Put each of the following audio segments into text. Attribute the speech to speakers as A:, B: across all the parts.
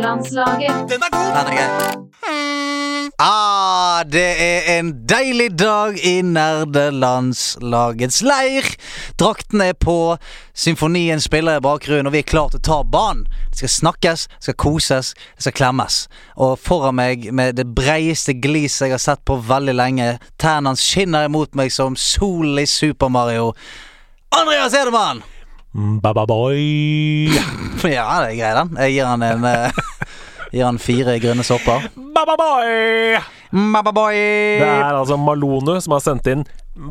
A: Landslaget.
B: Den er god!
C: Ja, den er gøy. Ah, det er en deilig dag i nerdelandslagets leir. Drakten er på, symfonien spiller i bakgrunnen, og vi er klare til å ta banen. Det skal snakkes, det skal koses, det skal klemmes. Og foran meg, med det breieste gliset jeg har sett på veldig lenge, tærne hans skinner imot meg som solen i Super Mario. Andreas Edemann!
B: Bababoy.
C: Ja, det er grei, den. Jeg gir han en eh, Gir han fire grønne sopper.
B: Bababoy!
C: Mababoy!
B: Det er altså Malone som har sendt inn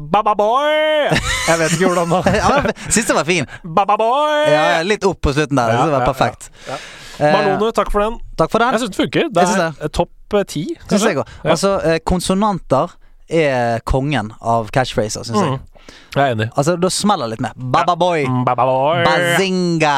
B: Bababoy! Jeg vet ikke hvordan da.
C: ja, men Syns den var fin.
B: Bababoy!
C: Ja, ja, litt opp på slutten der. Jeg
B: Ja,
C: synes det
B: ja,
C: var
B: ja.
C: perfekt. Eh,
B: Malone, takk for den.
C: takk for
B: Jeg
C: den.
B: syns den funker. Det
C: Jeg synes
B: er topp eh, ti,
C: Synes
B: kanskje.
C: jeg også. Altså, eh, konsonanter er kongen av catchphraser, syns
B: Mm.
C: jeg.
B: Jeg er enig.
C: Altså, da smeller det litt mer. Bababoy,
B: Mm. Bababoy!
C: bazinga,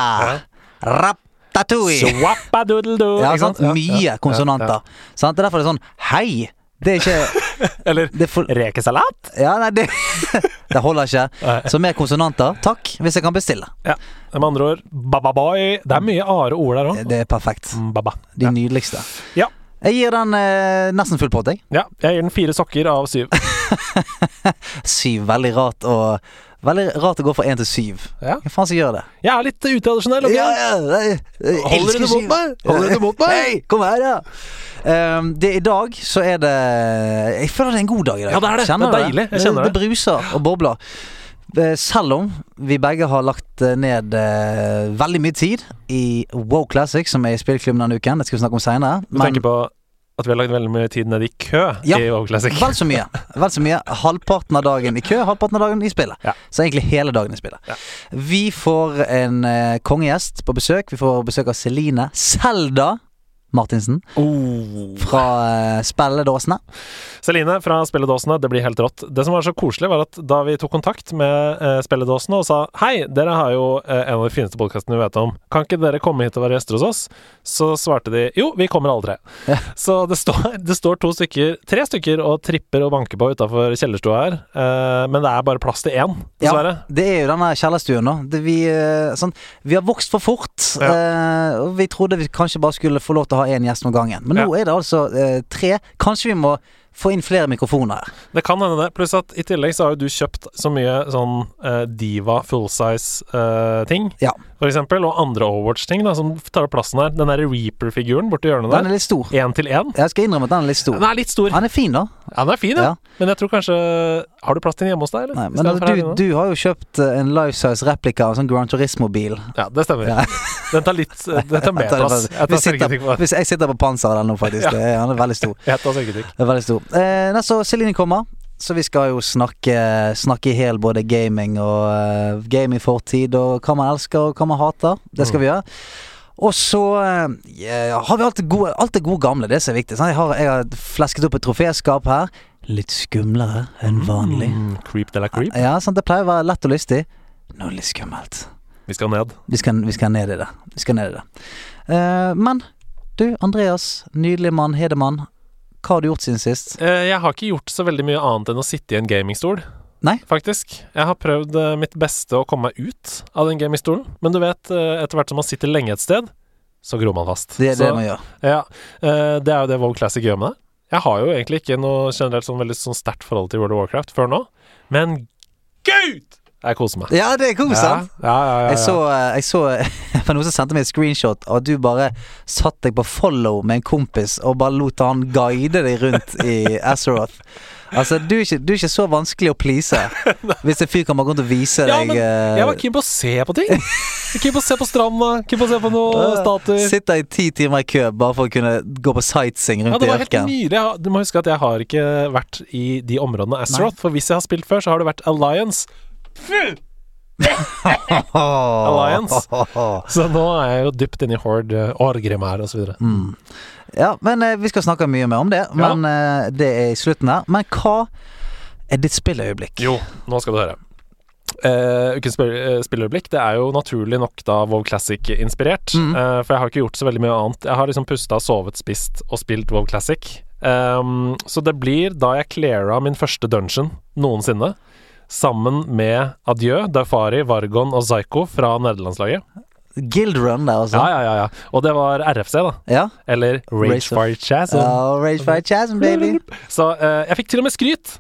C: raptatui.
B: Swappadoodledoo.
C: Ja,
B: ikke
C: sant?
B: Ja, ja,
C: Mye
B: ja,
C: konsonanter. Sant? Det er derfor det er sånn Hei! Det er ikke
B: ja. Eller
C: det er for,
B: rekesalat.
C: Ja, nei, det, det holder ikke.
B: Nei.
C: Så mer konsonanter, takk, hvis jeg kan bestille.
B: Ja. Med andre ord, bababoy. Det er mye are ord der òg.
C: Det er perfekt.
B: Baba.
C: De nydeligste.
B: Ja.
C: Jeg gir den eh, nesten full pott, jeg.
B: ja. Jeg gir den fire sokker av syv.
C: Syv. Veldig rart å Veldig rart å gå fra én til syv.
B: Ja.
C: Hva faen som gjør det?
B: Jeg er litt utradisjonell. ok?
C: Ja, ja, nei, jeg
B: Holder
C: elsker
B: du det mot
C: syv.
B: meg? Holder du det mot meg?
C: Hei, kom her, ja. Ehm, det, I dag så er det Jeg føler det er en god dag i dag.
B: Ja, det er det.
C: Kjenner
B: Det er
C: du
B: deilig. Jeg kjenner
C: det. Det bruser og bobler. Eh, Selv om vi begge har lagt eh, ned eh, veldig mye tid i Wow Classic, som er i spillklubben denne uken. Det skal vi snakke om seinere.
B: Du tenker på at vi har lagt veldig mye tid ned i kø
C: Ja.
B: i Wow Classic.
C: Vel så mye. Vel så mye. Halvparten av dagen i kø, halvparten av dagen i spillet.
B: Ja.
C: Så egentlig hele dagen i spillet.
B: Ja.
C: Vi får en eh, kongegjest på besøk. Vi får besøk av Celine Selda Martinsen
B: Oh.
C: fra eh, Spelledåsene.
B: Celine fra Spilledåsene, det blir helt rått. Det som var så koselig, var at da vi tok kontakt med eh, Spilledåsene og sa hei, dere har jo eh, en av de fineste podkastene vi vet om, kan ikke dere komme hit og være gjester hos oss? Så svarte de jo, vi kommer alle tre.
C: Ja.
B: Så det står, det står to stykker, tre stykker og tripper og banker på utafor kjellerstua her, eh, men det er bare plass til én, dessverre.
C: det er jo denne kjellerstuen, da. Det vi, eh, sånn, vi har vokst for fort. eh, og vi trodde vi kanskje bare skulle få lov til å ha én gjest om gangen. Men nå er det altså eh, tre. Kanskje vi må få inn flere mikrofoner her.
B: Det kan hende det. Pluss at i tillegg så har jo du kjøpt så mye sånn eh, diva full size-ting,
C: Ja.
B: for eksempel, og andre Overwatch-ting da, som tar opp plassen her. Den derre Reaper-figuren borti hjørnet
C: Den
B: der.
C: er litt stor.
B: Én til én.
C: Jeg skal innrømme at den er litt stor.
B: Den er litt stor.
C: Han er fin, da.
B: Ja, den er fin, ja.
C: Ja.
B: Men jeg tror kanskje Har du plass til den hjemme hos deg, eller?
C: Nei,
B: I
C: men
B: stedet for her
C: du,
B: inne?
C: du har jo kjøpt eh, en life size replika av en sånn Grand Turismo-bil.
B: Ja, det stemmer.
C: Ja.
B: Den tar litt Den tar mer
C: Jeg tar-
B: plass. Jeg
C: Vi
B: tar
C: sitter-
B: selgetrykk på den.
C: Hvis jeg sitter på panseret eller noe, faktisk.
B: Ja.
C: Det er, han er veldig stor.
B: Jeg tar selgetrykk.
C: Det er veldig stor. Eh, nei, så Celine kommer, så vi skal jo snakke, snakke i hel både gaming og eh, gaming-fortid, og hva man elsker og hva man hater. Det
B: Mm.
C: skal vi gjøre. Og så eh, ja, har vi alt det gode, alt det gode gamle, det som er viktig. Sant? Jeg, har, jeg har flesket opp et troféskap her. Litt skumlere enn vanlig.
B: Mm, creep de la creep.
C: Ja, sant? Det pleier å være lett og lystig. Nå er det litt skummelt.
B: Vi skal ned.
C: Vi skal, vi skal ned i det. Vi skal ned i det. Eh, men du, Andreas, nydelig mann, hedemann. Hva har du gjort siden sist?
B: Eh, Jeg har ikke gjort så veldig mye annet enn å sitte i en gamingstol.
C: Nei.
B: Faktisk. Jeg har prøvd eh, mitt beste å komme meg ut av den gamingstolen. Men du vet, eh, etter hvert som man sitter lenge et sted, så gror man fast.
C: Det er
B: så,
C: det man gjør.
B: ja, eh, det er jo det Vogue Classic gjør med deg. Jeg har jo egentlig ikke noe generelt sånn veldig sånn sterkt forhold til World of Warcraft før nå, men gud! Jeg koser meg.
C: Ja, det er kos, sant?
B: Ja, ja, ja, ja, ja.
C: Jeg så, eh, jeg så det var noen som sendte meg et screenshot av at du bare satt deg på follow med en kompis og bare lot han guide deg rundt i Azeroth. Altså, du er, ikke, du er ikke så vanskelig å please hvis en fyr kan bare gå rundt og vise
B: Ja,
C: deg
B: men
C: eh,
B: Jeg var keen på å se på ting. Jeg var Keen på å se på stranda, keen på å se på noen statuer.
C: Sitter i ti timer i kø bare for å kunne gå på sightseeing
B: Ja,
C: rundt
B: det var
C: i
B: helt
C: ørkenen.
B: nydelig. Jeg har- Du må huske at jeg har ikke vært i de områdene av Azeroth. For hvis jeg har spilt før, så har det vært Alliance. Alliance. Så nå er jeg jo dypt inne i Horde, eh, Orgrimmar og så videre
C: Ja, men eh, vi skal snakke mye mer om det.
B: Ja.
C: Men eh, det er i slutten her. Men hva er ditt spilløyeblikk?
B: Jo, nå skal du høre. Eh, ukens spill- eh, spilløyeblikk det er jo naturlig nok da WoW Classic-inspirert. Eh, for jeg har ikke gjort så veldig mye annet. Jeg har liksom pusta, sovet, spist og spilt WoW Classic. Ehm, så det blir da jeg cleara min første dungeon noensinne. Sammen med Adjø, Dafari, Vargon og Zyko fra nerdelandslaget.
C: Guild Run der, altså.
B: Ja, ja, ja, ja. Og det var RFC, da.
C: Ja.
B: Eller Rage
C: Race of-
B: for Chasm.
C: Ja, Rage by Chasm, baby.
B: Så eh, jeg fikk til og med skryt.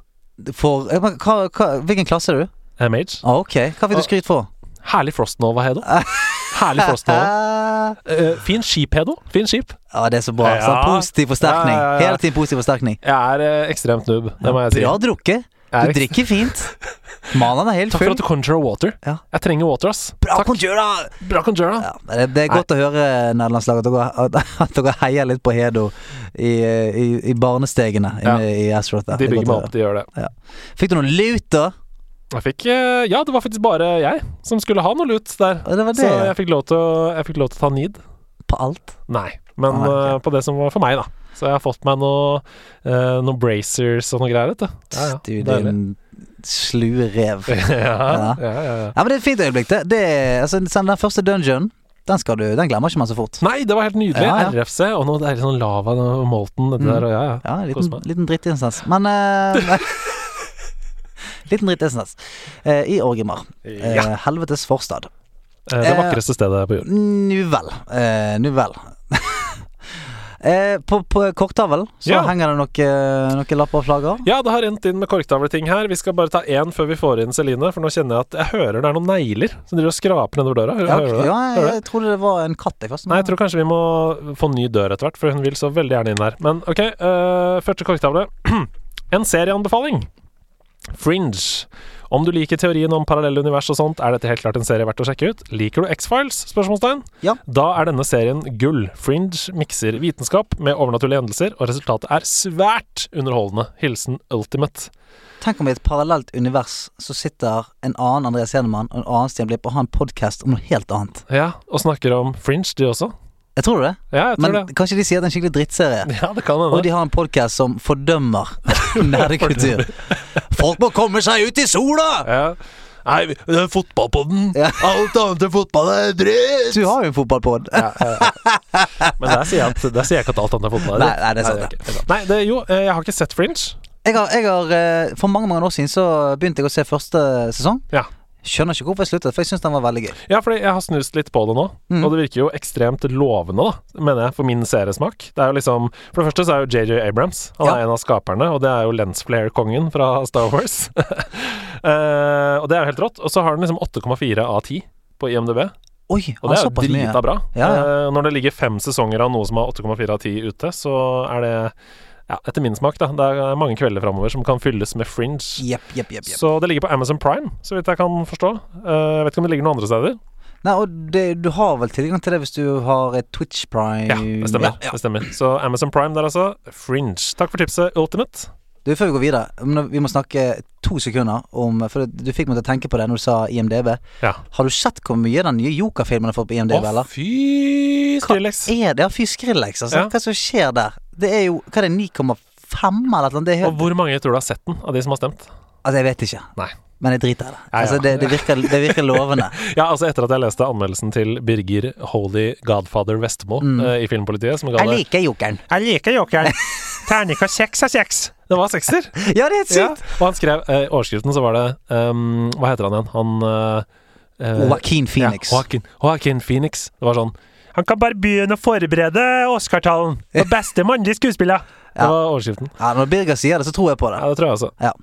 C: For eh, men hva, hva, Hvilken klasse er du?
B: eh, Mage.
C: Ah, ok. Hva fikk du skryt for?
B: Herlig Frostnova, Hedo. Herlig Frostnova.
C: Ah,
B: Uh, fin skip, Hedo. Fin skip.
C: ah, det er så bra.
B: Ja.
C: Sånn positiv forsterkning.
B: Ja, ja, ja.
C: Hele tiden positiv forsterkning.
B: Jeg er eh, ekstremt noob, det må jeg si.
C: Bra drukket.
B: Jeg
C: Du
B: er
C: drikker fint. Mannen er helt
B: Takk for
C: full.
B: at du conjurer water.
C: Ja.
B: Jeg trenger water, ass.
C: Bra
B: Takk.
C: conjura!
B: Bra conjurer. da.
C: Ja, men det, det er godt å høre, nederlandslaget, at, dere- at- at dere heier litt på Hedo i, eh, i, i barnestegene
B: Ja.
C: inne i Astroth. der.
B: De
C: Det er
B: bygger meg
C: godt å
B: opp, de gjør det.
C: høre. Fikk du noe lut, da?
B: Jeg fikk, eh, ja, det var faktisk bare jeg som skulle ha noe lut der.
C: Ja, Det var
B: Så
C: det.
B: jeg fikk lov til å, jeg fikk lov til å ta need.
C: På alt.
B: Nei, men
C: Ah, ok.
B: eh, på det som var for meg, da. Så jeg har fått meg noe, eh, noen bracers og noe greier. Vet du. Ja, ja.
C: Du,
B: Deilig.
C: din slue rev.
B: ja,
C: Ja.
B: ja, ja, ja.
C: Ja, men det er et fint øyeblikk. Det, det er, altså, sånn, den første dungeon, den, skal du, den glemmer ikke man så fort.
B: Nei, det var helt nydelig.
C: Ja, ja.
B: RFC og noe deilig sånn lava og molten. Det der, og ja, ja.
C: Ja, en
B: Kos
C: liten,
B: meg.
C: liten drittinsens. Men eh, Liten drittinsens. Eh, I Orgrimmar. Eh,
B: Ja.
C: Helvetes forstad.
B: Eh, Det
C: eh,
B: vakreste stedet på jorden.
C: Nu vel. Eh, nu vel. eh, på på korktavlen så
B: Ja.
C: henger det noen noe lapper og flagger.
B: Ja, det har rent inn med korktavleting her. Vi skal bare ta én før vi får inn Celine, for nå kjenner jeg at jeg hører det er noen negler som driver og skraper nedover døra. Hører,
C: Ja,
B: hører du det?
C: ja,
B: Hører
C: jeg, jeg trodde det var en katt. Jeg først
B: Nei, jeg tror kanskje vi må få ny dør etter hvert, for hun vil så veldig gjerne inn her. Men OK, øh, første korktavle. en serieanbefaling. Fringe. Om du liker teorien om parallelle univers og sånt, er dette helt klart en serie verdt å sjekke ut. Liker du X-Files? spørsmålstegn?
C: Ja.
B: Da er denne serien gull. Fringe mikser vitenskap med overnaturlige hendelser, og resultatet er svært underholdende. Hilsen Ultimate.
C: Tenk om i et parallelt univers så sitter en annen Andreas Hedemann og en annen Stian Blipp og har en podkast om noe helt annet.
B: Ja, og snakker om Fringe, de også.
C: Jeg tror det.
B: Ja, jeg tror
C: Men
B: det.
C: kanskje de sier at det er en skikkelig drittserie.
B: Ja, det kan
C: Og
B: hende.
C: de har en podkast som fordømmer nerdekultur. Folk må komme seg ut i sola!
B: Ja. Nei, vi- det er fotballpodden.
C: Ja.
B: Alt annet enn fotball er dritt!
C: Du har jo en fotballpod.
B: ja, ja, ja. Men der sier, jeg at, der sier jeg ikke at alt annet er fotball.
C: Nei, nei, det er sant,
B: Nei, er ikke- Nei, det, jo, eh, jeg har ikke sett Fringe.
C: Jeg har, jeg har, eh, for mange mange år siden så begynte jeg å se første sesong.
B: Ja.
C: Skjønner ikke hvorfor jeg sluttet, for jeg syns den var veldig gøy.
B: Ja, fordi jeg har snust litt på det nå,
C: Mhm.
B: og det virker jo ekstremt lovende, da, mener jeg, for min seriesmak. Det er jo liksom For det første så er jo JJ Abrams. Han
C: Ja.
B: er en av skaperne, og det er jo lensflare-kongen fra Star Wars. Eh, og det er jo helt rått. Og så har den liksom 8,4 av 10 på IMDb,
C: Oi,
B: og
C: han
B: det er jo
C: såpass mye.
B: drita bra.
C: Ja, ja.
B: Eh, når det ligger fem sesonger av noe som har 8,4 av 10 ute, så er det ja, etter min smak, da. Det er eh, mange kvelder framover som kan fylles med fringe.
C: Jepp, jepp, jepp. jepp.
B: Så det ligger på Amazon Prime, så vidt jeg kan forstå. Eh, jeg vet ikke om det ligger noen andre steder.
C: Nei, og det, du har vel tilgang til det hvis du har et Twitch Prime
B: Ja, det stemmer.
C: Eh, Ja, ja.
B: Det stemmer. Så Amazon Prime der, altså. Fringe. Takk for tipset, Ultimate.
C: Du, før vi går videre, men vi må snakke to sekunder om For du fikk meg til å tenke på det når du sa IMDb.
B: Ja.
C: Har du sett hvor mye den nye Joker-filmen har fått på IMDb, eller?
B: fy Skrillex.
C: Er det ja, fy Skrillex, altså?
B: Ja.
C: Hva som skjer der? Det er jo Hva er det, 9,5 eller noe? Det er
B: Og
C: helt,
B: hvor mange tror du har sett den, av de som har stemt?
C: altså, jeg vet ikke.
B: Nei.
C: Men jeg driter i det.
B: Ja, ja.
C: Altså, det, det, virker, det virker lovende.
B: Ja, altså etter at jeg leste anmeldelsen til Birger Holy Godfather Vestmo eh, i Filmpolitiet, som ga
C: Mm. Jeg
B: det
C: liker jokeren.
B: Jeg liker jokeren. Terningkast seks av seks. Det var sekser.
C: Ja, det er helt
B: Ja.
C: sykt!
B: Og han skrev eh, i overskriften, så var det ehm, Hva heter han igjen? Han eh, eh,
C: Joaquin Phoenix.
B: Ja, Joaquin, Joaquin Phoenix. Det var sånn Han kan bare begynne å forberede Oscar-talen. Den beste mannlige skuespiller.
C: Ja.
B: Det var overskriften.
C: Ja, når Birger sier det, så tror jeg på det.
B: Ja, det tror jeg også.
C: Ja.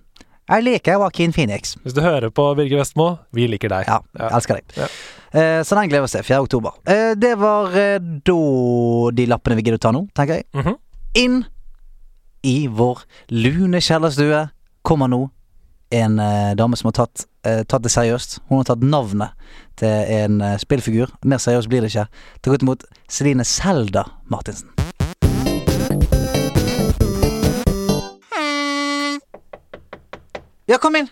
C: Jeg liker Joaquin Phoenix.
B: Hvis du hører på Birger Vestmo, vi liker deg.
C: Ja, altså. jeg elsker deg.
B: Ja.
C: Eh, så den gleder vi oss til. 4. oktober. Eh, det var eh, da de lappene vi gidder å ta nå, tenker jeg.
B: Mhm.
C: Inn i vår lune kjellerstue kommer nå en eh, dame som har tatt, eh, tatt det seriøst. Hun har tatt navnet til en eh, spillfigur. Mer seriøst blir det ikke. Ta godt imot Celine Selda Martinsen. Ja, kom inn!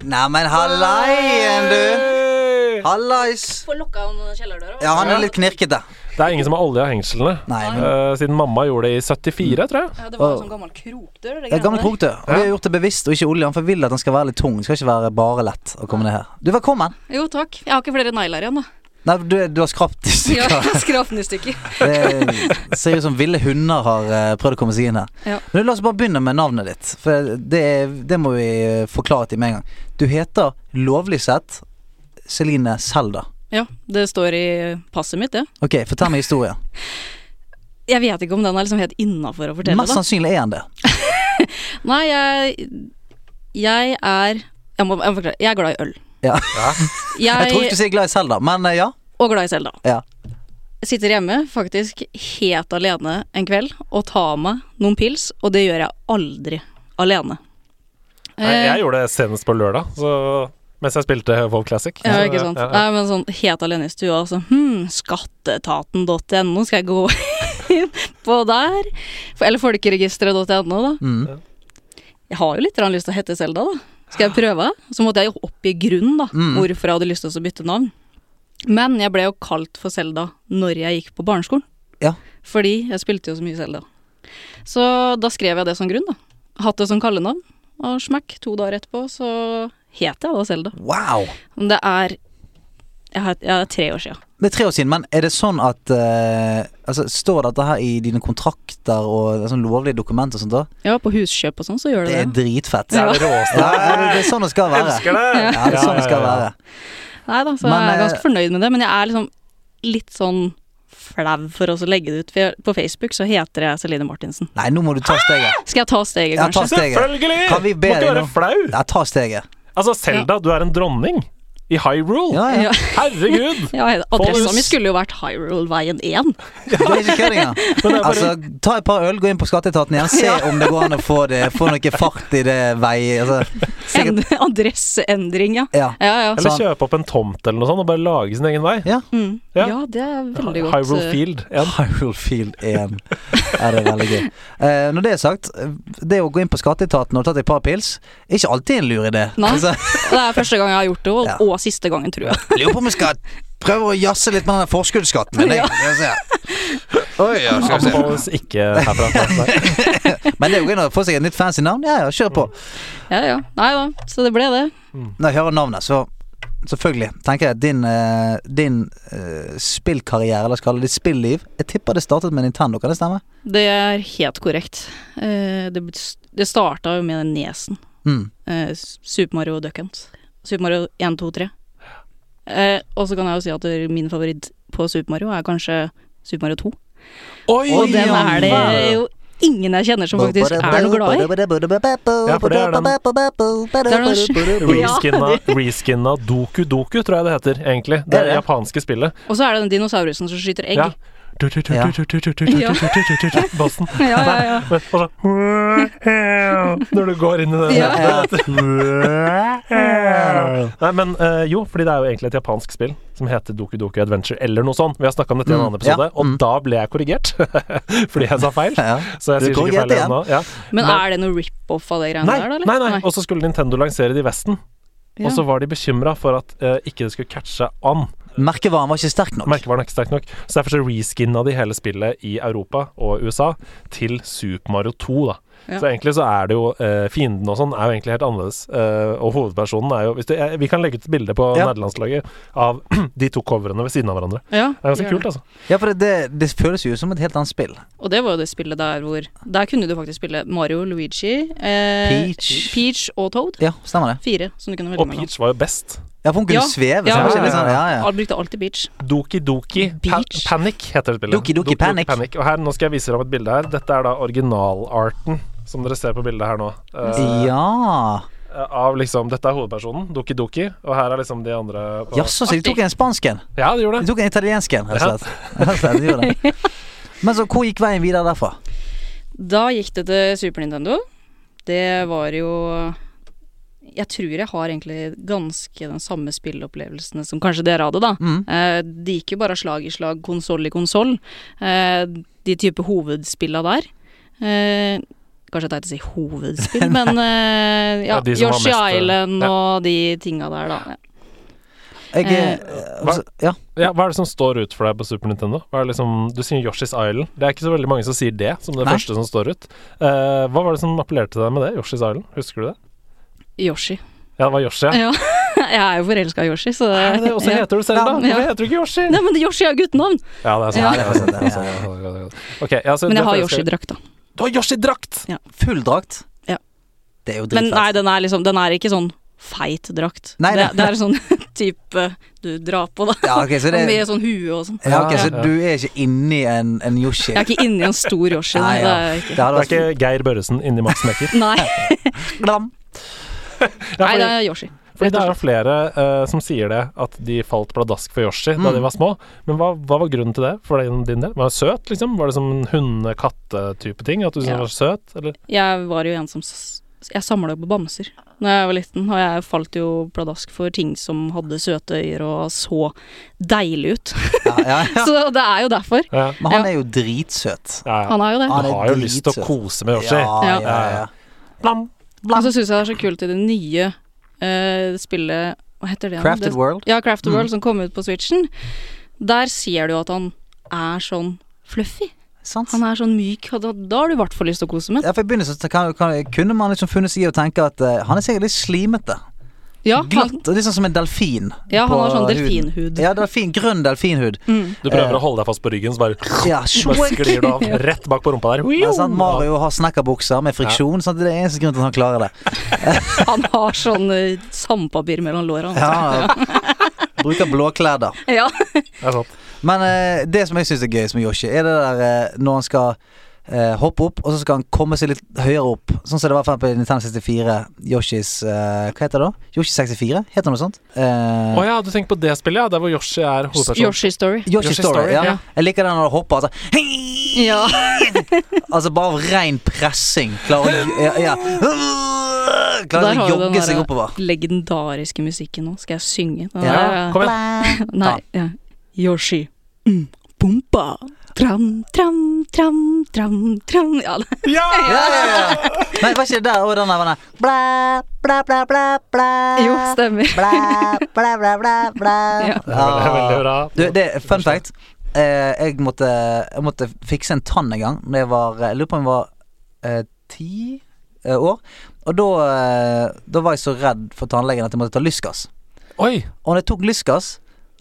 C: Neimen, hallaien, du! Hallais!
A: Få lukka noen kjellerdøra.
C: Ja, han er litt knirkete.
B: Det er ingen som har olje av hengslene.
C: Nei, men
B: Eh, siden mamma gjorde det i 74, tror jeg.
A: Ja, det var jo sånn gammel krokdør.
C: Det er gammel krokdør. Og vi har gjort det bevisst og ikke oljen, for vi vil at den skal være litt tung. Det skal ikke være bare lett å komme ned her. Du, velkommen.
A: Jo, takk. Jeg har ikke flere negler igjen, da.
C: Nei, du, du har skrapt i
A: Ja,
C: stykker.
A: Skrap den i stykker.
C: Det ser ut som ville hunder har eh, prøvd å komme seg inn her.
A: Ja.
C: Men La oss bare begynne med navnet ditt, for det, det må vi eh, forklare til med en gang. Du heter lovlig sett Celine Selda.
A: Ja, det står i passet mitt, det.
C: Ok, fortell meg historien.
A: Jeg vet ikke om den er liksom helt innafor å fortelle,
C: Mest
A: da.
C: sannsynlig er han det.
A: Nei, jeg Jeg er Jeg må jeg må forklare. Jeg er glad i øl.
C: Ja. Jeg tror ikke
A: Jeg,
C: du sier glad i Selda, men eh, ja.
A: og glad i Selda.
C: Ja.
A: Sitter hjemme, faktisk helt alene en kveld, og tar meg noen pils, og det gjør jeg aldri alene.
B: Nei,
A: Eh.
B: jeg gjorde det senest på lørdag, så, mens jeg spilte WoW Classic.
A: Ja,
B: Så,
A: ikke sant.
B: ja, ja.
A: Nei, men sånn helt alene i stua, altså. Hm, skatteetaten.no, skal jeg gå inn på der? For- Eller folkeregisteret.no, da.
C: Mm.
A: Jeg har jo litt grann lyst til å hete Selda, da. Skal jeg prøve? Så måtte jeg jo oppgi grunnen, da.
C: Mm.
A: Hvorfor jeg hadde lyst til å bytte navn. Men jeg ble jo kalt for Selda når jeg gikk på barneskolen.
C: Ja.
A: Fordi jeg spilte jo så mye Selda. Så da skrev jeg det som grunn, da. Hatt det som kallenavn. Og smekk, to dager etterpå, så het jeg da Selda.
C: Wow.
A: Men det er jeg har, jeg har tre år sia.
C: Det er tre år siden, men er det sånn at eh, altså, Står dette her i dine kontrakter og sånn lovlige dokumenter og sånt? da?
A: Ja, på huskjøp og sånn, så gjør
C: Det
A: det
C: er
A: det.
C: dritfett.
B: Ja, det er råst.
C: Ja, det det er sånn det skal være.
B: Elsker det!
C: Ja, det er sånn det skal være.
A: Nei da, så
C: Men,
A: jeg er
C: eh,
A: ganske fornøyd med det. Men jeg er liksom litt sånn flau for oss å legge det ut. For jeg, på Facebook så heter jeg Celine Martinsen.
C: Nei, nå må du ta steget.
A: Skal jeg ta steget,
C: Ja, ta
A: kanskje?
C: steget.
B: Selvfølgelig!
C: Kan vi be
B: Må ikke
C: deg
B: være
C: nå?
B: flau.
C: Ja, ta steget.
B: Altså, Selda, du er en dronning i Hyrule.
C: Ja, ja.
A: Ja.
B: Herregud!
A: Ja,
B: Får
A: adressa
B: du
A: mi
B: s-
A: skulle jo vært Hyrule-veien 1.
C: Det er ikke kødd engang.
B: Men det er bare
C: Altså, ta et par øl, gå inn på skatteetaten igjen, se om det går an å få, det, få noe fart i det vei... Altså, sikkert,
A: En adresseendring, ja.
C: ja.
A: Ja, ja.
B: Eller
C: sånn.
B: kjøpe opp en tomt eller noe sånt og bare lage sin egen vei.
A: Mm.
B: Ja.
A: Ja. det er veldig godt.
B: Hyrule
A: eh,
B: Field. Ja.
C: Hyrule Field 1. Ja, det er veldig gøy. Eh, når det er sagt, det å gå inn på skatteetaten og ta et par pils, er ikke alltid en lur idé.
A: Nei.
C: Altså,
A: Det er første gang jeg har gjort det, og,
C: Ja.
A: og siste gangen, tror jeg.
C: Lurer på om vi skal prøve å jazze litt med den der forskuddsskatten. Men, det-
A: Ja.
C: det ser jeg. Oi, ja, skal vi se.
B: Anbefales ikke herfra. Nei.
C: men det er jo gøy å få seg et nytt fancy navn. Ja ja, kjør på.
A: Ja, ja. Nei da, så det ble det.
B: Mm.
C: Når jeg hører navnet, så selvfølgelig tenker jeg at din, eh, din eh, spillkarriere, eller skal jeg kalle det ditt spilliv Jeg tipper det startet med Nintendo, kan det stemme?
A: Det er helt korrekt. Eh, Det, ble- det starta jo med den nesen.
C: Mm.
A: Eh, S- Super Mario og Duck Hunt. Super Mario 1, 2, 3. Eh, og så kan jeg jo si at det- min favoritt på Super Mario er kanskje Super Mario 2.
B: Oi!
A: Og den
C: ja,
A: er det jo ingen jeg kjenner som faktisk er noe glad i.
B: Ja, for det er den-
A: Det er noe- Ja.
B: Reskinna, reskinna Doku Doku, tror jeg det heter, egentlig. Det
C: Er
B: er
C: det?
B: det japanske spillet.
A: Og så er det den dinosaurusen som skyter egg.
B: Ja. Du, du, du,
C: Ja.
B: du, du, du, du, du,
A: Ja.
B: du, du, du, du, du, Bossen.
A: Ja, ja, ja.
B: Men altså Når du går inn i den
A: Ja.
B: Nei, men eh, jo, fordi det er jo egentlig et japansk spill som heter Doku Doku Adventure eller noe sånt. Vi har snakka om dette i en
C: Mm,
B: annen episode,
C: ja, mm.
B: og da ble jeg korrigert. fordi jeg sa feil.
C: Ja.
B: Så jeg
C: Du
B: sier sikkert
C: korrigerte
B: feil igjen nå. Ja.
A: Men
B: Nei.
A: er det noe rip-off av det greiene
B: Nei,
A: der, da, eller?
B: nei, nei. Og så skulle Nintendo lansere det i Vesten,
A: Ja.
B: og så var de bekymra for at eh, ikke det skulle catche an.
C: Merkevaren var ikke sterk nok.
B: Merkevaren er ikke sterk nok. Så derfor så reskinna de hele spillet i Europa og USA til Super Mario 2, da.
A: Ja.
B: Så egentlig så er det jo eh, Fienden og sånn er jo egentlig helt annerledes. Eh, og hovedpersonen er jo hvis du, jeg, Vi kan legge ut et bilde på
C: Ja.
B: nederlandslaget av de to coverene ved siden av hverandre.
A: Ja,
B: Det er ganske
A: gjør
B: kult, altså.
C: Ja, for det, det, det føles jo som et helt annet spill.
A: Og det var jo det spillet der hvor Der kunne du faktisk spille Mario, Luigi, eh,
C: Peach.
A: Peach og Toad.
C: Ja, stemmer det.
A: Fire som du kunne velge
B: Og
A: mellom.
B: Peach var jo best.
C: Ja, for hun kunne
A: Ja.
C: sveve.
A: Ja,
C: så det var ikke
B: ja,
C: litt sånn, ja, ja.
A: Al brukte alltid Peach.
B: Doki Doki pa
A: Peach.
B: Panic heter det spillet.
C: Doki Doki Panic.
B: Og her, nå skal jeg vise dere om et bilde her. Dette er da originalarten som dere ser på bildet her nå. Eh,
C: Ja
B: Av liksom Dette er hovedpersonen, Doki Doki, og her er liksom de andre på
C: Jaså, så de tok en spansk en?
B: Ja, det gjorde
C: De
B: det.
C: tok en italiensk en, rett og slett. Rett og slett, de gjorde det. Men så hvor gikk veien videre derfra?
A: Da gikk det til Super Nintendo. Det var jo Jeg tror jeg har egentlig ganske den samme spilleopplevelsene som kanskje dere hadde, da.
C: Mm.
A: Eh, det gikk jo bare slag i slag, konsoll i konsoll. Eh, de type hovedspilla der. Eh, kanskje teit å si hovedspill, men eh, ja,
B: Ja, de som var
A: Yoshi
B: mest, eh,
A: Island
B: ja.
A: og de tinga der, da. Ja.
C: Jeg,
A: Eh,
C: eh, altså, ja.
B: Ja, hva er det som står ut for deg på Super Nintendo? Hva er det liksom, du sier Yoshi's Island. Det er ikke så veldig mange som sier det som det
C: Nei.
B: første som står ut. Eh, hva var det som appellerte til deg med det? Yoshi's Island, husker du det?
A: Yoshi.
B: Ja, det var Yoshi. Ja.
A: Ja. jeg er jo forelska i Yoshi, så
B: Hæ, det- Og så
A: Eh, ja.
B: heter du Selda!
A: Ja, ja.
B: Hvorfor heter du ikke Yoshi?
A: Nei, men Yoshi er jo guttenavn!
B: Ja, det er sant.
C: Ja,
B: Ja,
C: det er sant, det er sant.
B: Ok, ja, så
A: Men
B: det
A: jeg har
B: forelsker-
A: Yoshi-drakt, da.
B: Du har Yoshi-drakt!
C: Full drakt.
A: Ja.
C: Det er jo
A: Men nei,
C: dritfett.
A: den er liksom Den er ikke sånn feit drakt.
C: Nei,
A: det,
C: nei.
A: det er sånn type du drar på, da.
C: Ja, ok, så det-
A: Og Med sånn hue og sånn.
C: Ja, ok,
B: Ja.
C: Så du er ikke inni en, en Yoshi?
A: Jeg er ikke inni en stor Yoshi, nei.
C: Nei, ja.
A: Det er jeg
C: Det hadde
A: ikke.
B: Det er
C: vært
B: ikke Geir Børresen inni Max Mekker.
A: Nei,
C: Glam.
B: Ja,
A: nei, det
B: fordi,
A: er Yoshi.
B: fordi det er jo flere eh, som sier det, at de falt pladask for Yoshi da
A: Mm.
B: de var små. Men hva, hva var grunnen til det for din, din del? Var det søt, liksom? Var det som en hunde-katte-type ting? At du syntes
A: Ja.
B: den var søt? Eller?
A: Jeg var jo en som s- Jeg samla jo på bamser da jeg var liten, og jeg falt jo pladask for ting som hadde søte øyer og så deilig ut.
C: Ja, ja, ja.
A: Så det er jo derfor.
B: Ja,
C: Men han er jo dritsøt.
B: ja, ja.
A: Han er jo det.
C: Han
B: Du
C: er
B: har jo lyst til å
C: dritsøt.
B: kose med Yoshi.
C: Ja, ja, ja. ja.
B: Blam.
A: Og så syns jeg det er så kult i det nye eh, spillet Hva heter det? igjen?
C: Crafted
A: det,
C: World.
A: Ja, Crafted World, som kom ut på Switchen. Der ser du at han er sånn fluffy.
C: Sant?
A: Han er sånn myk, og da, da har du i hvert fall lyst til å kose med.
C: Ja, for i begynnelsen så kan, kan, kunne man liksom funnet seg i å tenke at eh, han er sikkert litt slimete.
A: Ja, han,
C: Glatt og litt sånn som en delfin.
A: ja, han
C: på
A: har sånn
C: huden.
A: delfinhud.
C: Ja, delfin, grønn delfinhud.
A: Mm.
B: Du prøver å holde deg fast på ryggen, så bare,
C: Ja,
B: bare
C: sjoink.
B: sklir du av rett bak på rumpa der.
C: Ja, sant? Mario har snekkerbukser med friksjon, sant? det er eneste grunn til at han klarer det.
A: Han har sånn eh, sandpapir mellom låra.
C: Ja, Bruker blåklær, da.
A: Ja.
B: Det er sant.
C: Men eh, det som jeg syns er gøyest med Yoshi, er det der eh, når han skal eh, hoppe opp, og så skal han komme seg litt høyere opp. Sånn som det var for eksempel i Nintendo 64, Yoshis eh, Hva heter det da? Yoshi 64? Heter det noe sånt? Eh,
B: Å ja, du tenker på det spillet, ja? Der hvor Yoshi er hovedperson.
A: Yoshi Story.
C: Yoshi,
B: Yoshi
C: Story,
B: Story,
C: ja.
B: ja.
C: Jeg liker den når du hopper, altså. Hei!
A: Ja.
C: Altså bare av ren pressing. Klarer å ja, ja.
A: Der
C: Klarer å
A: har du den
C: jogge seg
A: derre-
C: oppover.
A: Legendariske musikken nå. Skal jeg synge? Den
C: Ja,
A: der-
B: Kom igjen.
C: Blæ.
A: Nei. Ja. Yoshi. Mm. Pumpa. Tram, tram, tram, tram, tram. Ja, det-
B: Ja!
C: Ja, ja, ja. Nei, var ikke det der og den der var den der. Blæ, blæ, blæ, blæ, blæ.
A: jo, stemmer.
C: Blæ, blæ, blæ, blæ, blæ.
A: Ja.
B: Det er veldig- veldig bra.
C: Du, det er fun fact. Eh, jeg, måtte, jeg måtte fikse en tann en gang Når jeg var Jeg lurer på om jeg var eh, ti eh, år. Og da, eh, da var jeg så redd for tannlegen at jeg måtte ta lystgass.
B: Oi,
C: Og når jeg tok lystgass,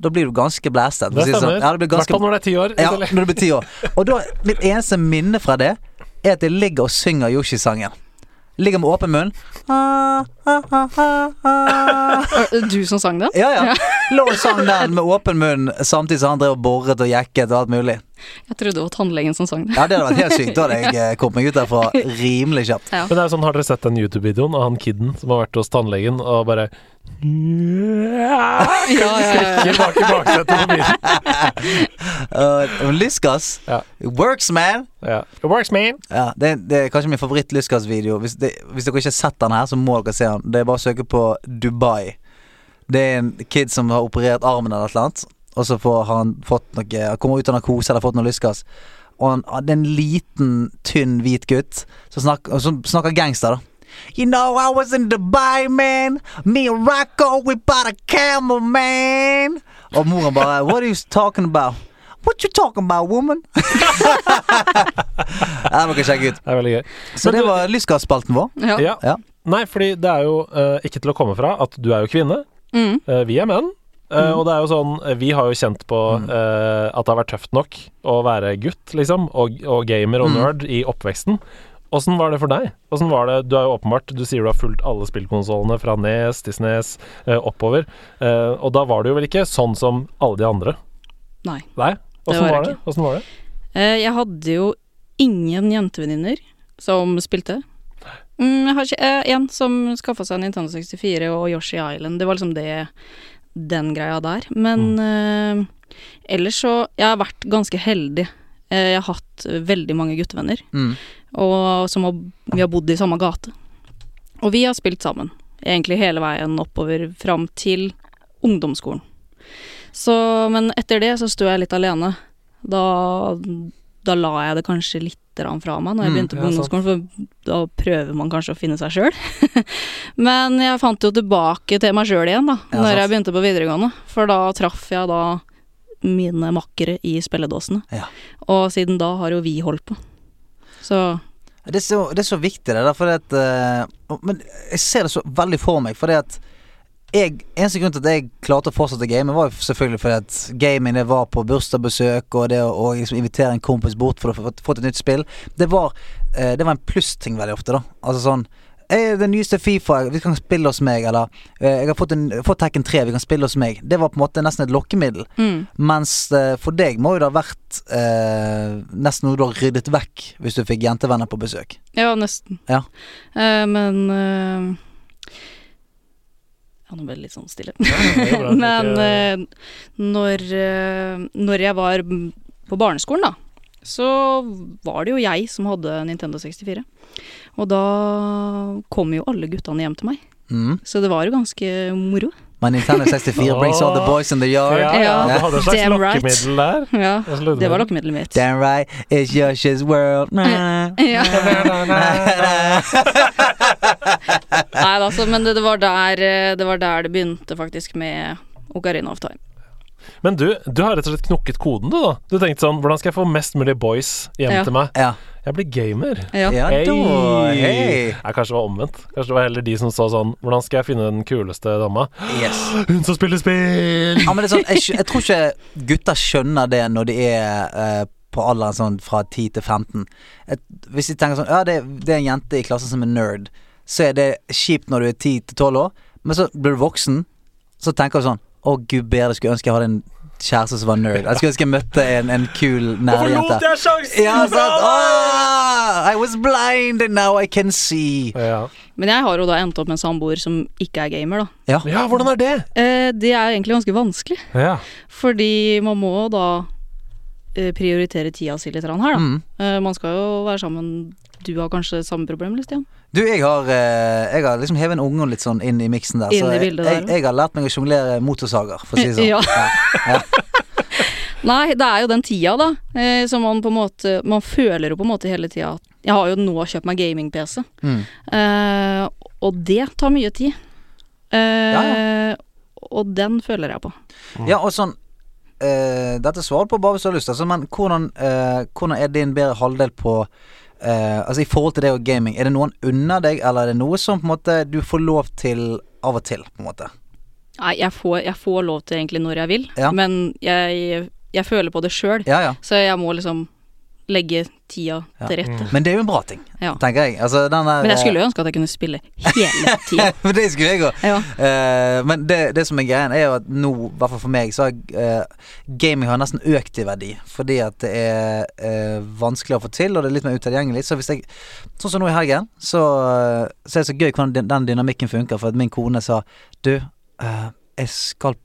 C: da blir du ganske blæstet. for å
B: det
C: si det sånn.
B: stemmer.
C: Ja, det blir
B: I hvert
C: ganske
B: fall når det er ti år.
C: ja, når du blir ti år. Og da, mitt eneste minne fra det, er at jeg ligger og synger Yoshi-sangen. Ligger med åpen munn. Ah, ah, ah, ah, ah.
A: Var det Du som sang den?
C: Ja, ja. Lå og sang den med åpen munn samtidig som han drev og boret og jekket og alt mulig.
A: Jeg trodde det var tannlegen som sang den.
C: Ja, det hadde vært helt sykt. Da hadde jeg eh, kommet meg ut derfra rimelig kjapt.
A: Ja.
B: Men det er jo sånn, har dere sett den YouTube-videoen av han kidden som har vært hos tannlegen og bare Slikker
A: Ja, ja, ja, ja.
B: bak i baksetet på bilen.
C: Uh, lystgass
B: Ja.
C: works, man!
B: Ja. It works, man.
C: Ja, det, det er kanskje min favoritt-lystgassvideo. Hvis, det- hvis dere ikke har sett den her, så må dere se den. Det er bare å søke på Dubai. Det er en kid som har operert armen eller et eller annet, og så får han fått noe Han kommer ut av narkose eller har fått noe lystgass. Og han, han- det er en liten, tynn, hvit gutt som snakker, som snakker gangster, da. You know I was in Dubai, man. Me and Rocco, we bought a camel, man. Og moren bare What are you talking about? What you talking about, woman? Ja, Det må dere sjekke ut.
B: Det er veldig gøy.
C: Så
B: Men
C: det
B: du-
C: var lystgasspalten vår.
A: Ja.
B: Ja.
C: Ja.
B: Nei, fordi det er jo eh, ikke til å komme fra at du er jo kvinne.
A: Mm.
B: Eh, vi er menn. Eh, Og det er jo sånn, eh, vi har jo kjent på eh, at det har vært tøft nok å være gutt, liksom, og, og gamer og
C: Mm.
B: nerd i oppveksten. Åssen var det for deg? Hvordan var det, Du er jo åpenbart, du sier du har fulgt alle spillkonsollene fra E Nes til Snes eh, oppover. Eh, og da var det jo vel ikke sånn som alle de andre?
A: Nei.
B: Nei? Åssen
A: var
B: var,
A: det
B: det? Hvordan var det?
A: Eh, Jeg hadde jo ingen jentevenninner som spilte. Mm, jeg har ikke eh, en som skaffa seg Nintendo 64 og Yoshi Island. Det var liksom det den greia der. Men eh, ellers så Jeg har vært ganske heldig. Eh, jeg har hatt veldig mange guttevenner
C: Mm.
A: og som har, vi har bodd i samme gate. Og vi har spilt sammen, egentlig hele veien oppover fram til ungdomsskolen. Så, men etter det så sto jeg litt alene. Da, da la jeg det kanskje litt grann fra meg når jeg
C: Mm,
A: begynte på
B: ja,
A: ungdomsskolen, for da prøver man kanskje å finne seg sjøl. men jeg fant jo tilbake til meg sjøl igjen da
C: Ja, sant.
A: når jeg begynte på videregående, for da traff jeg da mine makkere i spilledåsene.
C: Ja.
A: Og siden da har jo vi holdt på. Så
C: Det, er så, det er så viktig, det der, fordi at eh, Men jeg ser det så veldig for meg, fordi at jeg, Eneste grunn til at jeg klarte å fortsette å game, var jo selvfølgelig fordi at gaming det var på bursdagsbesøk, og det å å liksom invitere en kompis bort for å få fått et nytt spill, det var, eh, det var en plussting veldig ofte, da. Altså sånn eh, Den nyeste Fifa Vi kan spille hos meg, eller eh, Jeg har fått, en, fått Tekken 3, vi kan spille hos meg. Det var på en måte nesten et lokkemiddel.
A: Mm.
C: Mens eh, for deg må jo det ha vært eh, nesten noe du har ryddet vekk hvis du fikk jentevenner på besøk.
A: Ja, nesten.
C: Ja.
A: Eh, men eh, Ja, nå ble det litt sånn stille.
B: det er bra at
A: men
B: ikke-
A: eh, når, eh, når jeg var mm, på barneskolen, da, så var det jo jeg som hadde Nintendo 64. Og da kom jo alle guttene hjem til meg,
C: Mm.
A: så det var jo ganske moro.
C: Men Nintendo 64 brings all the boys in the
B: Ja,
C: yard.
B: ja,
A: eh, Ja.
B: du hadde et slags
A: Damn right.
B: lokkemiddel der.
A: Ja,
B: Jeg sludder
A: det var
B: med
A: lokkemiddelet mitt.
C: Damn right, it's Yoshi's world. Nah.
A: Ja.
B: den.
A: Nei da, så- men det, det, var der, eh, det var der det begynte, faktisk, med Ocarina of Time.
B: Men du, du har rett og slett knokket koden, du, da. Du tenkte sånn Hvordan skal jeg få mest mulig boys hjem
A: Ja.
B: til meg?
C: Ja.
B: Jeg blir gamer.
A: Ja.
C: Ja,
B: Hei.
C: da, hei.
B: Nei, kanskje det var omvendt. Kanskje det var heller de som sa sånn Hvordan skal jeg finne den kuleste dama?
C: Yes.
B: Hun som spiller spill!
C: Ja, men det er sånn, jeg, skj- jeg tror ikke gutter skjønner det når de er eh, på alderen sånn fra 10 til 15. Et, hvis de tenker sånn Ja, det, det er en jente i klassen som er nerd, så er det kjipt når du er 10 til 12 år, men så blir du voksen, så tenker du sånn Å, gud bedre, skulle ønske jeg hadde en kjæreste som var nerd. Jeg skulle ønske jeg møtte en, en kul
B: Hvorfor lot
C: nerdjente.
B: jeg sjansen?
C: Ja, sant?
B: fra meg?
C: Åh, I was blind and now I can see.
B: Ja.
A: Men jeg har jo da endt opp med en samboer som ikke er gamer, da.
C: Ja.
B: ja, hvordan er det?
A: Eh, det er egentlig ganske vanskelig,
B: Ja.
A: fordi man må da eh, prioritere tida si litt grann her, da.
C: Mm.
A: Eh, man skal jo være sammen Du har kanskje samme problem, eller, Stian?
C: Du, jeg har, eh, jeg har liksom hevet en unge litt sånn inn i miksen der.
A: Inn
C: Så
A: i
C: jeg,
A: bildet der,
C: jeg, jeg har lært meg å sjonglere motorsager, for å si det sånn.
A: Ja. Nei, det er jo den tida, da, eh, som man på en måte Man føler jo på en måte hele tida at Jeg har jo nå kjøpt meg gaming-PC,
C: Mm.
A: eh, og det tar mye tid. Eh,
C: Ja,
A: Og den føler jeg på.
C: ja, og sånn eh, Dette svarer du på bare hvis du har lyst, altså, men hvordan, eh, hvordan er din bedre halvdel på eh, Altså i forhold til det og gaming, er det noen under deg, eller er det noe som på en måte du får lov til av og til, på en måte?
A: Nei, jeg får, jeg får lov til egentlig når jeg vil,
C: Ja.
A: men jeg, jeg føler på det sjøl.
C: Ja, ja.
A: Så jeg må liksom legge tida
C: Ja. Mm.
A: til rette.
C: Men det er jo en bra ting,
A: Ja.
C: tenker jeg. Altså, den der,
A: Men jeg skulle jo ønske at jeg kunne spille hele tida.
C: eh, Men det skulle jeg òg.
A: Ja.
C: Eh, men det, det som er greien, er jo at nå, i hvert fall for meg, så har eh, gaming har nesten økt i verdi. Fordi at det er eh, vanskelig å få til, og det er litt mer utilgjengelig. Så hvis jeg Sånn som nå i helgen, så, eh, så er det så gøy hvordan den- den dynamikken funker. For at min kone sa Du, eh, jeg skal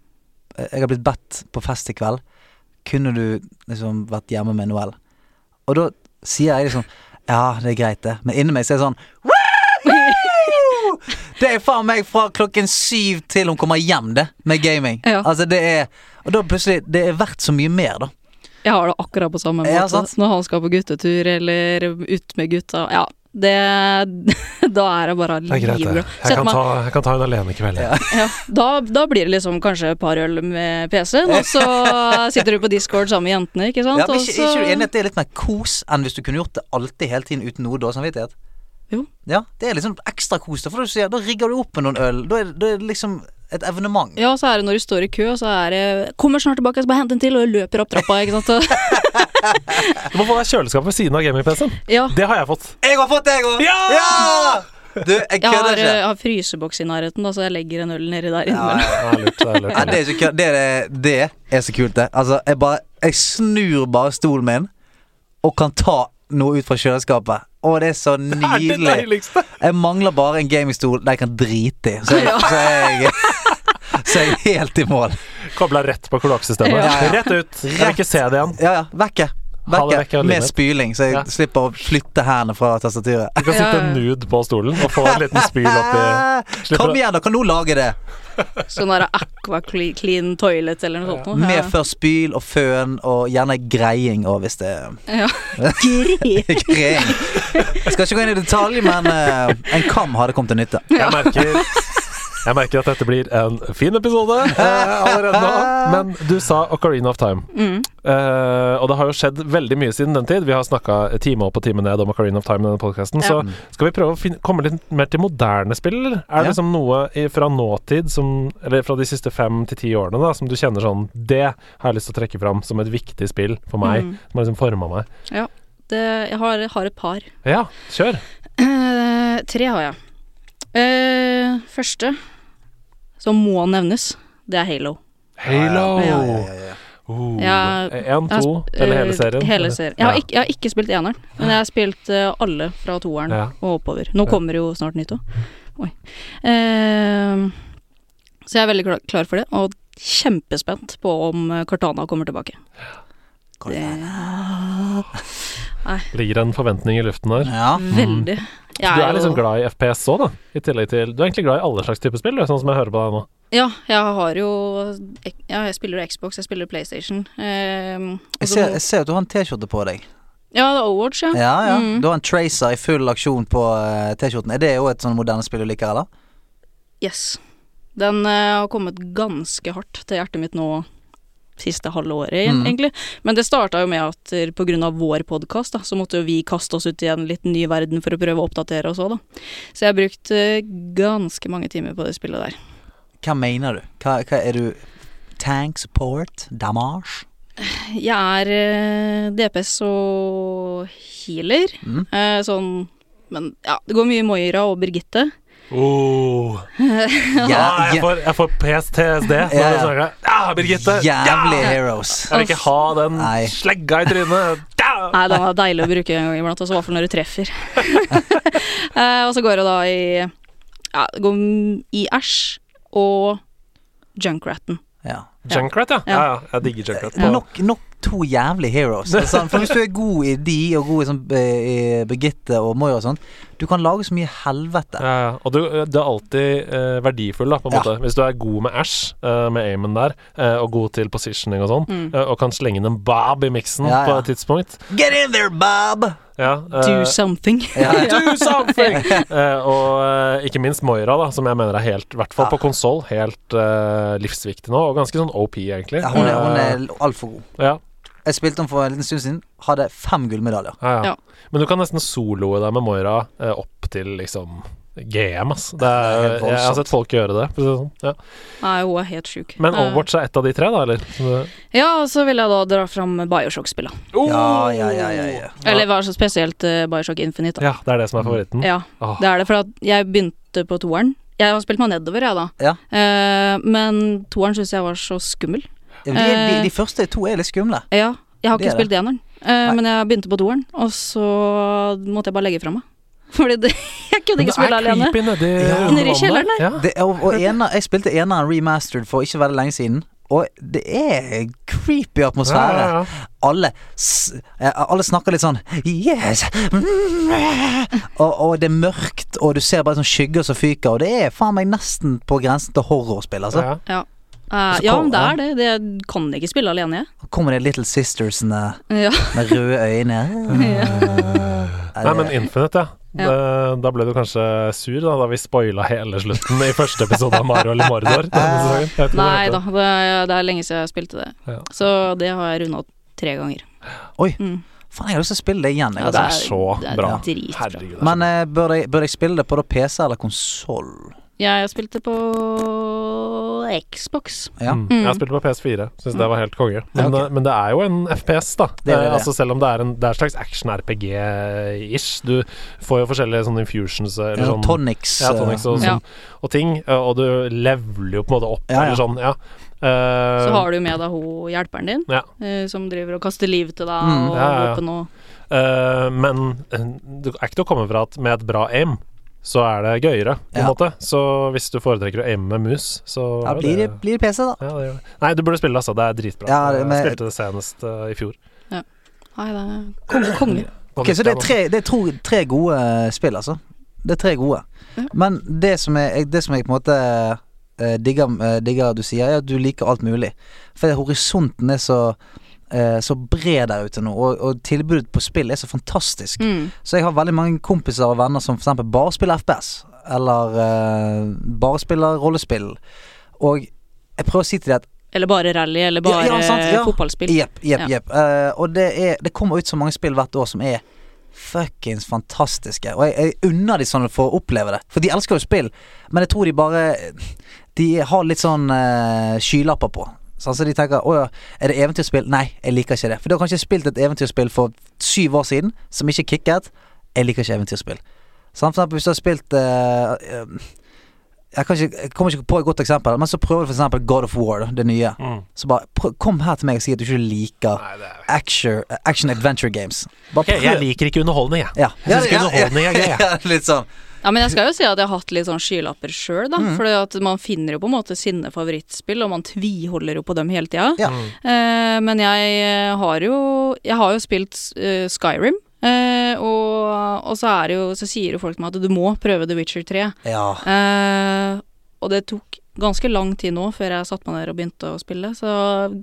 C: eh, Jeg har blitt bedt på fest i kveld. Kunne du liksom vært hjemme med Noel? Og da sier jeg liksom Ja, det er greit, det. Men inni meg så er det sånn «Woo!» Det er faen meg fra klokken syv til hun kommer hjem, det, med gaming.
A: Ja.
C: Altså, det er Og da plutselig Det er verdt så mye mer, da.
A: Jeg har det akkurat på samme måte
C: Ja, sant.
A: når han skal på guttetur eller ut med gutta. Ja, det Da er jeg bare
B: Det er greit, det.
A: livredd.
B: Jeg
A: Sett
B: kan
A: meg-
B: ta, jeg kan ta en alenekveld.
C: Ja.
B: Ja.
A: Ja, da, da blir det liksom kanskje et par øl med PC-en, og så sitter du på Discord sammen med jentene, ikke sant?
C: Ja, men
A: Og
C: ikke,
A: så-
C: ikke du enig at det er litt mer kos enn hvis du kunne gjort det alltid hele tiden uten noe dårlig samvittighet?
A: Jo.
C: Ja, det er liksom ekstra kos, da, for du sier, da rigger du opp med noen øl. Da er, da er det liksom et evenement.
A: Ja, så er det når du står i kø, så er det 'Kommer snart tilbake, jeg skal bare hente en til', og løper opp trappa, ikke sant? Så-
B: Du må få deg kjøleskap ved siden av gaming-PC-en.
A: Ja.
B: Det har jeg fått.
C: Jeg har fått det, jeg òg!
B: Ja!
C: Du, jeg
A: Jeg har, eh,
C: kødder ikke.
A: jeg har fryseboks i nærheten, da, så jeg legger en øl nedi der
B: Det er
A: innimellom.
B: lurt. Det er lurt.
C: Nei, det er så kødd. Det, er- det er så kult, det. Altså, jeg bare Jeg snur bare stolen min og kan ta noe ut fra kjøleskapet. Å, det er så
B: Det er det
C: nydelig.
B: deiligste.
C: Jeg mangler bare en gamingstol der jeg kan drite i. Så jeg,
A: Ja.
C: så jeg, så jeg er helt i mål.
B: Kobla rett på kloakksystemet.
C: Ja, ja.
B: Rett ut. Jeg vil ikke se det igjen.
C: Ja, ja. Vekke.
B: Ha det vekk
C: Vekke
B: av
C: med
B: livet.
C: spyling, så jeg
B: Ja.
C: slipper å flytte hendene fra tastaturet.
B: Du kan sitte
A: Ja, ja.
B: nude på stolen og få en liten spyl oppi Slipper
C: Ah, Kom
B: å-
C: igjen, da! Kan du lage det?
A: Sånn der Aqua Cle- Clean Toilet eller noe sånt. noe.
C: Med før spyl og føn, og gjerne greiing òg, hvis det er
A: Ja. Gri.
C: greiing. Jeg skal ikke gå inn i detalj, men eh, en kam hadde kommet til nytte.
B: Jeg merker jeg merker at dette blir en fin episode eh, allerede nå. Men du sa Ocarina of Time.
A: Mm.
B: Eh, og det har jo skjedd veldig mye siden den tid. Vi har snakka time opp og time ned om Ocarina of Time i denne podkasten.
A: Ja.
B: Så skal vi prøve å finne, komme litt mer til moderne spill, eller? Er
C: Ja.
B: det liksom noe i, fra nåtid, som, eller fra de siste fem til ti årene, da, som du kjenner sånn Det har jeg lyst til å trekke fram som et viktig spill for meg,
A: Mm.
B: som har liksom forma meg.
A: Det, jeg Eh, har, har et par.
B: Ja, kjør!
A: Eh, tre har jeg. Eh, første som må nevnes, det er Halo.
B: Halo!
A: Ja,
C: ja.
B: Oh.
A: Ja,
B: En,
A: Jeg har
B: to,
A: sp-
B: eller hele
A: eh,
B: serien?
A: Hele serien. Jeg, har ikke, jeg har ikke spilt eneren, men jeg har spilt eh, alle fra toeren
B: Ja.
A: og oppover. Nå
B: Ja.
A: kommer jo snart nytt òg. Oi. Eh, så jeg er veldig kla- klar for det, og kjempespent på om eh, Cortana kommer tilbake.
C: Går
A: Det,
C: det bra?
B: Ligger en forventning i luften der.
C: Ja.
A: veldig. Jeg
B: Du er liksom
A: jo-
B: glad i FPS òg, da. I tillegg til Du er egentlig glad i alle slags typer spill, du, sånn som jeg hører på deg nå.
A: Ja, jeg har jo Ja, jeg spiller jo Xbox, jeg spiller PlayStation. Eh, og
C: Jeg
A: så
C: ser,
A: må-
C: jeg ser at du har en T-skjorte på deg.
A: ja, det er Overwatch, ja.
C: Ja, ja.
A: Mm.
C: Du har en Tracer i full aksjon på eh, T-skjorten. Er det jo et sånn moderne spill du liker, eller?
A: Yes. Den eh, har kommet ganske hardt til hjertet mitt nå siste halve året,
C: Mm.
A: egentlig. Men det starta jo med at eh, på grunn av vår podkast, så måtte jo vi kaste oss ut i en litt ny verden for å prøve å oppdatere oss òg, da. Så jeg har brukt eh, ganske mange timer på det spillet der.
C: Hva mener du? Hva, hva er du Tank, support, damage?
A: Jeg er eh, DPS og healer,
C: Mm.
A: eh, sånn men ja, det går mye Moira og Birgitte.
B: Oh. Ah, jeg, får, jeg får PSTSD når
C: Ja,
B: du
C: ja.
B: snakker. Ja, Birgitte!
C: jævlig
B: Ja!
C: heroes.
B: Jeg vil ikke ha den
C: Nei.
B: slegga i trynet. Ah, Ja!
A: Nei, den er deilig å bruke en gang iblant, og så i hvert fall når du treffer. Eh, og så går det da i ja, det går m- i Æsj og Junkratten.
C: Ja.
B: Junkrat, ja. ja.
A: Ja.
B: ja. Jeg digger Junkrat. På-
C: Nok, nok to jævlig heroes. Det er sant. For hvis du er god i de, og god i, sånn, eh, i Birgitte og Moira og sånn, du kan lage så mye helvete.
B: Ja, ja. Og du, du er alltid eh, verdifull, da, på en
C: Ja.
B: måte. Hvis du er god med Ash, eh, med aimen der, eh, og god til positioning og sånn, eh, og kan slenge inn en bob i miksen
C: Ja,
B: på
C: ja.
B: et tidspunkt
C: Get in there, Bob!
B: ja, eh,
A: Do something.
C: Ja.
B: Do something! Eh, og eh, ikke minst Moira, da, som jeg mener er helt, i hvert fall på konsoll, helt eh, livsviktig nå, og ganske sånn OP, egentlig.
C: Ja, hun er, hun er altfor god.
B: Eh, ja,
C: Jeg spilte henne for en liten stund siden. Hadde fem gullmedaljer.
B: ja, ja.
A: Ja.
B: Men du kan nesten soloe deg med Moira eh, opp til liksom GM, ass. Det
C: Det
B: er,
C: er helt voldsomt.
B: jeg har sett folk gjøre det. For å si det sånn. ja.
A: Nei, hun er helt sjuk.
B: Men Overwatch er ett av de tre, da, eller? Som du-
A: Eh, Ja, og så vil jeg da dra fram Bioshock-spilla.
C: Ja, ja, ja, ja, ja.
A: Eller hva er så spesielt eh, Bioshock Infinite, da.
B: Ja, det er det som
C: Mm.
B: er favoritten.
A: Ja,
B: Åh.
A: det er det, for at jeg begynte på toeren. Jeg har spilt meg nedover, jeg, da.
C: Ja.
A: Eh, men toeren syns jeg var så skummel.
C: Ja, de, er- de,
A: Eh.
C: de første to er litt skumle.
A: Ja, jeg har
C: Det
A: ikke
C: er det.
A: spilt eneren, eh,
C: Nei.
A: men jeg begynte på toeren, og så måtte jeg bare legge fra meg. Fordi det, jeg kunne
B: Men
A: ikke spille alene.
B: creepy nedi
C: Ja.
A: Nedi kjelleren
B: Ja.
C: Det, og, og ena, jeg spilte eneren remastered for ikke veldig lenge siden. Og det er creepy atmosfære.
B: Ja, ja, ja.
C: Alle, s eh, alle snakker litt sånn Yes! Mm, eh. og, og det er mørkt, og du ser bare sånn skygger som fyker. Og det er faen meg nesten på grensen til horrorspill. Altså.
B: Ja.
A: Eh,
C: Så
A: ja,
C: kom-
A: det er det. det. Jeg kan ikke spille alene, jeg.
C: Så Kommer de Little Sistersene
A: Ja.
C: med røde øyne. Ja,
B: Nei,
C: det-
B: men Infinite, ja.
A: Ja.
B: Det- Da ble du kanskje sur da, da vi spoila hele slutten i første episode av Mario eller Mordor. denne sesongen. Jeg vet ikke hva
A: Nei
B: det
A: da,
B: heter.
A: det er, det er lenge siden jeg spilte det.
B: Ja.
A: Så det har jeg runda tre ganger.
C: Oi.
A: Mm.
C: Faen, jeg har lyst til å spille det igjen. Jeg,
A: Ja,
B: Det
C: altså.
B: er så
A: det er
B: bra.
A: dritbra.
B: Herregud. det er så
C: Men eh, bør, jeg, bør jeg spille det på da PC eller konsoll?
A: Jeg spilte på Xbox.
C: Ja.
B: Mm. Jeg har spilt på PS4, syns
A: Mm.
B: det var helt konge. Men,
C: Ja, ok.
B: eh, men det er jo en FPS, da.
C: Det er det,
B: Eh,
C: det.
B: Altså Selv om det er en, det er en slags action-RPG-ish. Du får jo forskjellige sånne infusions eh, eller
C: Eller
B: sånn
C: tonics?
B: Ja, tonics og,
A: eh,
B: sånn, og ting. eh, Og du leveler jo på en måte opp,
C: Ja, ja.
B: eller sånn. Ja. Eh,
A: Så har du med deg hun hjelperen din,
B: Ja.
A: eh, som driver og kaster liv til deg,
C: Mm.
A: og
B: Ja, ja, ja.
A: våpen og
B: Eh, men eh, det er ikke til å komme fra at med et bra aim så er det gøyere, på en
C: Ja.
B: måte. Så hvis du foretrekker å aime med mus, så
C: Ja,
B: er
C: blir det, blir det PC, da?
B: ja, det gjør det. Nei, du burde spille, altså. Det er dritbra.
C: Ja, det- men-
B: Jeg spilte det senest eh, i fjor.
A: Nei, det er konge. konge.
B: På
C: Ok, Så det er
B: nytt,
C: tre, det er tro, tre gode eh, spill, altså. Det er tre gode.
A: Ja.
C: Men det som jeg, det som jeg på en måte eh, digger, eh, digger du sier, er at du liker alt mulig. For horisonten er så eh, så bred der ute nå, og, og tilbudet på spill er så fantastisk.
A: Mm.
C: Så jeg har veldig mange kompiser og venner som for eksempel bare spiller FPS, eller eh, bare spiller rollespill. Og jeg prøver å si til dem at
A: Eller bare rally, eller bare
C: Ja, ja, sant, ja.
A: fotballspill.
C: Jepp, jepp,
A: Ja.
C: jepp. Eh, og det, er, det kommer ut så mange spill hvert år som er fuckings fantastiske. Og jeg, jeg unner de sånn å få oppleve det. For de elsker jo spill, men jeg tror de bare De har litt sånn eh, skylapper på. Sånn, så de tenker å ja, er det eventyrspill? Nei, jeg liker ikke det. For du har kanskje spilt et eventyrspill for syv år siden som ikke kicket. Jeg liker ikke eventyrspill. Sant? For eksempel hvis du har spilt eh, eh, jeg, kan ikke, jeg kommer ikke på et godt eksempel, men så prøver du f.eks. God of War, da, det nye.
B: Mm.
C: Så bare prøv, kom her til meg og si at du ikke liker
B: Nei, det er
C: action, action adventure games. Bare
B: Ok, jeg liker ikke underholdning, jeg.
C: ja.
B: Jeg synes ikke underholdning er gøy, jeg.
C: ja, litt sånn.
A: Ja, men jeg skal jo si at jeg har hatt litt sånn skylapper sjøl, da.
C: Mhm.
A: Fordi at man finner jo på en måte sine favorittspill, og man tviholder jo på dem hele tida.
C: Ja.
B: Mm.
A: Eh, men jeg eh, har jo Jeg har jo spilt eh, Skyrim. Eh, og, og så er det jo Så sier jo folk til meg at du må prøve The Witcher 3.
C: Ja.
A: Eh, og det tok ganske lang tid nå før jeg satte meg ned og begynte å spille, så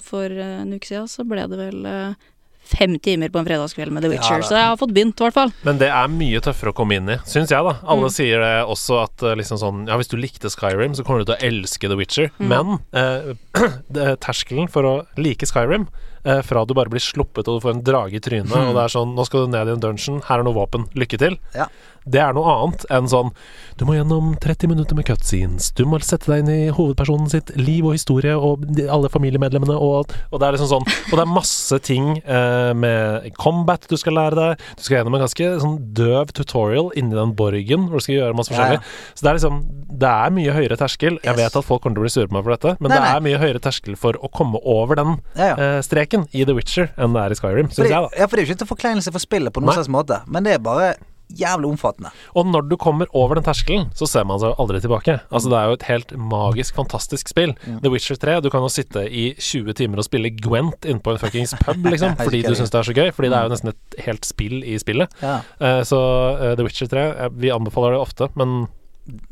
A: for eh, en uke siden så ble det vel eh, fem timer på en fredagskveld med The
C: Ja,
A: Witcher.
C: det-
A: så jeg har fått begynt, i hvert fall.
B: Men det er mye tøffere å komme inn i, syns jeg, da. Alle
A: Mm.
B: sier det også at eh, liksom sånn Ja, hvis du likte Skyrim, så kommer du til å elske The Witcher.
A: Mm.
B: Men eh, det- terskelen for å like Skyrim, eh, fra du bare blir sluppet og du får en drage i trynet, og
A: Mm.
B: det er sånn Nå skal du ned i en dungeon, her er noe våpen, lykke til.
C: Ja.
B: Det er noe annet enn sånn Du må gjennom 30 minutter med cutscenes, du må sette deg inn i hovedpersonen sitt liv og historie og de- alle familiemedlemmene og alt. Og det er liksom sånn Og det er masse ting eh, med combat du skal lære deg. Du skal gjennom en ganske sånn døv tutorial inni den borgen hvor du skal gjøre masse
C: Ja, ja.
B: forskjellig. Så det er liksom Det er mye høyere terskel. Jeg
C: Yes.
B: vet at folk kommer til å bli sure på meg for dette, men
C: Nei,
B: det
C: nei.
B: er mye høyere terskel for å komme over den
C: Ja, ja.
B: eh, streken i The Witcher enn det er i Skyrim, syns
C: Fordi,
B: jeg, da.
C: ja, for det er jo ikke til forkleinelse for spillet på noen
B: Nei.
C: slags måte, men det er bare jævlig omfattende.
B: Og når du kommer over den terskelen, så ser man seg aldri tilbake. Altså Det er jo et helt magisk, fantastisk spill. The Witcher 3, du kan jo sitte i 20 timer og spille Gwent inne på en fuckings pub, liksom,
C: Jeg
B: fordi
C: elsker
B: du
C: det.
B: syns det er så gøy. Mm. Fordi det er jo nesten et helt spill i spillet.
C: Ja.
B: Eh, Så eh, The Witcher 3, eh, vi anbefaler det ofte, men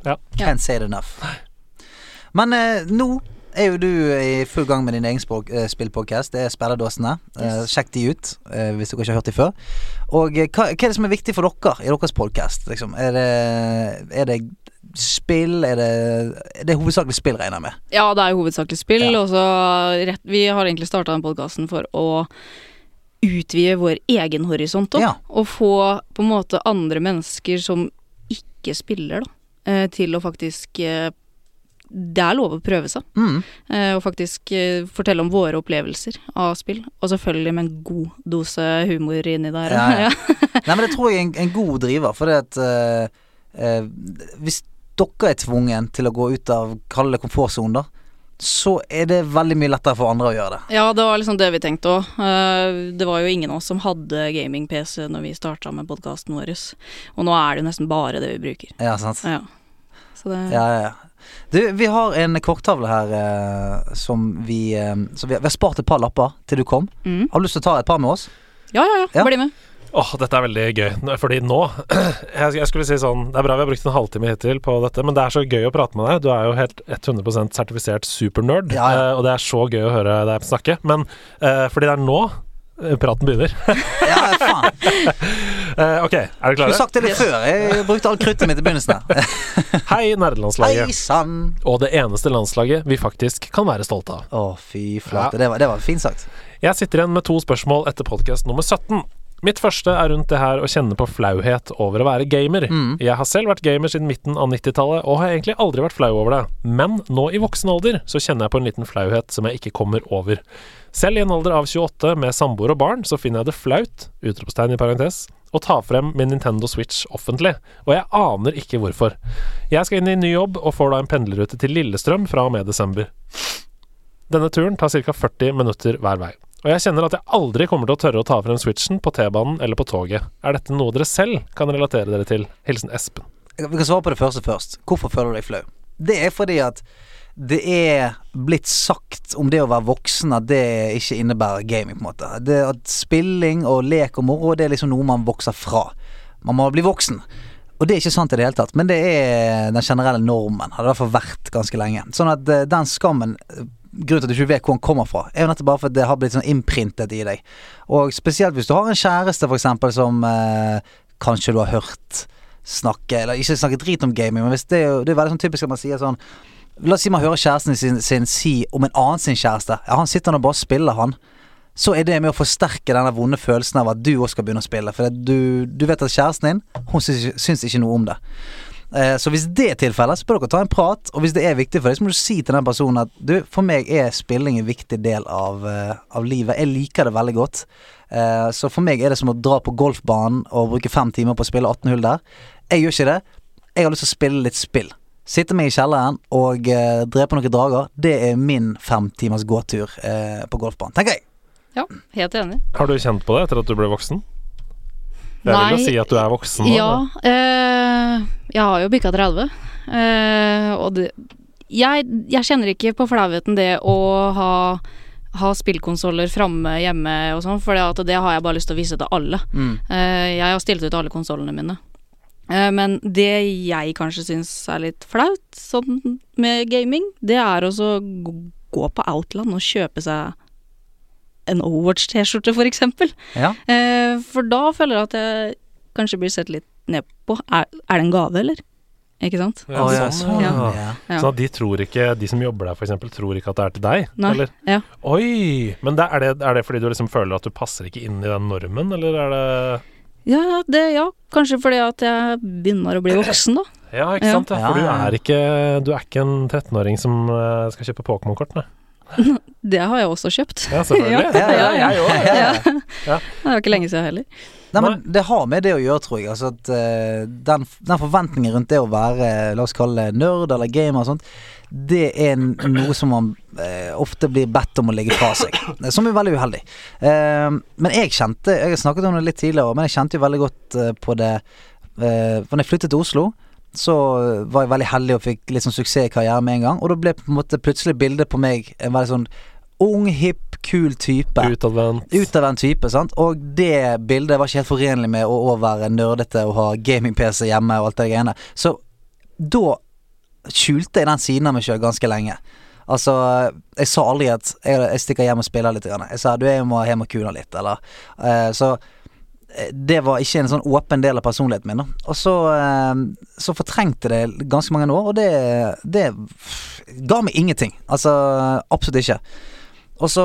A: Ja.
C: Can't say it enough. Men eh, nå er jo du i full gang med din egen språk- eh, spillpodcast. Det er Spillerdåsene. Eh,
A: Yes.
C: sjekk de ut eh, hvis dere ikke har hørt de før. Og eh, hva, hva er det som er viktig for dere i deres podcast? Liksom? Er, det, er det spill? Er det, det er hovedsakelig spill, regner jeg med.
A: Ja, det er jo hovedsakelig spill,
C: Ja.
A: og så rett, Vi har egentlig starta den podkasten for å utvide vår egen horisont opp,
C: Ja.
A: og få på en måte andre mennesker som ikke spiller, da, eh, til å faktisk eh, Det er lov å prøve seg,
C: Mm.
A: eh, og faktisk eh, fortelle om våre opplevelser av spill, og selvfølgelig med en god dose humor inni der.
C: Ja, ja. Nei, men det tror jeg er en, en god driver, for det at eh, eh, Hvis dere er tvungen til å gå ut av kalde komfortsonen, da, så er det veldig mye lettere for andre å gjøre det.
A: Ja, det var liksom det vi tenkte òg. Det var jo ingen av oss som hadde gaming-PC når vi starta med podkasten vår, og nå er det jo nesten bare det vi bruker.
C: Ja, sant?
A: Ja. Så det
C: Ja, ja, ja. Du, vi har en korktavle her eh, som vi eh, Så vi, vi har spart et par lapper til du kom.
A: mm.
C: Har du lyst til å ta et par med oss?
A: ja, ja, ja,
C: Ja.
A: bli med.
B: Åh, dette er veldig gøy, Nå- fordi nå jeg, jeg skulle si sånn Det er bra vi har brukt en halvtime hittil på dette, men det er så gøy å prate med deg. Du er jo helt 100 sertifisert supernerd,
C: Ja, ja.
B: eh, og det er så gøy å høre deg snakke. Men eh, fordi det er nå eh, praten begynner.
C: Ja, faen.
B: Eh, ok, er dere
C: Du har
B: klare?
C: sagt det litt før. Jeg brukte alt kruttet mitt i begynnelsen. her.
B: Hei,
C: Hei
B: nerdelandslaget.
C: sann!
B: Og det eneste landslaget vi faktisk kan være stolte av.
C: Å, fy flate. Det, var, det var fint sagt.
B: Jeg sitter igjen med to spørsmål etter podkast nummer 17. Mitt første er rundt det her å kjenne på flauhet over å være gamer. Jeg har selv vært gamer siden midten av 90-tallet, og har egentlig aldri vært flau over det. Men nå i voksen alder så kjenner jeg på en liten flauhet som jeg ikke kommer over. Selv i en alder av 28 med samboer og barn, så finner jeg det flaut, utropstegn i parentes, å ta frem min Nintendo Switch offentlig, og jeg aner ikke hvorfor. Jeg skal inn i en ny jobb, og får da en pendlerrute til Lillestrøm fra og med desember. Denne turen tar ca. 40 minutter hver vei. Og jeg kjenner at jeg aldri kommer til å tørre å ta frem switchen på T-banen eller på toget. Er dette noe dere selv kan relatere dere til? Hilsen Espen.
C: Vi kan svare på det første først. Hvorfor føler du deg flau? Det er fordi at det er blitt sagt om det å være voksen at det ikke innebærer gaming, på en måte. Det at spilling og lek og moro, det er liksom noe man vokser fra. Man må bli voksen. Og det er ikke sant i det hele tatt, men det er den generelle normen. Har det i hvert fall vært ganske lenge. Sånn at eh, den skammen eh, Grunnen til at du ikke vet hvor den kommer fra, er jo nettopp bare fordi det har blitt sånn innprintet i deg. Og spesielt hvis du har en kjæreste, for eksempel, som eh, kanskje du har hørt snakke Eller ikke snakke drit om gaming, men hvis det, er jo- det er veldig sånn typisk at man sier sånn La oss si man hører kjæresten sin, sin si om en annen sin kjæreste. Ja, han sitter nå og bare spiller, han. Så er det med å forsterke denne vonde følelsen av at du også skal begynne å spille. For det- du, du vet at kjæresten din, hun syns, ikke- syns ikke noe om det. Eh, Så hvis det er tilfellet, så bør dere ta en prat. Og hvis det er viktig for deg, så må du si til den personen at du, for meg er spilling en viktig del av, eh, av livet. Jeg liker det veldig godt. Eh, Så for meg er det som å dra på golfbanen og bruke fem timer på å spille 18 hull der. Jeg gjør ikke det. Jeg har lyst til å spille litt spill. Sitte meg i kjelleren og eh, drepe noen drager. Det er min fem timers gåtur eh, på golfbanen, tenker jeg.
A: Ja, helt enig.
B: Har du kjent på det etter at du ble voksen? Jeg
A: Nei.
B: vil jo si at du er voksen nå.
A: Ja.
B: da.
A: eh, jeg har jo bikka 30. eh, og det jeg, jeg kjenner ikke på flauheten det å ha, ha spillkonsoller framme hjemme og sånn, for det har jeg bare lyst til å vise til alle.
B: Mm.
A: Eh, jeg har stilt ut alle konsollene mine. Eh, men det jeg kanskje syns er litt flaut sånn med gaming, det er også å gå- gå på Outland og kjøpe seg en Overwatch-T-skjorte, for eksempel.
C: Ja.
A: Eh, for da føler jeg at jeg kanskje blir sett litt ned på. Er, er det en gave, eller? Ikke sant?
B: Ja,
C: Å, ja,
B: sånn,
C: sånn,
B: ja.
C: ja.
A: Ja.
B: Sånn at de tror ikke, de som jobber der for eksempel, tror ikke at det er til deg?
A: Nei.
B: Eller?
A: Ja.
B: Oi! Men det, er, det, er det fordi du liksom føler at du passer ikke inn i den normen, eller er det
A: Ja, det, ja, kanskje fordi at jeg begynner å bli voksen, da.
B: Ja, ikke
A: Ja.
B: sant? Ja, for du
C: Ja, ja.
B: er ikke, du er ikke en 13-åring som eh, skal kjøpe Pokémon-kort, nei.
A: Det har jeg også kjøpt.
B: Ja, selvfølgelig.
C: Ja, ja, ja.
B: Jeg òg.
A: Ja. Det er jo ikke lenge siden heller.
C: Nei, men Det har med det å gjøre, tror jeg. Altså at eh, den, den forventningen rundt det å være eh, la oss kalle det nerd eller gamer og sånt, det er n- noe som man eh, ofte blir bedt om å legge fra seg. Som er veldig uheldig. Eh, men jeg kjente Jeg har snakket om det litt tidligere, men jeg kjente jo veldig godt eh, på det uh, Når jeg flyttet til Oslo, så eh, var jeg veldig heldig og fikk litt sånn suksess i karrieren med en gang. Og da ble på en måte plutselig bildet på meg en veldig sånn ung, hipp, kul type
B: Utadvendt.
C: ut av den type, sant? Og det bildet var ikke helt forenlig med å, å være nerdete og ha gaming-PC hjemme og alt det greiene. Så da skjulte jeg den siden av meg sjøl ganske lenge. Altså, jeg sa aldri at jeg, jeg stikker hjem og spiller litt. Grann. Jeg sa du jeg må hjem og kule litt, eller eh, Så eh, det var ikke en sånn åpen del av personligheten min. Da. Og så, eh, så fortrengte det ganske mange år, og det, det ga meg ingenting. Altså, absolutt ikke. Og så,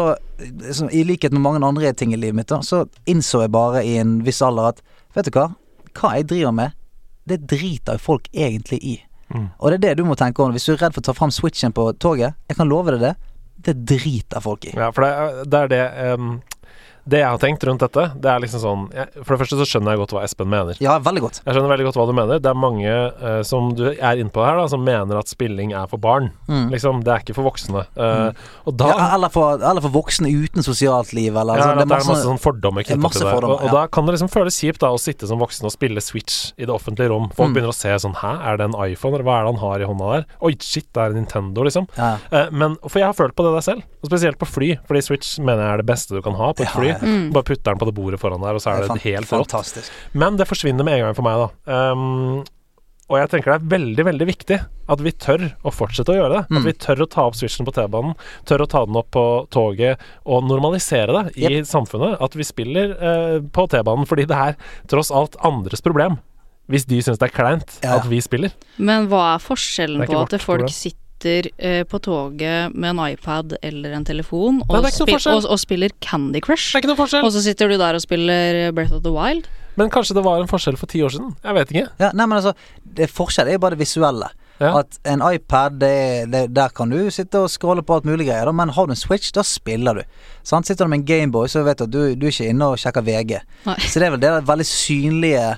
C: så i likhet med mange andre ting i livet mitt, da, så innså jeg bare i en viss alder at Vet du hva? Hva jeg driver med, det driter jo folk egentlig i.
B: Mm.
C: Og det er det du må tenke over. Hvis du er redd for å ta fram switchen på toget, jeg kan love deg det, det driter folk i.
B: Ja, for det, er- det er det em, Det jeg har tenkt rundt dette, det er liksom sånn jeg, For det første så skjønner jeg godt hva Espen mener.
C: Ja, veldig godt.
B: Jeg skjønner veldig godt hva du mener. Det er mange eh, som du er inne på her, da, som mener at spilling er for barn.
C: Mm.
B: Liksom, det er ikke for voksne. Eh, Og da
C: Ja, altså, eller, for, eller for voksne uten sosialt liv, eller
B: Ja,
C: sånn.
B: eller at det er masse sånn fordommer
C: det er
B: knytta
C: masse
B: til det. Og,
C: fordommer,
B: og
C: ja.
B: da kan det liksom føles kjipt da å sitte som voksen og spille Switch i det offentlige rom. Folk
C: Mm.
B: begynner å se sånn Hæ, er det en iPhone, eller hva er det han har i hånda der? Oi, shit, det er en Nintendo, liksom.
C: ja.
B: Eh, men, For jeg har følt på det der selv, og spesielt på fly, fordi Switch mener jeg er det beste du kan ha på et
C: Ja,
B: fly.
C: ja.
A: Mm.
B: Bare putter den på det bordet foran der, og så er det
C: fan-
B: helt rått.
C: fantastisk.
B: Men det forsvinner med en gang for meg, da. Um, og jeg tenker det er veldig, veldig viktig at vi tør å fortsette å gjøre det.
C: Mm.
B: At vi tør å ta opp switchen på T-banen, tør å ta den opp på toget og normalisere det i samfunnet. At vi spiller eh, på T-banen fordi det er tross alt andres problem. Hvis de syns det er kleint
C: Ja, ja.
B: at vi spiller.
A: Men hva er forskjellen
B: Det er
A: på
B: ikke
A: at
B: vårt
A: folk
B: problem.
A: sitter eh, på toget med en iPad eller en telefon
B: Nei,
A: og,
B: det er ikke noe
A: spi-
B: forskjell.
A: og, og spiller Candy Crush,
B: Det er ikke noe forskjell.
A: og så sitter du der og spiller eh, Breath of the Wild?
B: Men kanskje det var en forskjell for ti år siden. Jeg vet ikke.
C: Ja, nei, men altså, det forskjell er jo bare det visuelle.
B: Ja.
C: At en iPad, det, det, der kan du sitte og scrolle på alt mulig greier, da, men har du en Switch, da spiller du. Sant? Sitter du med en Gameboy, så vet du at du, du er ikke inne og sjekker VG.
A: Nei.
C: Så det er vel det der veldig synlige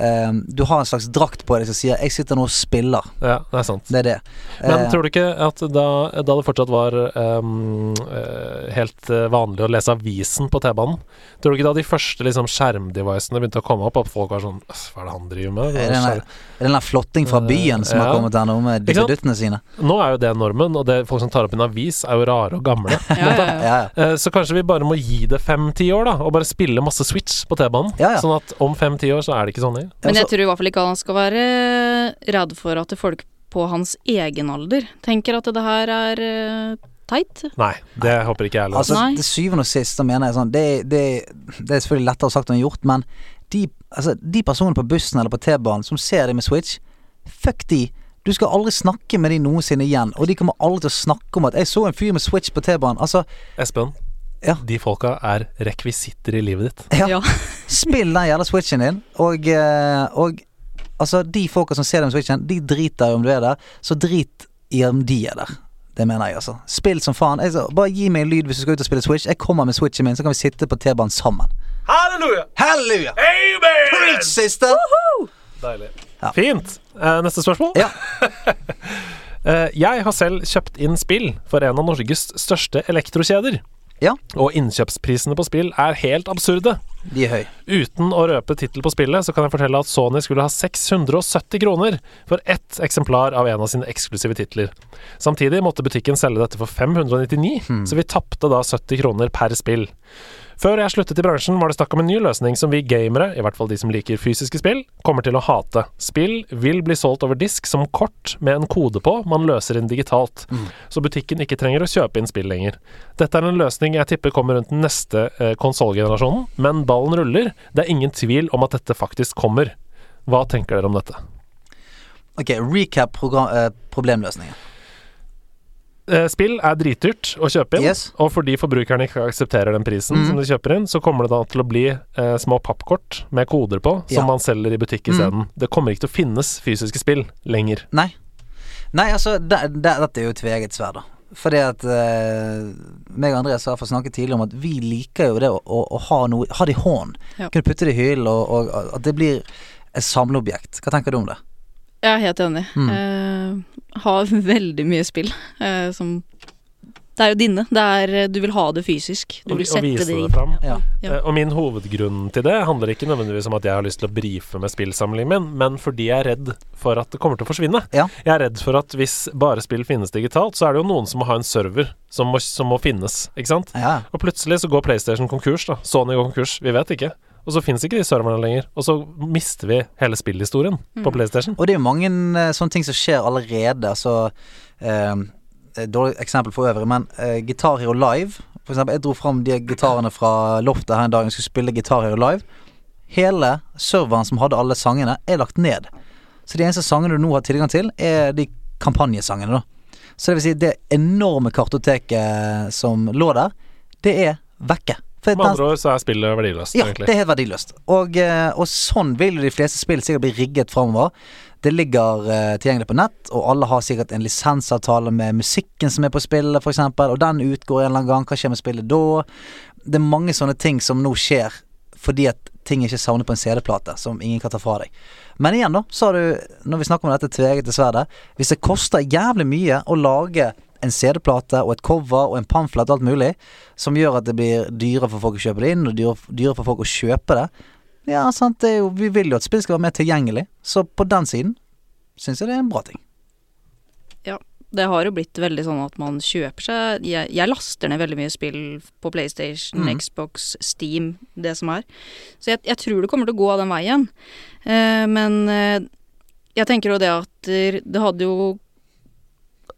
C: ehm, Du har en slags drakt på deg som sier 'jeg sitter nå og spiller'.
B: Ja, det er sant.
C: Det er det.
B: Men
C: Eh,
B: tror du ikke at da, da det fortsatt var ehm, eh, helt eh, vanlig å lese avisen på T-banen Tror du ikke da de første liksom, skjermdevicene begynte å komme opp, at folk var sånn «Øff, Hva er det han driver med?
C: er det
B: Hva er det
C: den der-
B: skjerm?»
C: er det den der flotting fra byen som har
B: Eh, Ja.
C: kommet her nå med
B: Ikke sant?
C: duttene sine?
B: Nå er jo det normen, og det, folk som tar opp en avis, er jo rare og gamle.
A: Ja, ja, ja.
C: Ja, ja.
B: Eh, Så kanskje vi bare må gi det fem-ti år, da, og bare spille masse Switch på T-banen.
C: Ja, ja.
B: Sånn at om fem-ti år så er det ikke sånn lenger.
A: Men
C: Altså-
A: jeg tror i hvert fall ikke han skal være eh, redd for at folk på hans egen alder tenker at det her er eh, teit.
B: Nei, det håper ikke jeg heller.
C: Altså,
A: Nei.
C: til syvende og sist så mener jeg sånn det, det, det er selvfølgelig lettere sagt enn gjort, men de, altså, de personene på bussen eller på T-banen som ser deg med Switch, fuck de. Du skal aldri snakke med de noensinne igjen, og de kommer aldri til å snakke om at 'jeg så en fyr med Switch på T-banen'. Altså,
B: Espen,
C: Ja.
B: de folka er rekvisitter i livet ditt.
C: ja,
A: Ja.
C: spill den jævla Switchen din, og, eh, og altså, de folka som ser deg med Switchen, de driter i om du er der, så drit i om de er der. Det mener jeg, altså. Spill som faen. Jeg, sa, bare gi meg en lyd hvis du skal ut og spille Switch. Jeg kommer med Switchen min, så kan vi sitte på T-banen sammen.
B: Halleluja!
C: Halleluja!
B: Amen!
C: Preach, sister!
B: Deilig.
C: Ja.
B: Fint. Eh, neste spørsmål.
C: Ja.
B: Eh, jeg har selv kjøpt inn spill for en av Norges største elektrokjeder.
C: Ja.
B: Og innkjøpsprisene på spill er helt absurde.
C: De er høy.
B: Uten å røpe tittel på spillet, så kan jeg fortelle at Sony skulle ha 670 kroner for ett eksemplar av en av sine eksklusive titler. Samtidig måtte butikken selge dette for 599, så vi tapte da 70 kroner per spill. Før jeg sluttet i bransjen, var det snakk om en ny løsning som vi gamere, i hvert fall de som liker fysiske spill, kommer til å hate. Spill vil bli solgt over disk som kort med en kode på man løser inn digitalt, så butikken ikke trenger å kjøpe inn spill lenger. Dette er en løsning jeg tipper kommer rundt den neste eh, konsollgenerasjonen, men ballen ruller. Det er ingen tvil om at dette faktisk kommer. Hva tenker dere om dette?
C: Ok, recap program, eh, problemløsningen.
B: Eh, Spill er dritdyrt å kjøpe inn,
C: Yes.
B: og fordi forbrukerne ikke aksepterer den prisen
C: Mm.
B: som de kjøper inn, så kommer det da til å bli eh, små pappkort med koder på som
C: Ja. Mhm.
B: man selger i butikk isteden. Det kommer ikke til å finnes fysiske spill lenger.
C: Nei. Nei, altså, det, det, dette er jo et tveegget sverd, da. Fordi at eh, meg og Andreas har fått snakket tidligere om at vi liker jo det å, å, å ha noe Ha det i hånden.
A: Ja.
C: Kunne putte det i hyllen, og, og at det blir et samleobjekt. Hva tenker du om det?
A: Jeg er helt enig.
C: Mm.
A: Eh, har veldig mye spill eh, som Det er jo dine. Det er, eh, du vil ha det fysisk. Du
B: Og
A: vil
B: vi- og
A: sette
B: vise
A: det i
B: det fram.
C: Ja.
A: Ja.
B: Eh, Og min hovedgrunn til det handler ikke nødvendigvis om at jeg har lyst til å brife med spillsamlingen min, men fordi jeg er redd for at det kommer til å forsvinne.
C: Ja.
B: Jeg er redd for at hvis bare spill finnes digitalt, så er det jo noen som må ha en server som må, som må finnes, ikke sant?
C: Ja.
B: Og plutselig så går PlayStation konkurs, da. Sony går konkurs, vi vet ikke. Og så finnes ikke de serverne lenger. Og så mister vi hele spillhistorien
A: Mm.
B: på PlayStation.
C: Og det er jo mange eh, sånne ting som skjer allerede. Altså eh, et Dårlig eksempel for øvrig, men eh, Guitar Hero Live For eksempel, jeg dro fram de gitarene fra loftet her en dag jeg skulle spille Guitar Hero Live. Hele serveren som hadde alle sangene, er lagt ned. Så de eneste sangene du nå har tilgang til, er de kampanjesangene, da. Så det vil si, det enorme kartoteket som lå der, det er vekke. For
B: Med
C: den-
B: andre ord så er spillet verdiløst,
C: ja, det
B: egentlig.
C: er helt verdiløst. Og, eh, og sånn vil jo de fleste spill sikkert bli rigget framover. Det ligger eh, tilgjengelig på nett, og alle har sikkert en lisensavtale med musikken som er på spillet, f.eks., og den utgår en eller annen gang. Hva skjer med spillet da? Det er mange sånne ting som nå skjer fordi at ting ikke er savnet på en CD-plate, som ingen kan ta fra deg. Men igjen, da, så har du, når vi snakker om dette tveeggete sverdet Hvis det koster jævlig mye å lage en CD-plate og et cover og en pamflett og alt mulig, som gjør at det blir dyrere for folk å kjøpe det inn, og dyrere, dyrere for folk å kjøpe det. Ja, sant, det er jo, vi vil jo at spill skal være mer tilgjengelig, så på den siden syns jeg det er en bra ting.
A: Det har jo blitt veldig sånn at man kjøper seg Jeg, jeg laster ned veldig mye spill på PlayStation,
B: Mm.
C: Mhm.
A: Xbox, Steam, det som er. Så jeg, jeg tror det kommer til å gå av den veien. Eh, men eh, jeg tenker jo det at det hadde jo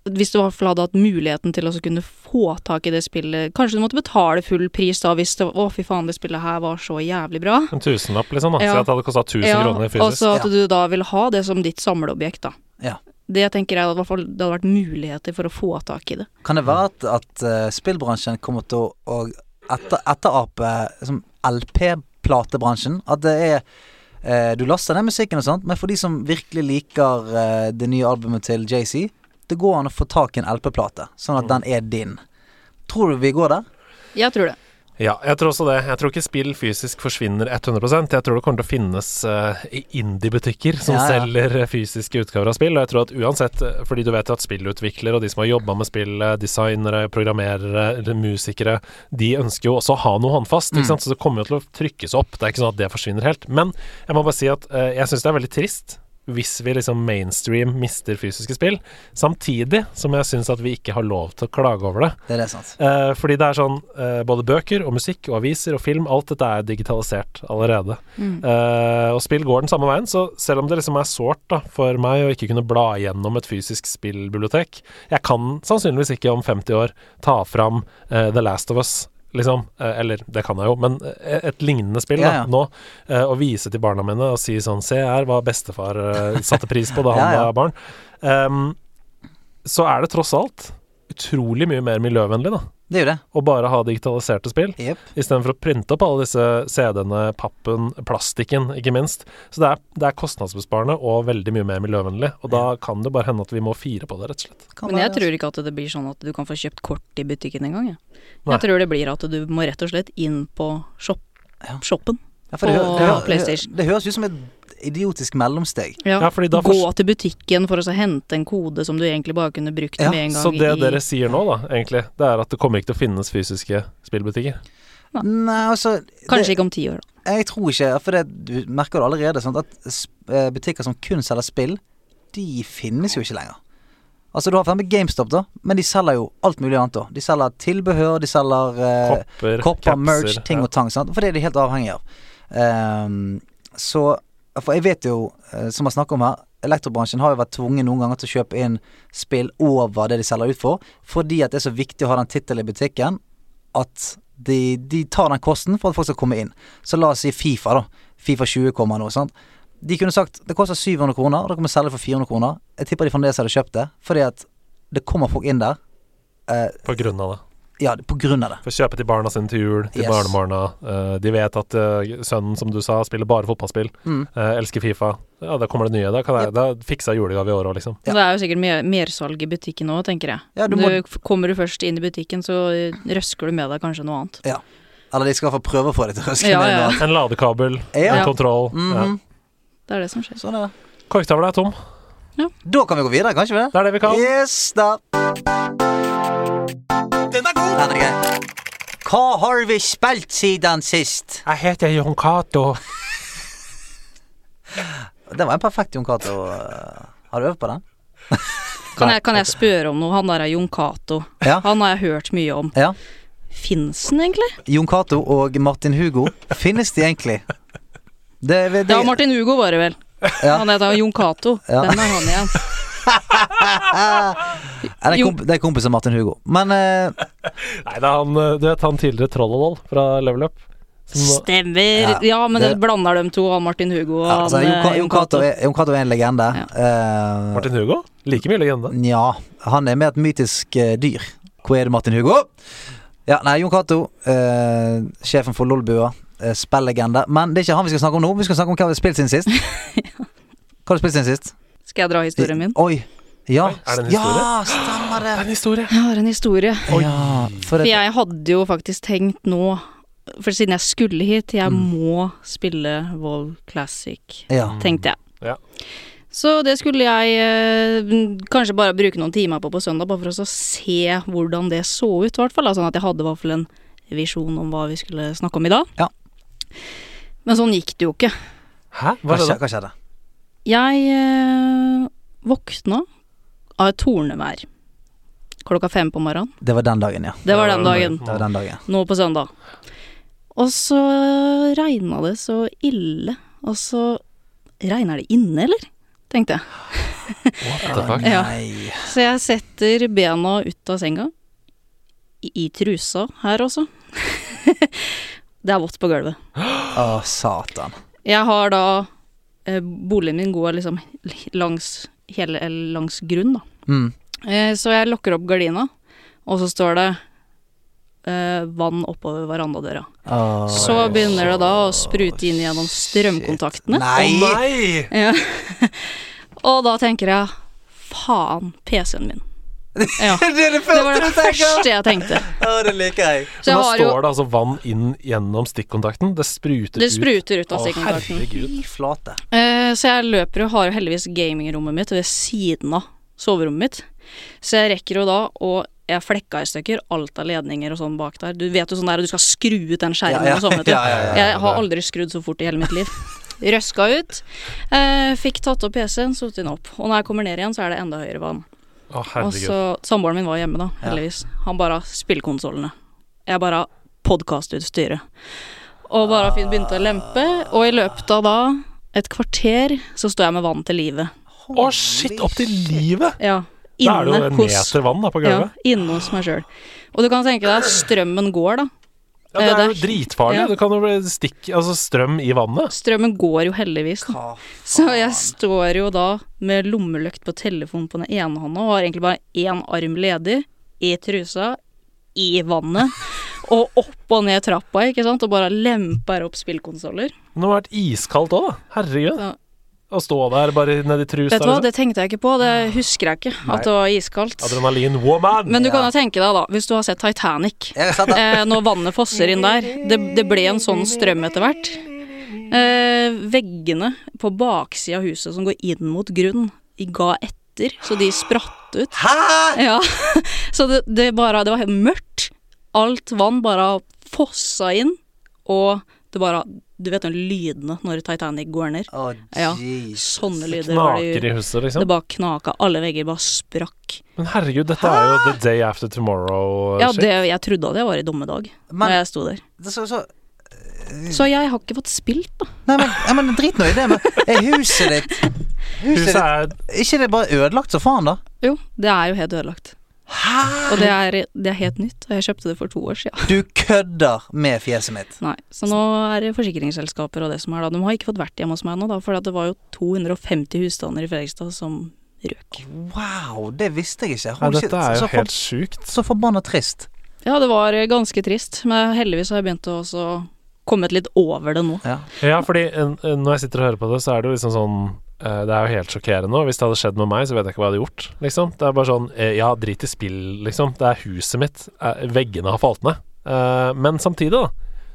A: Hvis du i hvert fall hadde hatt muligheten til å så kunne få tak i det spillet Kanskje du måtte betale full pris da hvis det Å, fy faen, det spillet her var så jævlig bra.
B: En tusenlapp, liksom. da
A: Ja.
B: Så at det hadde kosta 1000 kroner
A: Og
B: fysisk.
A: så at du da vil ha det som ditt samleobjekt, da.
C: Ja.
A: Det tenker jeg i hvert fall det hadde vært muligheter for å få tak i det.
C: Kan det være at, at eh, spillbransjen kommer til å å etter, etterape liksom LP-platebransjen? At det er eh, Du laster ned musikken og sånt, men for de som virkelig liker eh, det nye albumet til JC, det går an å få tak i en LP-plate, sånn
A: Mm.
C: at den er din. Tror du vi går der?
A: Jeg tror det.
B: Ja, jeg tror også det. Jeg tror ikke spill fysisk forsvinner 100 Jeg tror det kommer til å finnes eh, i indie-butikker som
C: Ja, ja.
B: selger eh, fysiske utgaver av spill. Og jeg tror at uansett, eh, fordi du vet jo at spillutviklere og de som har jobba med spill, eh, designere, programmerere, eller musikere, de ønsker jo også å ha noe håndfast,
C: Mm.
B: ikke sant? så det kommer jo til å trykkes opp. Det er ikke sånn at det forsvinner helt. Men jeg må bare si at eh, jeg syns det er veldig trist. Hvis vi liksom mainstream mister fysiske spill, samtidig som jeg syns at vi ikke har lov til å klage over det.
C: Det er det, sant?
B: Eh, fordi det er sånn eh, Både bøker og musikk og aviser og film, alt dette er digitalisert allerede. Eh, og spill går den samme veien, så selv om det liksom er sårt da, for meg å ikke kunne bla gjennom et fysisk spillbibliotek Jeg kan sannsynligvis ikke om 50 år ta fram eh, The Last of Us, liksom. Eh, eller det kan jeg jo, men eh, et lignende spill
C: Ja, ja.
B: da, nå. eh, og vise til barna mine og si sånn Se her hva bestefar eh, satte pris på da han
C: Ja, ja.
B: var barn. Ehm, så er det tross alt utrolig mye mer miljøvennlig, da
C: Det er jo det.
B: og bare ha digitaliserte spill,
C: Jep.
B: istedenfor å printe opp alle disse CD-ene, pappen, plastikken, ikke minst. Så det er, det er kostnadsbesparende og veldig mye mer miljøvennlig, og da kan det bare hende at vi må fire på det, rett og slett.
C: Kan
A: Men
C: være,
A: jeg
C: altså.
A: tror ikke at det blir sånn at du kan få kjøpt kort i butikken engang. Jeg.
B: Nei.
A: jeg tror det blir at du må rett og slett inn på shop
C: Ja.
A: shoppen
C: Ja, for det,
A: på
C: hø- det, hø-
A: PlayStation.
C: Det høres ut som et idiotisk mellomsteg.
A: Ja.
B: Ja, fordi da
A: Gå
B: forst-
A: til butikken for å så hente en kode som du egentlig bare kunne brukt
C: Ja,
A: med en gang
B: Så det
A: i
B: dere sier nå, da, egentlig, det er at det kommer ikke til å finnes fysiske spillbutikker?
A: Ja.
C: Nei, altså det,
A: Kanskje ikke om ti år, da.
C: Jeg tror ikke, for det, du merker det allerede, sant, at s- eh, butikker som kun selger spill, de finnes jo ikke lenger. Altså Du har for eksempel GameStop, da, men de selger jo alt mulig annet. da De selger tilbehør, de selger eh,
B: Kopper,
C: kopper,
B: capser,
C: merch, ting
B: ja.
C: og tang. Sant? For det er de helt avhengige av. Ehm, så For jeg vet jo, eh, som jeg snakker om her, elektrobransjen har jo vært tvunget noen ganger til å kjøpe inn spill over det de selger ut for, fordi at det er så viktig å ha den tittelen i butikken at de, de tar den kosten for at folk skal komme inn. Så la oss si Fifa, da. Fifa 20 kommer nå, sant. De kunne sagt det koster 700 kroner, og dere må selge for 400 kroner. Jeg tipper de fremdeles hadde kjøpt det, fordi at det kommer folk inn der. eh,
B: På grunn av det.
C: ja, på grunn av det.
B: For å kjøpe til barna sine til jul, til
C: Yes.
B: barnebarna. Eh, de vet at eh, sønnen, som du sa, spiller bare fotballspill.
C: Mm.
B: eh, elsker Fifa. Ja, da kommer det nye. Da, kan jeg, da fikser jeg julegave i år òg, liksom.
C: Ja.
A: Det er jo sikkert mer, mersalg i butikken òg, tenker jeg.
C: Ja, du
A: du
C: må-
A: kommer du først inn i butikken, så eh, røsker du med deg kanskje noe annet.
C: Eller de skal få prøve å få det til å røske
A: Ja,
C: ned
A: ja.
C: noe.
B: En ladekabel,
C: Ja.
B: en kontroll.
A: Mm-hmm.
C: Mhm.
A: Det er det som skjer.
C: Sånn er det.
B: Ja. Korktavla er tom.
C: Da kan vi gå videre, kanskje? vi det?
B: Det er det vi kan.
C: Yes, da. Den er god! Den er grei. Hva har vi spilt siden sist?
B: Jeg heter Jon Cato.
C: Det var en perfekt Jon Cato. eh, Har du øvd på den?
A: Kan jeg, kan jeg spørre om noe? Han der er Jon Cato.
C: Ja.
A: Han har jeg hørt mye om.
C: Ja.
A: Fins den egentlig?
C: Jon Cato og Martin Hugo, finnes de egentlig? Det, det,
A: Ja, Martin Hugo var det vel.
C: Ja.
A: Han heter Jon Cato.
C: Ja.
A: Den er han igjen.
C: er det, er
A: Jo.
C: komp det er kompisen Martin Hugo. Men eh,
B: Nei, det er han, eh, du vet, han tidligere Trollodoll fra Level Up. Som,
C: Ja,
A: Stemmer. Ja, men
C: det-
A: det blander dem to, han Martin Hugo og
C: ja, altså,
A: han
C: Jon, Ca-
A: eh,
C: Jon Cato er, Jon Cato er en legende.
A: Ja.
C: Eh,
B: Martin Hugo? Like mye legende.
C: Nja, han er mer et mytisk eh, dyr. Hvor er det Martin Hugo? Ja, nei, Jon Cato, eh, sjefen for Lolbua, eh, spillegende. Men det er ikke han vi skal snakke om nå, vi skal snakke om hva vi har spilt siden sist. Hva har du spilt siden sist?
A: Skal jeg dra historien min?
C: Oi. Ja.
B: Oi, er det en
C: ja, stemmer det.
B: Det er en historie.
A: Jeg har en historie.
B: Oi.
C: Ja, for
A: For
C: det,
A: jeg hadde jo faktisk tenkt nå For siden jeg skulle hit, jeg
C: Mm.
A: må spille Vov Classic,
C: ja.
A: tenkte jeg.
B: Ja.
A: Så det skulle jeg eh, kanskje bare bruke noen timer på på søndag, bare for å så se hvordan det så ut, i hvert fall. da, Sånn at jeg hadde i hvert fall en visjon om hva vi skulle snakke om i dag.
C: Ja.
A: Men sånn gikk det jo ikke.
B: Hæ? Hva
C: Hva,
B: er
C: skje,
B: det?
C: hva skjedde?
A: Jeg eh, våkna av et tornevær klokka fem på morgenen.
C: Det var den dagen, ja.
A: Det var den dagen.
C: Det var den dagen.
A: Nå på søndag. Og så regna det så ille. Og så Regner det inne, eller? tenkte jeg.
B: What the fuck?
A: Ja.
C: Nei.
A: Så jeg setter bena ut av senga. I, i trusa her også. det er vått på gulvet.
C: Å, satan.
A: Jeg har da eh, Boligen min går liksom langs hele eller langs grunn, da.
C: Mm.
A: Eh, Så jeg lukker opp gardina, og så står det eh, vann oppover verandadøra.
C: Å,
A: Så begynner det da å sprute inn gjennom
C: shit.
A: strømkontaktene.
B: Å
C: Nei!
B: nei!
A: Ja. Og da tenker jeg faen, PC-en min. Ja.
C: Det er det
A: Det var
C: første
A: det
C: du tenker!
A: første jeg tenkte.
C: Å, det liker jeg.
A: Så
B: Så
A: jeg
B: da
A: har jo
B: står det altså vann inn gjennom stikkontakten. Det spruter,
A: Det spruter ut
B: ut.
A: av stikkontakten.
B: herregud.
C: Fy flate.
A: Eh, Så jeg løper og har jo heldigvis gamingrommet mitt ved siden av soverommet mitt. Så jeg rekker jo da å jeg flekka i stykker alt av ledninger og sånn bak der. Du vet jo sånn der du skal skru ut den skjermen
C: Ja, ja,
A: og sånn, vet du.
C: ja, ja, ja,
B: ja,
A: jeg har
B: det-
A: aldri skrudd så fort i hele mitt liv. Røska ut. Eh, fikk tatt opp PC-en, satt den opp. Og når jeg kommer ned igjen, så er det enda høyere vann.
B: Å,
A: Og
B: herregud.
A: så Samboeren min var hjemme, da, heldigvis. Han bare spillkonsollene. Jeg bare podkastutstyret. Og bare fint begynte å lempe, og i løpet av da et kvarter så står jeg med vann til livet.
B: Å, shit! Opp til livet!
A: Ja.
B: Da er det jo
A: Inne
B: en
A: hos
B: meter vann da på
A: ja,
B: gulvet.
A: inne hos meg sjøl. Og du kan tenke deg at strømmen går, da.
B: Ja, det
A: Eh,
B: er jo
A: det er-
B: dritfarlig.
A: ja.
B: Det kan jo bli stikk Altså strøm i vannet.
A: Strømmen går jo heldigvis. Da.
C: Hva
A: Så jeg står jo da med lommelykt på telefonen på den ene hånda og har egentlig bare én arm ledig, i trusa, i vannet, og opp og ned trappa, ikke sant, og bare lemper opp spillkonsoller.
B: Men det må ha vært iskaldt òg, da. Herregud.
A: Ja.
B: Å stå der bare nedi trusa.
A: Vet du hva,
B: liksom.
A: det tenkte jeg ikke på, det husker jeg ikke, at det var iskaldt.
B: Adrenalin woman!
A: Men du kan
C: Ah. Ja.
A: jo tenke deg, da, hvis du har sett Titanic,
C: Jeg har sett det.
A: eh, når vannet fosser inn der, det, det ble en sånn strøm etter hvert. Eh, veggene på baksida av huset som går inn mot grunn, de ga etter, så de spratt ut.
C: Hæ?!
A: Ja, så det, det bare Det var helt mørkt. Alt vann bare fossa inn, og det bare Du vet den lydene når Titanic går ned?
C: Å,
A: Ja.
C: jeez.
A: Sånne lyder. var det-
B: Knaker i huset, liksom.
A: det bare knaka. Alle vegger bare sprakk.
B: Men herregud, dette er jo The Day After Tomorrow. uh,
A: Ja,
B: shit.
A: det, jeg trodde at jeg var i dommedag
C: Men-
A: når jeg sto der.
C: Det så, så
A: Så jeg har ikke fått spilt, da.
C: Nei, men, ja, men drit nå i det, men er huset ditt Huset
B: Huset
C: ditt
B: er
C: Ikke det bare ødelagt så faen, da?
A: Jo, det er jo helt ødelagt. Og det er, det er helt nytt, og jeg kjøpte det for to år siden.
C: Du kødder med fjeset mitt.
A: Nei, så nå er det forsikringsselskaper og det som er da. De har ikke fått vært hjemme hos meg ennå, da, for at det var jo 250 husstander i Fredrikstad som røk.
C: Wow, det visste jeg ikke. Jeg
B: ja,
C: har ikke-
B: Dette er
C: så,
B: jo
C: for,
B: helt sjukt.
C: så forbanna trist.
A: Ja, det var eh, ganske trist, men heldigvis har jeg begynt å også kommet litt over det nå.
C: Ja.
B: Ja, fordi eh, når jeg sitter og hører på det, så er det jo liksom sånn eh, Det er jo helt sjokkerende. og Hvis det hadde skjedd med meg, så vet jeg ikke hva jeg hadde gjort. Liksom. Det er bare sånn eh, Ja, drit i spill, liksom. Det er huset mitt. Eh, Veggene har falt ned. Eh, Men samtidig, da,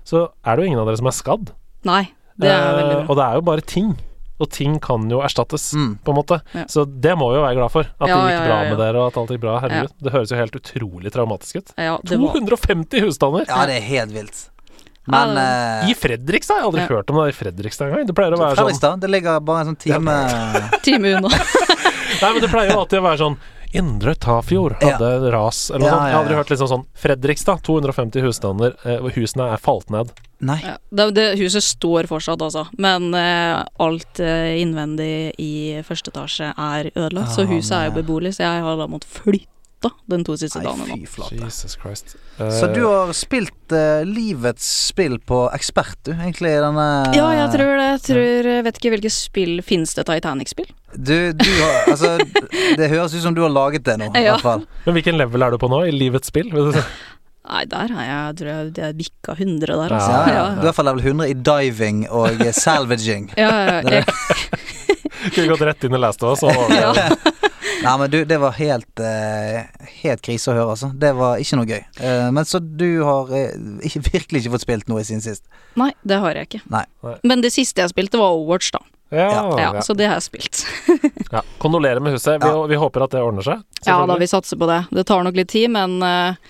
B: så er det jo ingen av dere som er skadd.
A: Nei, det er
B: Eh,
A: veldig bra.
B: Og det er jo bare ting. Og ting kan jo erstattes,
C: Mm.
B: på en måte.
A: Ja.
B: Så det må vi jo være glad for. At
A: Ja,
B: det gikk
A: ja,
B: bra
A: ja, ja.
B: med dere, og at alt gikk bra. Herregud. Det høres jo helt utrolig traumatisk ut.
A: Ja, det var
B: 250 husstander!
C: ja, det er helt vilt. Men eh,
B: I Fredrikstad? Jeg har aldri
A: Ja.
B: hørt om det i Fredrikstad engang. Det pleier å være sånn
C: Fredrikstad, det ligger bare en sånn time
A: time unna.
B: Nei, men det pleier jo alltid å være sånn Indre Tafjord hadde ras, eller noe
C: Ja,
B: sånt. Jeg har aldri
C: ja, ja.
B: hørt liksom sånn Fredrikstad, 250 husstander, eh, hvor husene er falt ned.
C: Nei.
A: Ja, det, det huset står fortsatt, altså. Men eh, alt eh, innvendig i første etasje er ødelagt, så
C: Ah,
A: huset er jo
C: nei.
A: beboelig. Så jeg har da måttet flytte den to siste
C: Nei,
A: dagene nå.
C: fy flate.
B: Jesus Christ. Eh.
C: Så du har spilt eh, livets spill på ekspert, du, egentlig, i denne
A: Ja, jeg
C: Eh,
A: tror det. Jeg tror, jeg vet ikke hvilke spill Fins det Titanic-spill?
C: Du, du har Altså, det høres ut som du har laget det nå, i
A: Ja.
C: hvert fall.
B: Men hvilken level er du på nå i livets spill? Vil du si?
A: Nei, der har jeg, tror jeg det er bikka 100 der, altså.
C: Ja, ja. Du er i
A: Ja, ja.
C: hvert fall level 100 i diving og eh, salvaging.
A: Ja, ja, ja. Jeg,
B: Kunne gått rett inn i Last of Us. Og,
A: Ja.
C: Nei, men du, det var helt eh, Helt krise å høre, altså. Det var ikke noe gøy. Eh, men så du har eh, ikke, virkelig ikke fått spilt noe siden sist.
A: nei, det har jeg ikke.
C: Nei.
B: Nei.
A: Men det siste jeg spilte, var Overwatch, da.
B: ja,
A: Ja,
B: ja.
A: Så det har jeg spilt.
B: ja. Kondolerer med huset. Vi,
C: Ja.
B: vi håper at det ordner seg.
A: Ja da,
B: selvfølgelig.
A: vi satser på det. Det tar nok litt tid, men eh,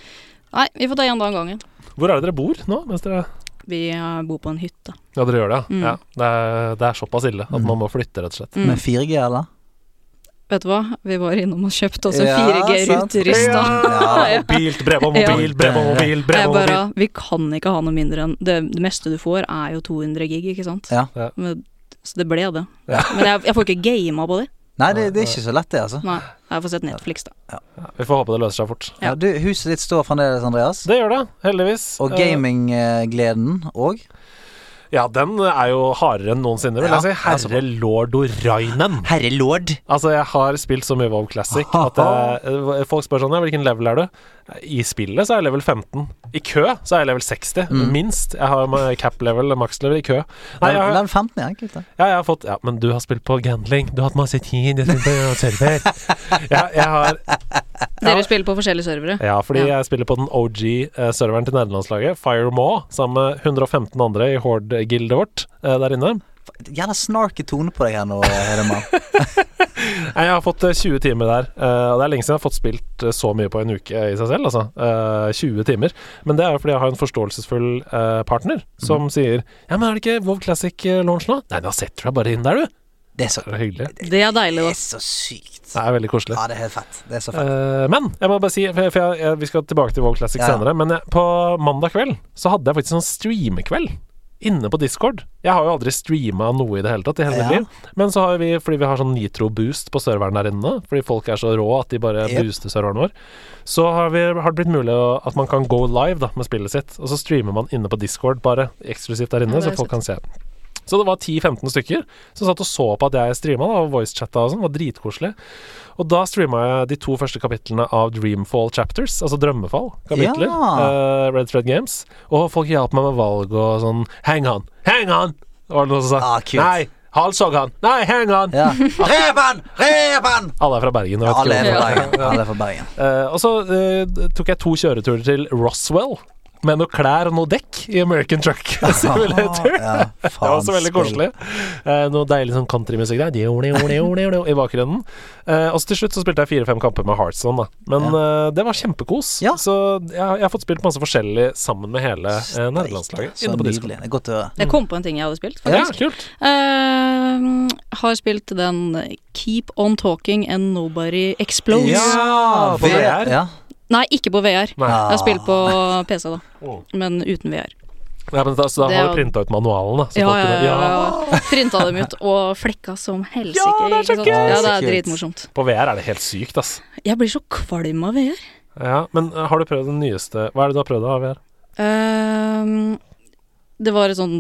A: Nei, vi får ta én dag av gangen.
B: Hvor er det dere bor nå? Mens dere
A: Vi eh, bor på en hytte.
B: ja, dere gjør det, ja.
A: Mm.
B: ja. Det er, det er såpass ille at
C: Mm.
B: man må flytte, rett og slett.
A: Mm.
C: Med 4G, eller?
A: Vet du hva, vi var innom og kjøpte oss en
C: Ja,
A: 4G-ruter i stad.
C: Ja.
B: Mobilt, bredbånd, mobil, bredbånd, mobil,
A: Jeg
B: bredbånd,
A: bare
B: mobil.
A: Vi kan ikke ha noe mindre enn det, det meste du får, er jo 200 gig, ikke sant?
C: Ja.
B: Ja.
A: Men, så det ble det.
B: Ja.
A: Men jeg, jeg får ikke gama på det.
C: Nei, det, det er ikke så lett, det, altså.
A: Nei, jeg får sett Netflix, da.
B: Ja, vi får håpe det løser seg fort.
A: Ja.
C: Ja, du, huset ditt står fremdeles, Andreas.
B: Det gjør det, heldigvis.
C: Og
B: Eh,
C: gaminggleden òg.
B: Ja, den er jo hardere enn noensinne, vil
C: Ja,
B: jeg si.
C: ja, så bra.
B: Herre lord Orainen.
C: Herre lord.
B: Altså, jeg har spilt så mye WoW Classic at jeg, folk spør sånn ja, hvilken level er du? I spillet så er jeg level 15. I kø så er jeg level 60,
C: Mm.
B: minst. Jeg har ma- cap level, max level i kø. Nei, jeg, har-
C: Level 15, ja. Kult, det.
B: ja, jeg har fått Ja, men du har spilt på gambling. Du har hatt masse tid. Du har spilt på server. Ja, jeg har
A: Dere spiller på forskjellige servere.
B: Ja, fordi
A: Ja.
B: jeg spiller på den OG-serveren til nederlandslaget, Firemaw, sammen med 115 andre i Horde-gildet vårt eh, der inne.
C: Gjerne snarky tone på deg her nå, Hedemann.
B: Nei, Jeg har fått eh, 20 timer der, eh, og det er lenge siden jeg har fått spilt eh, så mye på en uke i seg selv, altså. Eh, 20 timer. Men det er jo fordi jeg har en forståelsesfull eh, partner som sier Ja, men er det ikke WoW Classic-launch nå? Nei, da setter du deg bare inn der, du.
C: Det er så,
B: Det er hyggelig.
A: Det er
C: det
A: deilig, da.
C: er så sykt.
B: Det er veldig koselig.
C: Ja, det er helt fett. Det er så fett.
B: Eh, men jeg må bare si, for, jeg, for jeg, jeg, vi skal tilbake til Vogue Classic
C: Ja, ja.
B: senere, men jeg, på mandag kveld så hadde jeg faktisk sånn streamekveld inne på Discord. Jeg har jo aldri streama noe i det hele tatt i hele mitt
C: Ja.
B: liv. Men så har vi, fordi vi har sånn nitro-boost på serveren der inne, fordi folk er så rå at de bare
C: Yep.
B: booster serveren vår, så har, vi, har det blitt mulig å- at man kan go live da, med spillet sitt. Og så streamer man inne på Discord bare eksklusivt der inne,
A: Ja, det er
B: så folk kan se. Så det var 10-15 stykker som satt og så på at jeg streama, da, og voicechatta og sånn. Det var dritkoselig. Og da streama jeg de to første kapitlene av Dreamfall Chapters, altså Drømmefall-kapitler.
C: Ja.
B: eh, Red Thread Games. Og folk hjalp meg med valg og sånn Hang on! Hang on! Var det noen som sa.
C: Ah, kult.
B: Nei! Halshogg han! Nei, hang on!
C: Ja. Reben! Reben!
B: Alle er fra Bergen. og vet ikke
C: Alle er
B: hvorfor.
C: fra Bergen. Alle er fra Bergen.
B: Eh, og så eh, tok jeg to kjøreturer til Roswell med noe klær og noe dekk i American Truck Simulator.
C: Ja,
B: Det var også veldig koselig. Eh, noe deilig sånn countrymusikk der dio, dio, dio, dio, dio, i bakgrunnen. Eh, og så til slutt så spilte jeg fire-fem kamper med Heartson, da. Men eh, det var kjempekos.
C: Ja.
B: Så jeg, jeg har fått spilt masse forskjellig sammen med hele eh, nederlandslaget
C: Så
B: inne på
C: nydelig.
B: Discord.
C: Det er godt å høre.
A: Jeg kom på en ting jeg hadde spilt,
B: Ja,
A: faktisk.
B: kult.
A: Eh, har spilt den Keep On Talking And Nobody Explodes.
B: Ja, på
C: VR,
B: VR.
C: Ja.
A: Nei, ikke på VR.
B: Nei.
A: Jeg har spilt på PC, da,
B: Mm.
A: men uten VR.
B: Nei, men da, så da
A: Det
B: har
A: er
B: du
A: jo-
B: printa ut manualen, da. Så
A: Ja,
B: folk
A: ja,
B: kunne,
A: ja, ja. Printa dem ut og flekka som helsike.
B: Ja, det er så
A: ikke sant?
B: gøy!
A: Ja, det
C: Så
A: er
C: kult.
A: dritmorsomt.
B: På VR er det helt sykt, ass.
A: Jeg blir så kvalm av VR.
B: Ja, men eh, har du prøvd den nyeste Hva er det du har prøvd av VR?
A: Ehm, det var et sånn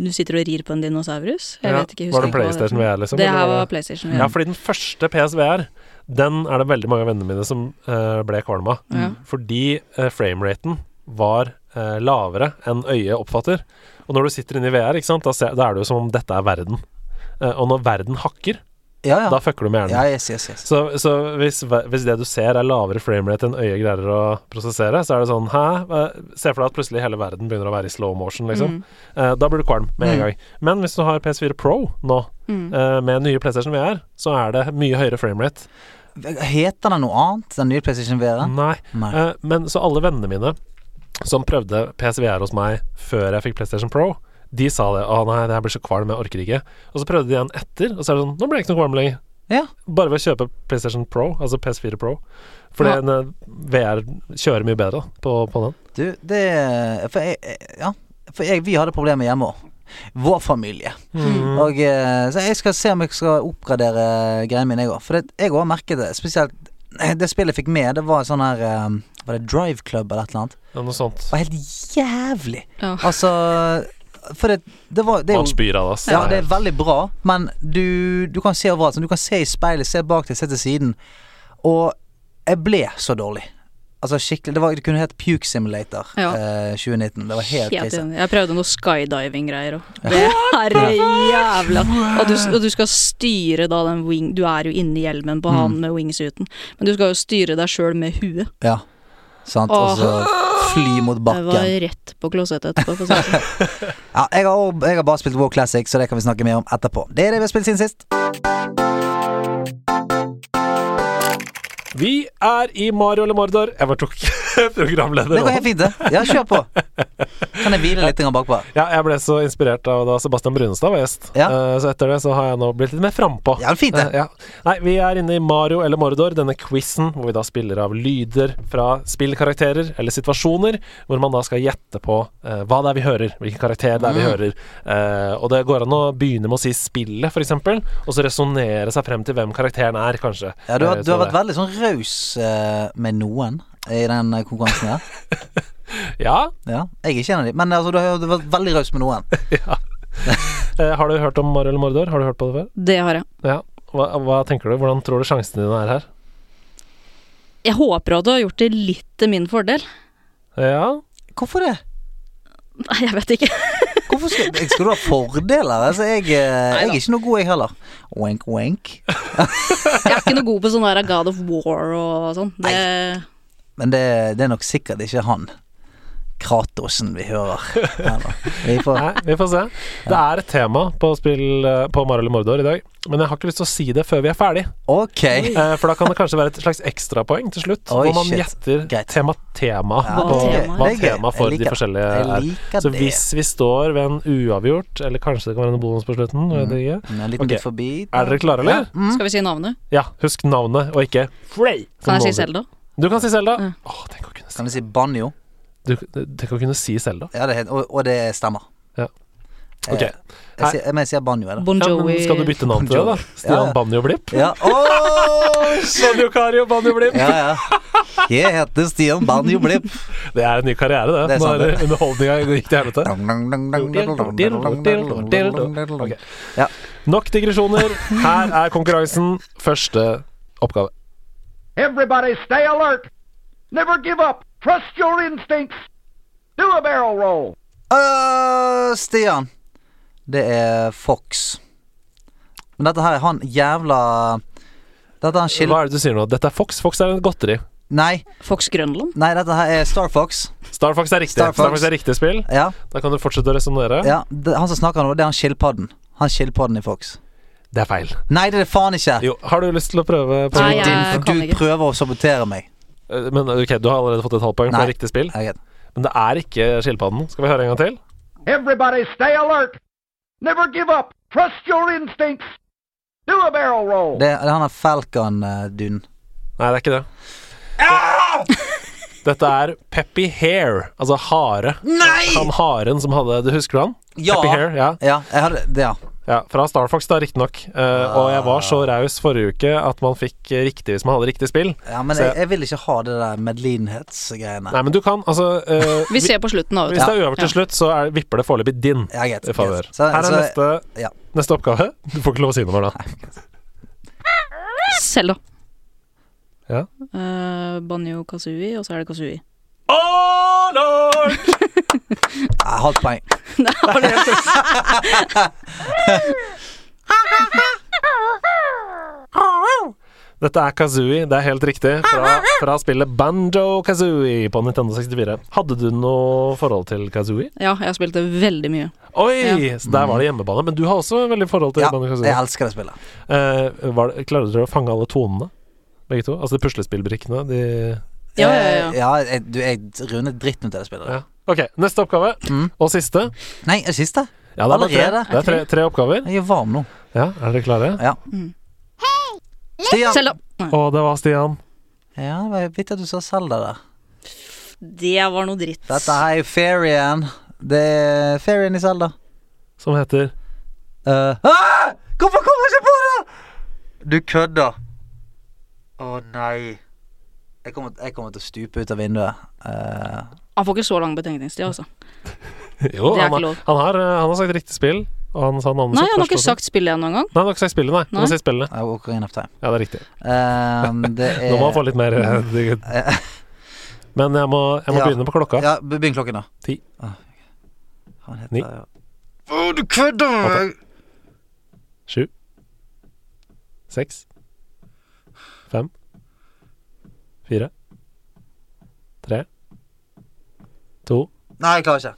A: Du sitter og rir på en dinosaurus? Jeg
B: Ja,
A: vet ikke, jeg
B: var
A: husker
B: det
A: ikke hva
B: PlayStation
A: det,
B: VR, liksom?
A: det
B: eller
A: her
B: var det-
A: var
C: Mm.
A: PlayStation.
B: Ja,
A: Ja.
B: fordi den første PSVR, den er det veldig mange av vennene mine som eh, ble kvalm av.
A: Ja.
B: Fordi eh, frameraten var eh, lavere enn øyet oppfatter. Og når du sitter inne i VR, ikke sant, da, ser, da er det jo som om dette er verden. Eh, og når verden hakker,
C: Ja, ja.
B: da fucker du med hjernen.
C: ja yes, yes, yes.
B: Så, så hvis, ver- hvis det du ser er lavere framerate enn øyet greier å prosessere, så er det sånn Hæ? Hva- Se for deg at plutselig hele verden begynner å være i slow motion, liksom.
A: Mm,
B: Eh, da blir du kvalm med en
C: Mm.
B: gang. Men hvis du har PS4 Pro nå,
A: mm.
B: eh, med nye PlayStation VR, så er det mye høyere framerate.
C: Heter den noe annet, den nye PlayStation VR-en?
B: Nei.
C: Nei.
B: Eh, men så alle vennene mine som prøvde PSVR hos meg før jeg fikk PlayStation Pro, de sa det. 'Å nei, det her blir så kvalm, jeg orker ikke'. Og så prøvde de igjen etter, og så er det sånn 'Nå ble jeg ikke noe kvalm lenger'.
C: Ja.
B: Bare ved å kjøpe PlayStation Pro, altså PS4 Pro. Fordi
A: Ja.
B: en, eh, VR kjører mye bedre da, på, på den.
C: Du, det For jeg jeg- Ja. For jeg, vi hadde problemer hjemme òg. Vår familie.
A: Mm.
C: Og eh, Så jeg skal se om jeg skal oppgradere greiene mine, jeg òg. For det, jeg òg merket det. Spesielt eh, det spillet jeg fikk med, det var sånn her eh, Var det Drive Club eller et eller annet?
B: Det er Noe sånt.
C: Det var helt jævlig.
A: Ja.
C: Altså For det, det var det er
B: Man
C: jo
B: spyr av det, ass.
C: ja, det
B: Det
C: er
B: er-
C: veldig bra, men du, du kan se overalt. Sånn. Du kan se i speilet, se bak deg, se til siden. Og jeg ble så dårlig. Altså skikkelig Det, var, det kunne hett Puke Simulator
A: Ja.
C: eh, 2019. Det var helt
A: Helt
C: krise.
A: enig. Jeg prøvde noe skydiving-greier òg. Det er jævla og du, og du skal styre da den wing Du er jo inni hjelmen på
B: Mm.
A: han med wingsuten, men du skal jo styre deg sjøl med huet.
C: Ja. Sant. Og så fly mot
A: Jeg var
C: bakken.
A: rett på klosettet etterpå. For å si det sånn.
C: Ja, jeg, har, også- jeg har bare spilt War Classic, så det kan vi snakke mer om etterpå. Det er det vi har spilt siden sist.
B: Vi er i Mario eller Mordor. Jeg bare tok programleder.
C: Det går
B: nå.
C: helt fint, det. Ja, kjør på. Kan jeg hvile litt grann bakpå?
B: Ja, jeg ble så inspirert av da Sebastian Brunestad var gjest.
C: Ja.
B: Eh, så etter det så har jeg nå blitt litt mer frampå.
C: Ja, fint, det.
B: Eh, ja. Nei, vi er inne i Mario eller Mordor, denne quizen hvor vi da spiller av lyder fra spillkarakterer eller situasjoner, hvor man da skal gjette på eh, hva det er vi hører, hvilken karakter det er
C: Mm.
B: vi hører. Eh, og det går an å begynne med å si spillet, f.eks., og så resonnere seg frem til hvem karakteren er, kanskje.
C: Ja, du har,
B: Eh,
C: du har
B: så det-
C: vært veldig sånn raus eh, med noen i den eh, konkurransen her.
B: Ja.
C: Ja, jeg er ikke en av de, men altså, du har du har vært veldig raus med noen.
B: Eh, har du hørt om Mario eller Mordor? Har du hørt på det før?
A: sånn. Det har jeg.
B: Ja. Hva, hva tenker du? Hvordan tror du sjansene dine er her?
A: Jeg håper at du har gjort det litt til min fordel.
B: Ja.
C: Hvorfor det?
A: Nei, jeg vet ikke.
C: Hvorfor skal, jeg- skal du ha fordeler? Altså, jeg, eh, jeg er ikke noe god, jeg heller. Wink, wink.
A: Jeg er ikke noe god på sånn der God of War og sånn. Det,
C: Men det, det er nok sikkert ikke han Kratosen vi hører. her nå. Vi får,
B: Nei, vi får se. Det er et tema på, spill, eh, på Mario eller Mordor i dag, men jeg har ikke lyst til å si det før vi er ferdig.
C: ok.
B: Eh, For da kan det kanskje være et slags ekstrapoeng til slutt,
C: Oi,
B: hvor man
C: shit.
B: gjetter
C: Greit.
B: tema, tema
C: Ja,
A: Hva
B: på
A: det er gøy.
B: hva
C: Det er gøy.
B: tema for
C: Jeg
B: de
C: liker-
B: forskjellige
C: Jeg
B: er.
C: liker
B: Så
C: det.
B: hvis vi står ved en uavgjort, eller kanskje det kan være en bonus på slutten,
C: Mm.
B: vet jeg ikke.
C: En liten
B: Ok.
C: bit forbi.
B: Er dere klare, eller?
C: Mm.
A: skal vi si navnet?
B: Ja, husk navnet, og ikke Frey. som
A: Kan
B: noen
A: jeg si Selda?
B: sier. Du kan si Selda.
A: Ja.
B: Åh, tenk å kunne si
C: Kan vi si banjo?
B: du, Tenk å kunne si Selda.
C: Ja, det er helt, og, og det stemmer.
B: Ja.
C: Eh,
B: Ok.
C: Jeg, sier- men jeg sier banjo, eller?
A: Bon
B: Ja,
A: Jovi
B: men skal du bytte navn til det,
C: Ja,
B: da? Stian
C: ja.
B: Banjo Blipp?
C: Ja. Åh, shit.
B: Banjo Kari og Banjo Blipp.
C: ja, ja. Jeg heter Stian Banjo Blipp.
B: Det er en ny karriere, det.
C: Det er sant,
B: Når underholdninga gikk til helvete.
C: Ok. Ja.
B: Nok digresjoner. Her er konkurransen. Første oppgave.
D: Everybody stay alert. Never give up. Trust your instincts. Do a barrel roll.
C: Øh, Stian. Det er Fox. Men dette her er han jævla Dette er han skil...
B: Hva er det du sier nå? Dette er Fox. Fox er en godteri.
C: Nei,
A: Fox Grønland.
C: nei, dette her er Star Fox.
B: Star Fox er riktig.
C: Star
B: Star
C: Fox.
B: Fox. er riktig spill.
C: Ja,
B: Da kan du fortsette å resonnere.
C: ja. Det, Han som snakker nå, det er han skilpadden. Han skilpadden i Fox.
B: Det er feil.
C: Nei, det er det faen ikke!
B: Jo, har du lyst til å prøve? På
A: Nei, jeg-
C: Din,
A: kan
C: du
A: ikke.
C: prøver å sabotere meg.
B: Eh, Men ok, Du har allerede fått et halvt poeng, for
C: Nei.
B: det er riktig spill.
C: Ja, greit.
B: Men det er ikke skilpadden. Skal vi høre en gang til?
D: Everybody stay alert. Never give up. Trust your instincts. Do a barrel roll.
C: Det, det er han er Falcon-duden.
B: Nei, det er ikke det. Dette er Peppy Hair, altså hare. Han haren som hadde Du husker du han?
C: Ja.
B: Peppy Hair, ja.
C: Ja, jeg hadde det, ja.
B: ja. Fra Star Fox, da, riktignok. Uh, Og jeg var
C: Ah.
B: så raus forrige uke at man fikk eh, riktig hvis man hadde riktig spill.
C: ja men
B: Så
C: jeg,
B: jeg-
C: jeg vil ikke ha det der medlidenhetsgreiene.
B: Nei, men du kan, altså eh,
A: Vi ser på slutten av
B: Hvis det er uavgjort til slutt, så er, vipper det foreløpig din
C: Ja, greit.
B: i favør.
C: greit. Så-
B: Her er
C: så-
B: neste,
C: ja.
B: neste oppgave. Du får ikke lov å si noe mer, da.
A: Selda.
B: Ja.
A: Eh, Banjo Kazooie, og så er det Kazooie.
B: Oh, lord!
C: Ja, Halvt poeng.
A: Nei, var det helt riktig?
B: Dette er Kazooie, det er helt riktig,
A: Ah,
B: fra, fra spillet Banjo Kazooie på Nintendo 64. Hadde du noe forhold til Kazooie?
A: ja, jeg spilte veldig mye.
B: Oi! Så der var det hjemmebane. Men du har også veldig forhold til
C: Ja,
B: Banjo
C: jeg
B: Kazooie.
C: elsker det spillet.
B: Eh, var det, klarte dere å fange alle tonene, begge to? Altså de puslespillbrikkene? De
A: Ja, ja, ja.
C: Eh, ja jeg, du, jeg rundet dritten ut av det spillet. Mm.
B: ja. OK, neste oppgave, og siste.
C: Nei, er det siste?
B: Ja, det er, bare tre.
C: Allerede?
B: Det er tre, tre oppgaver.
C: Jeg gjør varm nå.
B: Ja, Er dere klare?
C: Ja. Stian!
A: Selda. Nei,
B: Å, det var Stian.
C: Ja, det var vittig at du sa Selda der.
A: Det var noe dritt.
C: Dette her er jo Fairyen. Det er Fairyen i Selda.
B: Som heter
C: Eh, ah! Hvorfor kommer jeg ikke på det?! Du kødder. Å nei. Jeg kommer, jeg kommer til å stupe ut av vinduet. Eh,
A: Han får ikke så lang betenkningstid, altså.
B: Jo,
A: Det er
B: han,
A: ikke
B: har-
A: lov.
B: han, har, eh, han har sagt riktig spill. Og han sa navnet
A: Nei,
B: sitt
A: han har
B: først
A: ikke
B: også.
A: sagt spillet ennå engang.
B: Nei, han har ikke sagt spillet, nei. Han
A: Nei.
B: har sagt spillene.
C: I walk in of time.
B: Ja, det er riktig.
C: Eh, det er
B: Nå må han få litt mer eh, digg- Men jeg må, jeg må
C: Ja.
B: begynne på klokka.
C: Ja, be- begynn klokken, da.
B: Ti.
C: Ah, ok. Hva heter
B: Ni.
C: det? Å, du kødder med meg!
B: Sju. Seks. Fem. Fire. Tre. To.
C: Nei, jeg klarer ikke.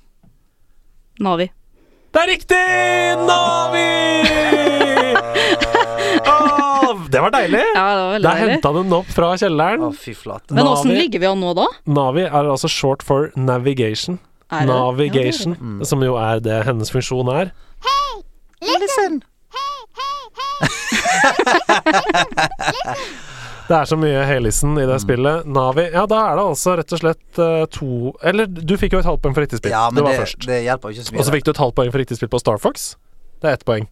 A: Navi.
B: Det er riktig! Navi! Åh, det var deilig!
A: Ja, det var veldig
B: Der
A: deilig.
B: henta du den opp fra
C: Å,
B: kjelleren.
C: fy flate.
A: Men
B: Navi.
A: åssen ligger vi an nå, da?
B: Navi er altså short for navigation.
A: Er det det?
B: Navigation,
A: Ja,
B: som jo er det hennes funksjon er.
C: Listen!
B: Det er så mye helisen
C: Mm.
B: i det spillet. Navi Ja, da er det altså rett og slett eh, to Eller du fikk jo et halvt poeng for riktig spill.
C: Ja, men
B: du var
C: det,
B: først.
C: det hjelper jo ikke så
B: Og så
C: mye.
B: fikk du et halvt poeng for riktig spill på Star Fox. Det er ett poeng.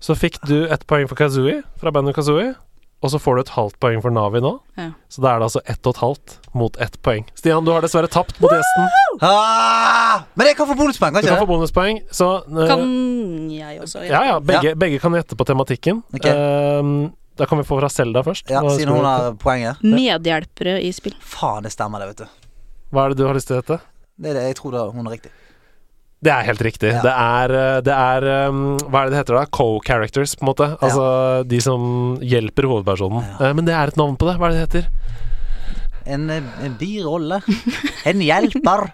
B: Så fikk du ett poeng for Kazooie fra bandet Kazooie. Og så får du et halvt poeng for Navi nå.
A: Ja.
B: Så da er det altså ett og et halvt mot ett poeng. Stian, du har dessverre tapt mot gjesten.
C: Ah! Men jeg kan få bonuspoeng, kan
B: Du
C: jeg
B: kan
C: ikke
B: få
C: det?
B: bonuspoeng, så eh,
A: Kan jeg også?
B: Ja, ja. Begge, begge kan gjette på tematikken.
C: Ok.
B: Ehm, da kan vi få fra Selda først.
C: Ja,
B: Hva
C: Siden
B: ønsker
C: hun
B: du?
C: har poenget.
A: Medhjelpere i spill.
C: Faen, det stemmer, det, vet du.
B: Hva er det du har lyst til å gjette?
C: Det er det, Jeg tror det, hun har riktig.
B: Det er helt riktig.
C: Ja.
B: Det er, eh, det er ehm, Hva er det det heter da? Co-characters, på en måte. Altså de som hjelper hovedpersonen. Eh, men det er et navn på det. Hva er det det heter?
C: En, eh, en birolle. En hjelper.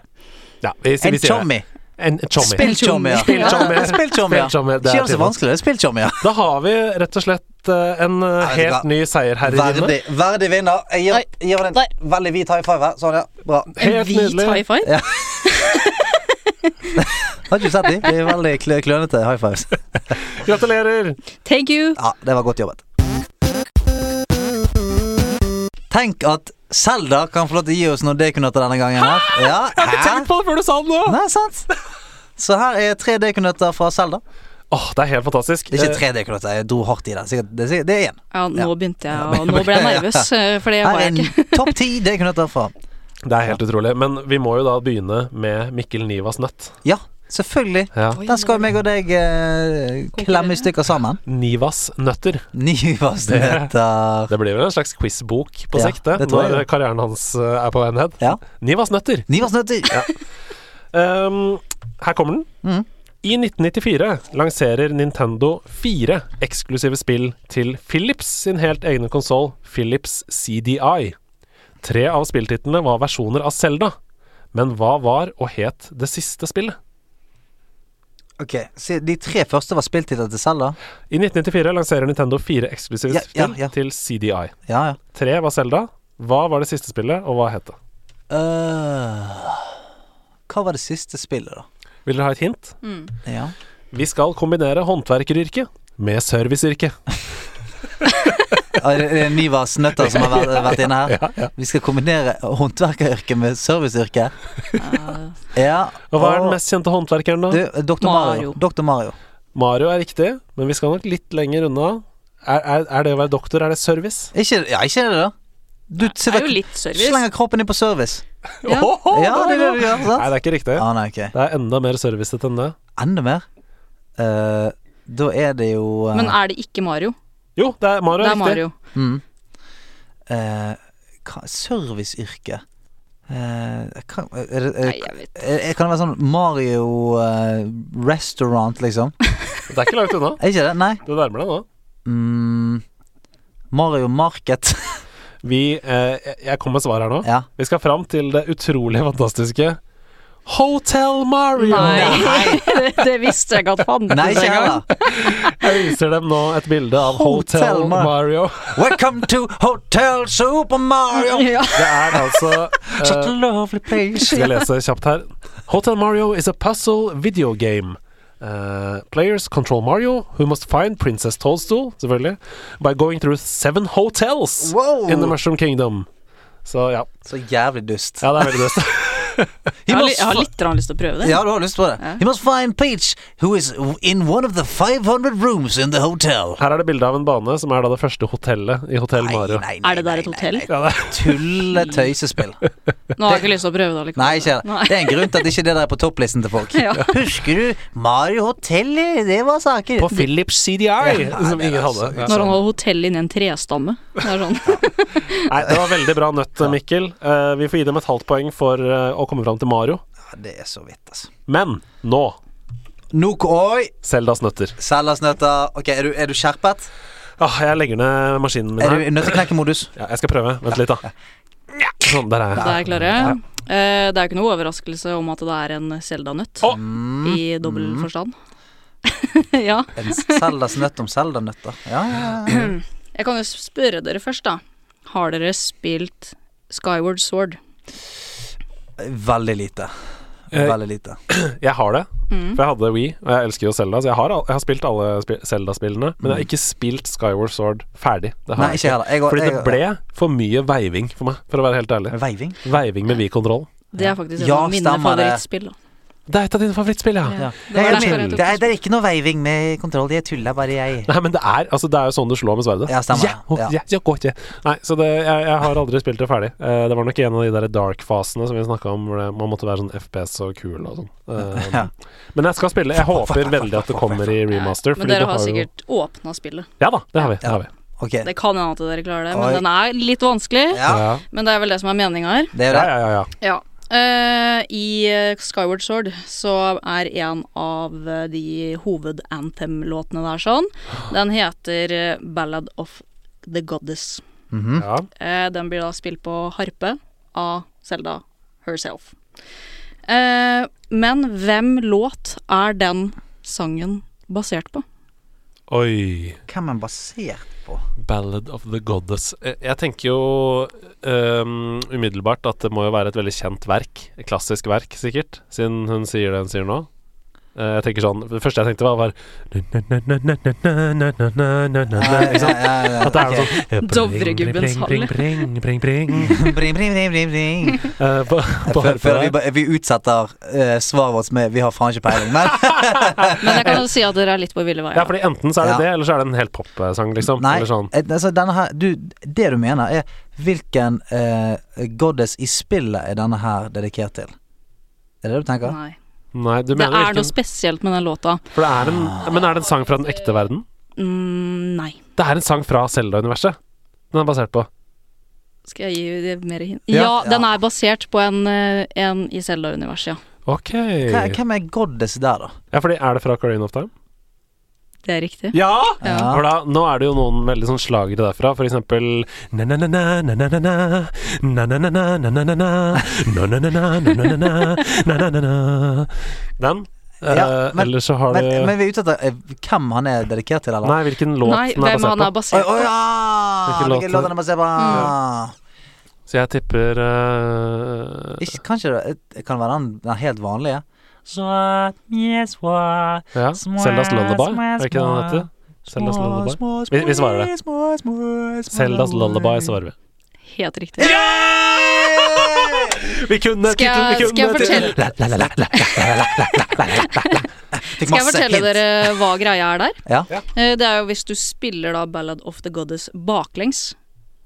B: Ja, vi, sier-
C: En
B: vi sier det.
C: chommy.
B: En chommy.
C: Spillchommy. ja.
B: Spillchommy.
C: Ja, Spillchommy. ja.
B: Spillchommy, det er
C: Ikke gjør det så
B: tiden.
C: vanskelig. Spillchommy, ja.
B: Da har vi rett og slett eh, en eh,
C: vet du hva?
B: helt ny seierherredinne.
C: Verdig, verdig vinner. Jeg gir,
A: Nei.
C: jeg gir den
A: Nei.
C: en veldig hvit high five her. Sånn, ja. Bra.
A: En
B: Helt
A: hvit
B: nydelig.
A: high five?
C: Har ikke du sett de? De er veldig klø klønete high fives.
B: Gratulerer!
A: Thank you!
C: Ja, det var godt jobbet. Tenk at Selda kan få lov til å gi oss noen D-kunøtter denne gangen. Her. Ja, hæ?
B: Tenk på det før du sa det nå! Åh,
C: Nei, sant? Så her er tre D-kunøtter fra Selda.
B: Det er helt fantastisk.
C: Ikke
B: Eh,
C: tre D-kunøtter, jeg dro hardt i den. Sikkert, det, er sikkert- det er én.
A: Ja, nå begynte jeg å Nå ble jeg nervøs, eh, for det
C: Her
A: var
C: er
A: jeg ikke.
C: en topp ti D-kunøtter fra
B: Det er helt utrolig. Men vi må jo da begynne med Mikkel Nivas nøtt.
C: Ja, selvfølgelig.
B: Ja.
C: Der skal meg og deg eh, klemme i stykker sammen.
B: Nivas nøtter.
C: Nyvarsnøtter.
B: Det blir vel en slags quizbok på
C: Ja,
B: sikt, det,
C: det tror jeg
B: når
C: det.
B: karrieren hans eh, er på vei ned.
C: Ja.
B: Nivas nøtter.
C: Nyvarsnøtter.
B: Ehm, her kommer den.
C: Mm.
B: I 1994 lanserer Nintendo fire eksklusive spill til Philips sin helt egne konsoll Philips CDI. Tre av spilltitlene var versjoner av Selda. Men hva var og het det siste spillet?
C: Ok, så De tre første var spilltitler til Selda?
B: I 1994 lanserer Nintendo fire eksklusive
C: Ja, ja,
B: spill
C: ja.
B: til CDI.
C: Ja, ja.
B: Tre var Selda. Hva var det siste spillet, og hva het det?
C: Øh, hva var det siste spillet, da?
B: Vil dere ha et hint?
A: Mm.
C: Ja.
B: Vi skal kombinere håndverkeryrket med serviceyrket.
C: Ah, Det det er en ny vas nøtter som har vært, vært inne her. Vi skal kombinere håndverkeryrket med serviceyrket.
A: Ah.
C: Ja.
B: Og hva er den mest kjente håndverkeren, da?
C: Du, Dr. Mario.
A: Mario.
C: Dr. Mario.
B: Mario er riktig, men vi skal nok litt lenger unna. Er, er, er det å være doktor, er det service?
C: Ikke, ja, ikke er det, da? Du
A: Det er jo
C: sitter,
A: litt service.
C: slenger kroppen inn på service.
A: Ja.
B: Åhå,
C: Ja, det er det du gjør,
B: Nei,
C: sant?
B: det er ikke riktig.
C: Ah, nei, ok.
B: Det er enda mer servicete enn det.
C: Enda mer. Eh, da er det jo eh,
A: Men er det ikke Mario?
B: Jo, det er Mario.
A: Det
B: er
A: er Mario.
C: Mm. Eh, hva- serviceyrke Eh, hva- er det- er
A: Nei,
C: det-
A: jeg vet
C: eh, Kan det være sånn Mario eh, restaurant, liksom?
B: riktig. Det er ikke langt unna.
C: Er ikke det? Nei.
B: Du nærmer deg nå.
C: Mm, Mario Market.
B: Vi, eh, jeg- jeg kom med svar her nå.
C: ja.
B: Vi skal fram til det utrolig fantastiske Hotel Mario.
A: Nei, det visste jeg ikke at fantes
C: Nei, ikke
A: engang.
C: heller.
B: Jeg viser dem nå et bilde av Hotel,
C: Hotel Mar-
B: Mario.
C: Welcome to Hotel Super Mario.
A: Ja.
B: Det er altså
C: Such a
B: eh,
C: lovely place.
B: Skal jeg lese kjapt her. Hotel Mario is a puzzle video game. Uh, players control Mario, who must find Princess Toadstool, selvfølgelig, by going through seven hotels
C: Wow.
B: in the Mushroom Kingdom. Så ja.
C: Så jævlig dust.
B: ja det er veldig best.
C: He
A: Jeg har, li-
C: must
A: jeg har
C: fi-
A: litt grann lyst til å prøve det.
C: Ja, du har lyst på det. He must find Peach, who is in one of the 500 rooms in the hotel.
B: Her er det bilde av en bane som er da det første hotellet i Hotel Mario.
A: Er det der et hotell?
B: Ja, det er
C: Tulletøysespill.
A: Nå har jeg ikke lyst til å prøve det allikevel.
C: Nei, ikke det. Det er en grunn til at ikke det der er på topplisten til folk.
A: Ja.
C: Husker du Mario Hotell? Det var saker.
B: på Philips CDI,
C: Ja,
B: som
C: det er
B: ingen hadde.
C: altså-
A: Når han holder hotell inni en trestamme. Det er sånn.
B: Nei,
C: altså.
B: det var veldig bra nøtt, Mikkel. Eh, vi får gi dem et halvt poeng for eh, å komme fram til Mario.
C: Ja, det er så vidt, altså.
B: Men nå
C: Nok oi!
B: Seldas nøtter.
C: Selgers nøtter. Ok, er du, er du skjerpet?
B: Ah, jeg legger ned maskinen min
C: Er
B: her.
C: du i nøtteknekkemodus?
B: Ja, jeg skal prøve. Vent litt, da. Sånn, der er
A: Da er
B: jeg.
A: jeg klare. Eh, Det er jo ikke noe overraskelse om at det er en Selda-nøtt.
B: Å!
A: I dobbel
C: Mm.
A: forstand. ja.
C: En Selgers nøtt om Selda-nøtter? Ja, ja, ja.
A: Mm. Jeg kan jo spørre dere først, da. Har dere spilt Skyward Sword?
C: Veldig lite.
B: Eh,
C: Veldig lite.
B: Jeg har det,
A: Mm.
B: for jeg hadde Wii, og jeg elsker jo Zelda, så jeg har, al- jeg har spilt alle spi Zelda-spillene, men jeg har ikke spilt Skyward Sword ferdig. Det har
C: Mm. Nei, ikke heller. Jeg går-
B: Fordi
C: jeg-
B: det ble for mye veiving for meg, for å være helt ærlig.
C: Veiving?
B: Veiving med Wii-kontroll.
A: Det er faktisk et
C: Ja,
A: av mine
C: stemmer det.
A: favorittspill. Da.
B: Det er et av dine favorittspill, ja.
C: Ja.
A: Det var
C: Jeg-
A: derfor jeg
C: det,
A: tok
C: er, det er ikke noe veiving med kontroll. Jeg tuller bare, jeg.
B: Nei, men det er, altså, det er jo sånn du slår med sverdet.
C: Ja, stemmer.
B: ho-
C: Ja.
B: ja, ja, gå ikke. Nei, så det, jeg, jeg har aldri spilt det ferdig. Eh, det var nok en av de der dark-fasene som vi snakka om, hvor det, man måtte være sånn FPS og kul og sånn. Eh,
C: Ja.
B: Men jeg skal spille. Jeg håper veldig at det kommer i remaster.
A: Men dere
B: du
A: har
B: jo-
A: sikkert åpna spillet.
B: Ja da, det har vi. Det har vi.
C: Ok.
A: Det kan hende at dere klarer det, men
C: Oi.
A: den er litt vanskelig.
C: Ja,
B: Ja.
A: Men det er vel det som er meninga her.
C: det er
B: Ja,
C: det.
B: ja, ja, ja.
A: Ja. Eh, I eh, Skyward Sword så er en av eh, de hovedanthem-låtene der sånn. Den heter eh, Ballad of the Goddess.
C: Mhm.
B: ja.
A: Eh, den blir da spilt på harpe av Selda herself. Eh, men hvem låt er den sangen basert på?
B: Oi.
C: Hvem er den basert på?
B: Ballad of the Goddess. Eh, Jeg tenker jo ehm, umiddelbart at det må jo være et veldig kjent verk. Et klassisk verk, sikkert, siden hun sier det hun sier nå. Eh, jeg tenker sånn Det første jeg tenkte, var, var Ikke sant?
C: Ja, ja, ja.
B: At det er noe sånn
A: Dovregubbens
B: Bring, bring, bring, bring, bring.
C: Bring, bring, bring, bring, bring.
B: Eh, på, på
C: Før, før vi,
B: harpe der.
C: ba- vi utsetter eh, svaret vårt med 'vi har faen ikke peiling', men
A: Men jeg kan jo si at dere er litt på ville veier.
B: Ja, fordi enten så er det
C: Ja.
B: det, eller så er det en helt popsang, liksom.
C: Nei,
B: Eller sånn.
C: eh, altså, denne her, du, det du mener, er hvilken eh, goddess i spillet er denne her dedikert til? Er det det du tenker?
A: Nei.
B: Nei, du
A: Det
B: mener
A: er noe
B: hvilken
A: spesielt med den låta.
B: For det er en Men er det en sang fra den ekte verden?
A: Mm, nei.
B: Det er en sang fra Selda-universet. Den er basert på.
A: Skal jeg gi det mer hint?
C: Ja. Ja.
A: Ja, den er basert på en, eh, en i Zelda-universet, ja.
B: Ok.
C: Hva- Hvem er goddess der, da?
B: Ja, fordi er det fra Careen of Time?
A: Det er riktig.
B: Ja!
C: Ja.
B: For da, nå er det jo noen veldig sånn slagere derfra, for eksempel na-na-na-na, na-na-na-na, na-na-na-na, na-na-na-na, na-na-na-na, na-na-na-na, na-na-na-na. Den.
C: Ja, men-
B: Eller så har
C: Men,
B: du
C: men vi er ute etter eh, hvem han er dedikert til, eller?
B: Nei, hvilken låt
A: Nei,
B: den er
A: hvem han er
B: basert
C: Å
B: på.
A: basert på.
C: å, ja!
B: Hvilken låt?
C: Hvilken låt han er basert på?
B: Så jeg tipper eh,
C: Ikke, kanskje det det kan være den, den helt vanlige? Swat, yes, swat,
B: Ja,
C: små,
B: Seldas Lullaby,
C: små,
B: er det ikke den
C: små.
B: den heter? Seldas
C: små,
B: Lullaby.
C: små,
B: Vi- vi svarer det.
C: Små, små, små,
B: Seldas Lullaby svarer vi.
A: Helt riktig.
B: Vi kunne
A: Skal jeg-
B: tittelen, vi
A: skal jeg
B: kunne tittelen.
A: fortelle-
C: Fikk
A: Skal jeg
C: masse
A: fortelle
C: hint.
A: dere hva greia er der?
C: Ja.
A: Eh, Det er jo hvis du spiller da Ballad of the Goddess baklengs,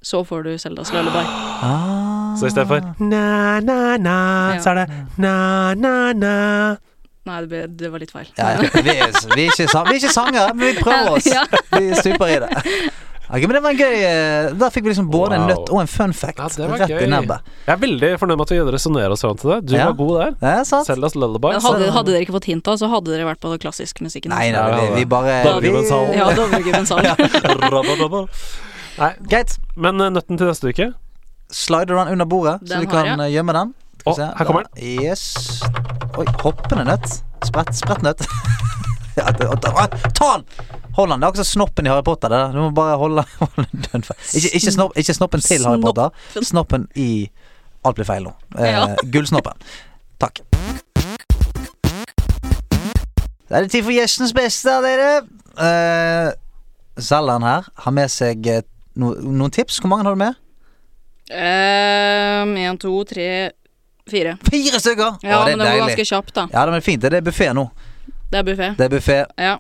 A: så får du Seldas Lullaby.
C: Ah.
B: Så i stedet for na-na-na,
A: Ja.
B: så er det na-na-na.
A: Nei, det, ble, det var litt feil.
C: ja, ja. Vi, er, vi, er ikke, sa- vi er ikke sangere, men vi prøver oss.
A: Ja.
C: Vi stuper i det. Ok, men det var en gøy eh, Der fikk vi liksom både en
B: Wow.
C: nøtt og en fun fact
B: Ja, det var
C: rett
B: gøy.
C: i nebbet.
B: Jeg er veldig fornøyd med at vi resonnerer oss fram til det. Du
C: Ja.
B: var god der.
C: Det er sant.
B: Seldas lullaby.
A: Men eh, Hadde, hadde dere ikke fått hint da, så hadde dere vært på den klassiske musikken.
C: Nei, nei,
B: Ja,
C: vi,
B: ja.
C: vi bare
B: Dovregubbens hall.
A: Ja, Dovregubbens hall.
B: Nei,
C: Greit.
B: men eh, nøtten til neste uke
C: Slider den under bordet, så
A: Den
C: du
A: har
C: kan
A: jeg.
C: eh, gjemme den.
B: Å, her kommer
C: den. Yes. Oi, hoppende nøtt. Spredt, spredt nøtt. ja, det, å, ta ta den! Hold den. Det er akkurat som snoppen i Harry Potter. Det. der. Du må bare holde holde den dønn fast. Ikke, ikke, snopp, ikke snoppen til Harry Potter. Snoppen i Alt blir feil nå. Eh,
A: Ja.
C: Gullsnoppen. Takk. Da er det tid for gjestens beste, dere. Eh, Selgeren her har med seg eh, no, noen tips. Hvor mange har du med?
A: Ehm, En, to, tre, fire.
C: Fire stykker!
A: Ja,
C: Å,
A: men det var ganske kjapt, da.
C: Ja, det er fint. Det er buffé nå.
A: Det er buffé.
C: Det er buffé.
A: Ja.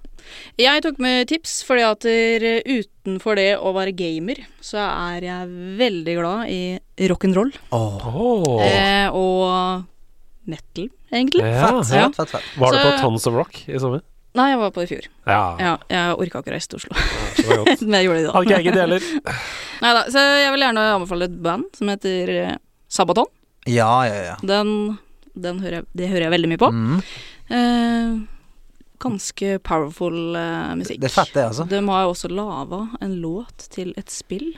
A: Jeg tok med tips, fordi at eh, utenfor det å være gamer, så er jeg veldig glad i rock'n'roll.
C: Åh,
B: oh.
A: Eh, og metal, egentlig.
B: ja.
C: fett,
A: Ja.
C: fett, fett, fett.
B: Var du på
A: Så-
B: Tons of Rock i sommer?
A: Nei, jeg var på det i fjor.
B: Ja.
A: Ja, jeg orka ikke å reise til Oslo,
B: Det var godt.
A: men jeg gjorde det da.
B: Hadde ikke eget deler.
A: Neida, så jeg vil gjerne anbefale et band som heter eh, Sabaton.
C: Ja, ja, ja.
A: Den, den hører jeg, det hører jeg veldig mye på.
C: Mm.
A: Eh, ganske powerful eh, musikk.
C: Det er fett, det, altså.
A: De har jo også lava en låt til et spill.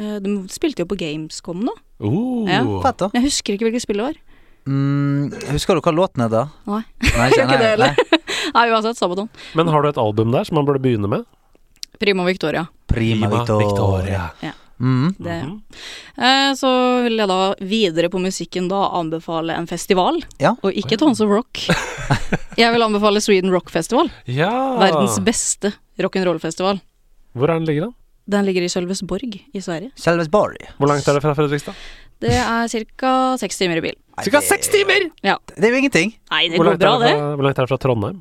A: Eh, de spilte jo på Gamescom nå.
B: Uh.
A: Ja,
C: Fett, da.
A: Men jeg husker ikke hvilket spill det var.
C: Mm, husker du hva låten heter?
A: Nei.
C: Nei,
A: Ikke det heller. Nei, uansett, Sabaton.
B: Men har du et album der som man burde begynne med?
A: Primo Victoria.
C: Prima Victoria. Mm.
A: Det.
B: Mhm.
A: Eh, så vil jeg da videre på musikken da anbefale en festival,
C: Ja.
A: og ikke Tons of Rock. Jeg vil anbefale Sweden Rock Festival.
B: Ja.
C: Ah.
A: Verdens beste rock'n'roll-festival.
B: Hvor er den ligger den?
A: Den ligger i Sølvesborg i Sverige.
C: Selvesborg.
B: Hvor langt er det fra Fredrikstad?
A: Det er ca. seks timer i bil.
B: Cirka seks timer!
A: Ja.
C: Det er jo ingenting.
A: Nei, det
B: Hvor
A: går
B: langt,
A: bra,
B: er
A: det.
B: det fra, hvor langt er det fra Trondheim?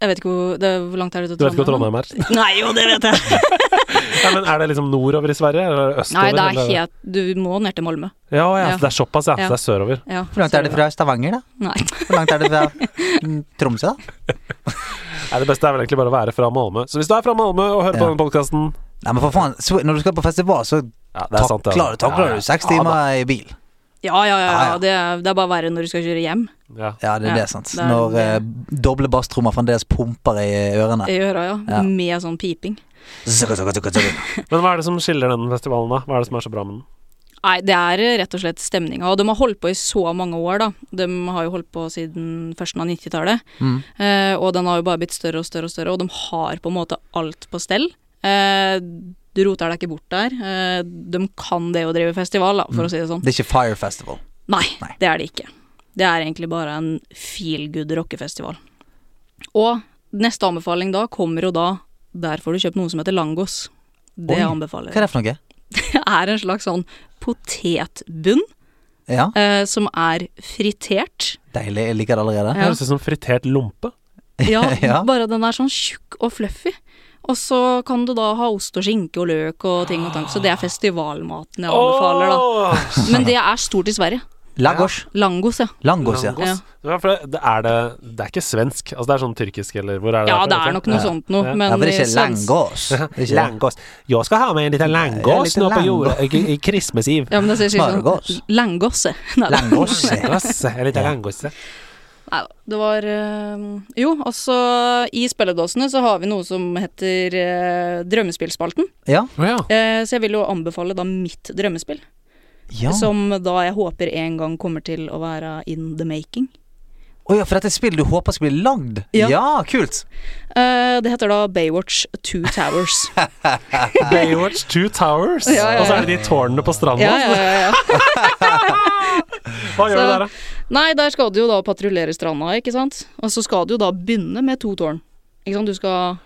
A: Jeg vet ikke hvor, det, hvor langt er det til
B: Du vet ikke hvor Trondheim er?
A: da? Nei, jo, det vet jeg.
B: Nei, men Er det liksom nordover i Sverige, eller er det
A: Nei,
B: østover?
A: det er
B: eller?
A: helt Du må ned til Malmö.
B: Ja, ja,
A: Ja.
B: Det er såpass, ja.
A: Ja.
B: Det er sørover.
A: Ja.
C: Hvor langt er det fra Stavanger, da?
A: Nei.
C: Hvor langt er det fra mm, Tromsø, da?
B: Nei, det beste er vel egentlig bare å være fra Malmö. Så hvis du er fra Malmö og hører
C: Ja.
B: på denne podkasten
C: Nei, men for faen, så, når du skal på festival, så
B: ja, det er sant, det er
C: takler
B: sant.
C: du takler
B: Ja,
C: du seks timer i bil.
A: Ja, ja, ja.
C: Ah, Ja, ja.
A: ja. Det, er, det er bare verre når du skal kjøre hjem.
B: Ja.
C: Ja, det er
A: Ja,
C: det, sant.
A: det er
C: Når
A: det.
C: eh, doble basstrommer fremdeles pumper i ørene.
A: I øra, ja.
C: Ah. Ja.
A: Med sånn piping.
C: Zugga, zugga, zugga, zugga.
B: Men hva er det som skiller den festivalen, da? Hva er det som er så bra med den?
A: Nei, det er eh, rett og slett stemninga. Og de har holdt på i så mange år, da. De har jo holdt på siden førsten av 90-tallet.
C: Mm.
A: Eh, og den har jo bare blitt større og større og større, og de har på en måte alt på stell. Eh, du roter deg ikke bort der. Eh, de kan det å drive festival, da, for å si det sånn.
C: Det er ikke Fire Festival.
A: Nei,
C: Mm. Nei.
A: det er det ikke. Det er egentlig bare en feel good rockefestival. Og neste anbefaling da kommer jo da Der får du kjøpt noe som heter langos. Det
C: Oi,
A: anbefaler
C: Hva er
A: jeg.
C: det for noe?
A: Det er en slags sånn potetbunn
C: Ja,
A: eh, som er fritert.
C: deilig. Jeg liker det allerede.
B: Det
A: Ja.
B: høres ut som fritert lompe.
A: Ja,
C: Ja.
A: bare den er sånn tjukk og fluffy. Og så kan du da ha ost og skinke og løk og ting og tang. Så det er festivalmaten jeg anbefaler, da.
B: Åh!
A: Men det er stort i Sverige.
C: Lagos.
A: Langos, ja.
C: Langos, ja.
B: Langos. Ja, for det, det, er det, det er ikke svensk? Altså det er sånn tyrkisk, eller hvor er det?
A: Ja,
B: fra?
A: det er nok noe
B: Ja.
A: sånt noe,
B: Ja.
C: Ja,
A: men eh,
C: for det er
A: i
C: ikke
A: svensk-
C: langos. Det er ikke det.
B: Langos. Jeg skal ha med en liten
C: Ja, en liten langos.
B: i, i Christmas-iv.
A: Ja, men det sier sier sånn
C: Smørgås.
A: Langosse. Nei,
C: Langos. ja.
B: Langos, En liten langos.
A: Nei da. Det var eh, Jo, også i spilledåsene så har vi noe som heter eh, Drømmespillspalten.
C: Ja.
B: Å ja.
A: Eh, så jeg vil jo anbefale da mitt drømmespill.
C: ja.
A: Som da jeg håper en gang kommer til å være in the making.
C: Å ja, for dette er et spill du håper skal bli lagd?
A: Ja.
C: kult.
A: Eh, det heter da Baywatch Two Towers.
B: Baywatch Two Towers.
A: Ja, ja, ja.
B: Og så er det de tårnene på stranda.
A: ja, ja, ja, ja.
B: Hva gjør du
A: Så-
B: der, da?
A: Nei, der skal du jo da patruljere stranda, ikke sant? Og så skal du jo da begynne med to tårn. Ikke sant, du skal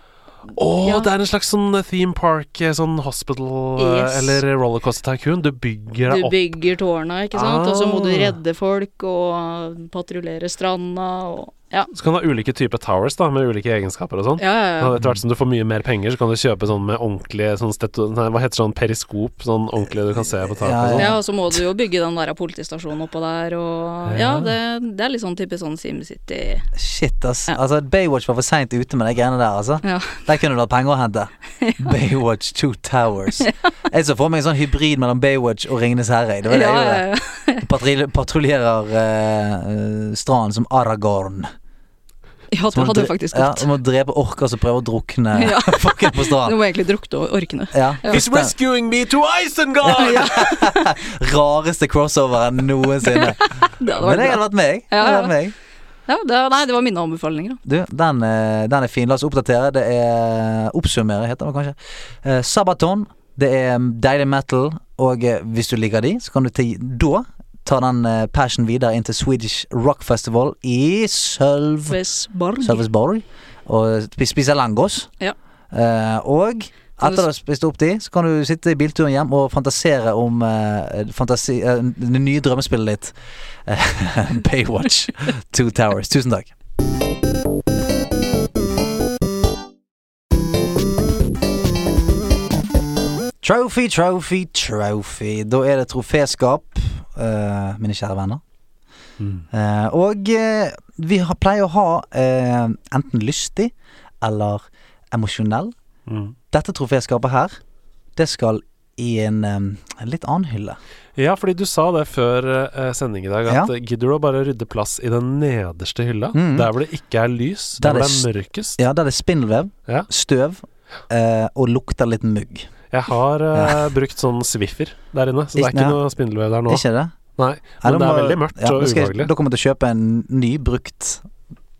B: Å,
A: Ja.
B: det er en slags sånn theme park, eh, sånn hospital eh,
A: Yes.
B: eller rollercoaster tycoon. Du bygger deg
A: Du
B: opp.
A: bygger tårna, ikke sant? Og så må du
B: Ah.
A: redde folk og patruljere stranda og Ja,
B: Så kan du ha ulike typer towers da, med ulike egenskaper og sånn.
A: ja, ja. ja.
B: Og Etter hvert som du får mye mer penger, så kan du kjøpe sånn med ordentlig sånn steto... Nei, hva heter sånn periskop? Sånn ordentlig du kan se på taket
C: Ja,
B: og sånn.
A: Ja, og så må du jo bygge den der politistasjonen oppå der, og ja,
B: Ja.
A: det, det er litt sånn type sånn SimCity.
C: Shit, ass.
A: Ja.
C: Altså, Baywatch var for seint ute med de greiene der, altså.
A: Ja.
C: Der kunne du hatt penger å hente. Baywatch Two Towers. Jeg så for meg en sånn hybrid mellom Baywatch og Ringenes herre. Det var det
A: ja,
C: jeg gjorde.
A: ja, ja.
C: Patril- Patruljerer eh, eh, stranden som Aragorn.
A: ja,
C: Som
A: det
C: må
A: hadde
C: dre-
A: faktisk
C: Ja,
A: gått.
C: som må drepe orker som prøver å drukne
A: Ja.
C: folket på
A: Du
C: stranden.
A: må egentlig drukte og orkene.
C: Ja.
B: He's rescuing me to Isengard!
C: Rareste crossoveren noensinne.
A: Det hadde
C: Men jeg
A: vært bra.
C: hadde vært meg.
A: Ja,
C: Jeg hadde
A: ja.
C: vært meg.
A: Ja, det, nei, det var mine anbefalinger, da.
C: Du, den, eh, den er fin. La oss oppdatere. Det er eh, Oppsummere, heter det kanskje. Eh, Sabaton. Det er mm, deilig metal, og eh, hvis du liker de, så kan du til da ta den eh, passion videre inn til Swedish Rock Festival i Sølv...
A: Svesborg.
C: Sølvesborg. Og spi- spise langos.
A: Ja.
C: Eh, og etter å ha spist opp de, så kan du sitte i bilturen hjem og fantasere om eh, fantasi, eh, det nye drømmespillet ditt. Baywatch. Two Towers. Tusen takk. Trophy, trophy, trophy. Da er det troféskap, eh, mine kjære venner.
B: Mm.
C: Eh, og eh, vi har, pleier å ha eh, enten lystig eller emosjonell.
B: Mm.
C: Dette troféskapet her, det skal i en eh, en litt annen hylle.
B: Ja, fordi du sa det før eh, sending i dag, at eh, gidder du å bare rydde plass i den nederste hylla?
C: Mm.
B: Der hvor det ikke er lys,
C: Der
B: der, hvor det
C: det
B: er mørkest.
C: Ja, der det er spindelvev,
B: Ja.
C: støv eh, og lukter litt mugg.
B: Jeg har eh, brukt sånn Swiffer der inne, så det er
C: Ikke-
B: ikke noe spindelvev der nå.
C: Ikke det?
B: Nei,
C: Nei,
B: men
C: da
B: det er
C: må-
B: veldig mørkt
C: ja,
B: og
C: da skal jeg-
B: ubehagelig.
C: Da kommer jeg til å kjøpe en ny brukt